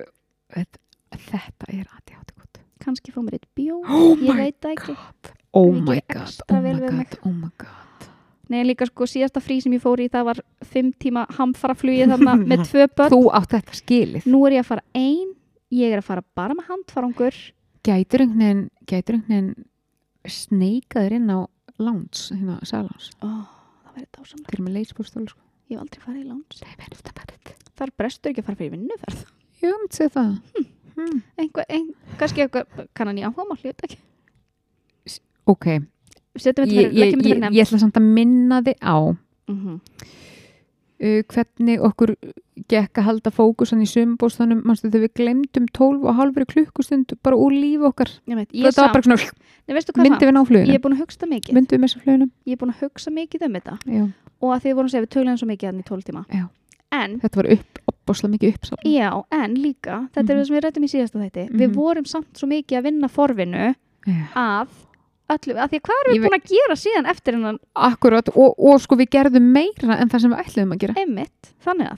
Speaker 2: þetta, þetta er aðjátti gott
Speaker 1: kannski fá mér eitt bjór
Speaker 2: Oh
Speaker 1: ég
Speaker 2: my
Speaker 1: veit það ekki
Speaker 2: Oh
Speaker 1: Ég
Speaker 2: my
Speaker 1: geri
Speaker 2: god,
Speaker 1: extra
Speaker 2: oh
Speaker 1: vel
Speaker 2: my
Speaker 1: við mig.
Speaker 2: god, oh my god
Speaker 1: Nei, en líka sko síðasta frí sem ég fór í það var fimm tíma hamfaraflugi þarna með tvö börn.
Speaker 2: Þú átt þetta skilið
Speaker 1: Nú er ég að fara ein, ég er að fara bara með handfarangur.
Speaker 2: Gætur einhvern veginn, gætur einhvern veginn sneikaður inn á lounge, hérna salons
Speaker 1: Ó, það verður dásamlega.
Speaker 2: Þeir eru með leysbúrstólu sko
Speaker 1: Ég hef aldrei farið í lands.
Speaker 2: Nei, verður þetta bara þetta
Speaker 1: Þar brestur ekki að fara fyrir vinnuferð.
Speaker 2: Jú, ég myndi segja það hmm.
Speaker 1: Einhver, ein, kannski eitthvað, kannan ég áhuga maður, ég veit ekki.
Speaker 2: Ok,
Speaker 1: Settum við
Speaker 2: ég,
Speaker 1: þetta
Speaker 2: ég,
Speaker 1: fyrir, leggjum
Speaker 2: ég,
Speaker 1: þetta fyrir nefn.
Speaker 2: ég ætla samt að minna þið á
Speaker 1: Mhm.
Speaker 2: uh, hvernig okkur gekk að halda fókusan í sömbóstanum manstu þegar við glemdum 12 og halvri klukkustund bara úr lífi okkar
Speaker 1: Ég veit, ég
Speaker 2: Þetta var
Speaker 1: sá.
Speaker 2: bara svona,
Speaker 1: Nei, veistu hvað
Speaker 2: myndi
Speaker 1: það?
Speaker 2: við ná
Speaker 1: Ég
Speaker 2: fluginu
Speaker 1: er búin að hugsa mikið.
Speaker 2: Myndi við messa fluginu
Speaker 1: Ég er búin að hugsa mikið um þetta.
Speaker 2: Já.
Speaker 1: Og að þið vorum að segja við töluðum svo mikið þannig í 12 tíma.
Speaker 2: Já.
Speaker 1: En
Speaker 2: Þetta var upp, opbáslega mikið uppsal
Speaker 1: Já, en líka, þetta er
Speaker 2: Mhm.
Speaker 1: það sem við rættum í síðasta þætti Við
Speaker 2: Mhm.
Speaker 1: vorum samt svo mikið að vinna forvinu
Speaker 2: Já.
Speaker 1: af öllu, af því að hvað erum
Speaker 2: Ég
Speaker 1: við
Speaker 2: ve-
Speaker 1: búin að gera síðan eftir hennan
Speaker 2: Akkurat og, og sko við gerðum meira en það sem við ætluðum að gera.
Speaker 1: einmitt, þannig að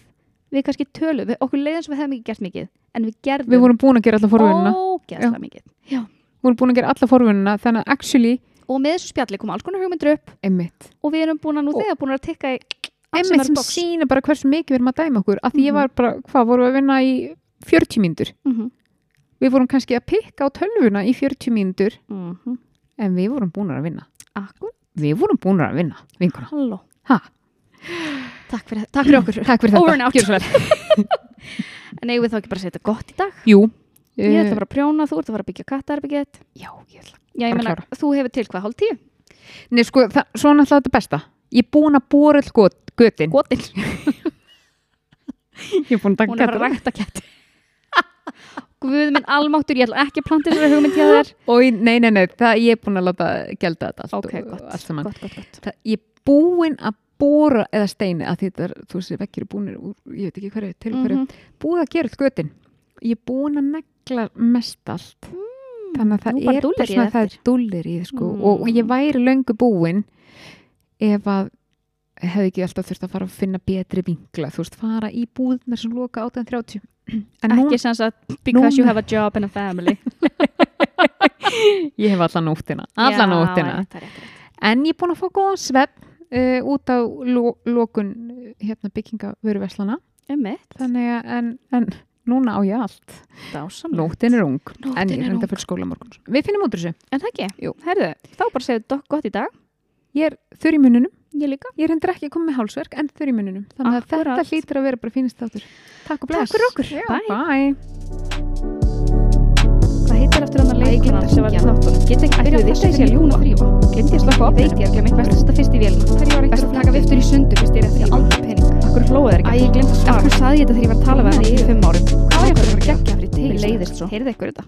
Speaker 1: við kannski tölum, við, okkur leiðum sem við hefum ekki gert mikið en við gerðum
Speaker 2: Við vorum búin að gera alla forvunina,
Speaker 1: ógeðslega mikið
Speaker 2: við vorum búin að gera alla forvunina þannig að actually,
Speaker 1: og með þessu spjalli kom alls konar hugmyndur upp
Speaker 2: einmitt,
Speaker 1: og við erum búin að nú
Speaker 2: Og-
Speaker 1: þegar búin að tikka í alls
Speaker 2: einmitt sem
Speaker 1: box.
Speaker 2: sína bara hversu mikið við erum að dæma okkur, að því ég
Speaker 1: Mhm.
Speaker 2: var bara, hvað vorum við að vinna í 40 mínútur?
Speaker 1: Mhm,
Speaker 2: Við vorum kannski að pikka á tölvuna í 40 mínútur
Speaker 1: mhm.
Speaker 2: en við vorum búin að vinna.
Speaker 1: Akkur,
Speaker 2: Við vorum búin að vinna, vinkona.
Speaker 1: halló
Speaker 2: Ha.
Speaker 1: Takk fyrir, takk fyrir okkur
Speaker 2: Takk fyrir
Speaker 1: Over and
Speaker 2: þetta.
Speaker 1: out.
Speaker 2: Gjörðu svo vel.
Speaker 1: En eigum við þá ekki bara að setja gott í dag?
Speaker 2: Jú.
Speaker 1: Ég
Speaker 2: eh,
Speaker 1: ætla bara að prjóna, þú ert að fara að byggja kattarbyggett
Speaker 2: Já, ég ætla.
Speaker 1: Já, ég
Speaker 2: Bara
Speaker 1: meina, þú hefur til hvað, hálf tíu?
Speaker 2: Nei, sko, það, svona ætla þetta besta. Ég er búin að bóra all götin.
Speaker 1: Gotin,
Speaker 2: Ég er búin að
Speaker 1: hún er bara
Speaker 2: taka
Speaker 1: að rækta kett Guð minn almáttur, ég ætla ekki að planta þessari hugmynd hjá þér
Speaker 2: Og nei, nei, nei, það ég er búin að láta gelda þetta allt,
Speaker 1: Ok,
Speaker 2: og,
Speaker 1: gott,
Speaker 2: allt saman.
Speaker 1: gott, gott, gott.
Speaker 2: Það, ég er búin að bóra eða steini að þetta, er, þú veist, þessi vekkir er búinir úr, ég veit ekki hverju, til hverju,
Speaker 1: Mhm.
Speaker 2: búið að gera allt götin. Ég er búin að negla mest allt. Þannig að
Speaker 1: Mm, nú bara
Speaker 2: það er
Speaker 1: dúlleríið
Speaker 2: svona, það er
Speaker 1: eftir.
Speaker 2: dullir í, sko,
Speaker 1: Mm.
Speaker 2: og ég væri löngu búin ef að hefði ekki alltaf þurft að fara að finna betri vinkla, þú veist, fara í búðnar sem loka 18.30. En
Speaker 1: Ekki sem sagt, because you have a job and a family
Speaker 2: núna, ég hef alla nóttina, alla
Speaker 1: Já,
Speaker 2: nóttina.
Speaker 1: rétt, rétt, rétt.
Speaker 2: En ég er búin að fá góðan svepp uh, út á lo lokun eh, hérna, byggingavöruverslana.
Speaker 1: Einmitt,
Speaker 2: Þannig að en, en núna á ég allt.
Speaker 1: dásamlega
Speaker 2: Nóttin er ung.
Speaker 1: Nóttin
Speaker 2: en ég
Speaker 1: er
Speaker 2: er enda
Speaker 1: ung.
Speaker 2: fyrir skóla morgun. sko. Við finnum út úr þessu.
Speaker 1: En það ekki,
Speaker 2: Jú.
Speaker 1: herðu, þá bara segðu dokk gott í dag
Speaker 2: Ég er þurr í mununum.
Speaker 1: Ég líka
Speaker 2: Ég er endur ekki að koma með hálsverk en þurr í mununum. Þannig að
Speaker 1: Akkúrat.
Speaker 2: þetta hlýtur að vera bara fínist þáttur. Takk og bless.
Speaker 1: Takk fyrir okkur.
Speaker 2: Já,
Speaker 1: Bye.
Speaker 2: bye.
Speaker 1: Hvað heitir eftir hann
Speaker 3: Æ, ég
Speaker 1: að
Speaker 3: gleymdi
Speaker 1: leikuna
Speaker 3: að
Speaker 1: sem var í
Speaker 3: hringja.
Speaker 1: þáttunum? Get ekki
Speaker 3: Ætli
Speaker 1: byrjað
Speaker 3: þetta
Speaker 1: þessu
Speaker 3: sé
Speaker 1: sem
Speaker 3: ljúga?
Speaker 1: ljúna þrýfa
Speaker 3: Glemt ég að slaka á
Speaker 1: Veit ég, glemir best að setja fyrst í vélina
Speaker 3: Hverju var
Speaker 1: Best að
Speaker 3: viftur
Speaker 1: taka viftur í sundu fyrst ég er
Speaker 3: Ég
Speaker 1: eftir
Speaker 3: hef aldrei pening
Speaker 1: Akkur flóið er
Speaker 3: Æ,
Speaker 1: ekki
Speaker 3: ég glemt að
Speaker 1: Af
Speaker 3: svara
Speaker 1: hverju saði ég þetta þegar ég var að tala við hann í
Speaker 3: Nei.
Speaker 1: fimm árum?
Speaker 3: Hvað var ég að fara að
Speaker 1: gegn?
Speaker 3: gegja fyrir
Speaker 1: Mér
Speaker 3: tegil?
Speaker 1: leiðist svo. Heyrðu ykkur þetta?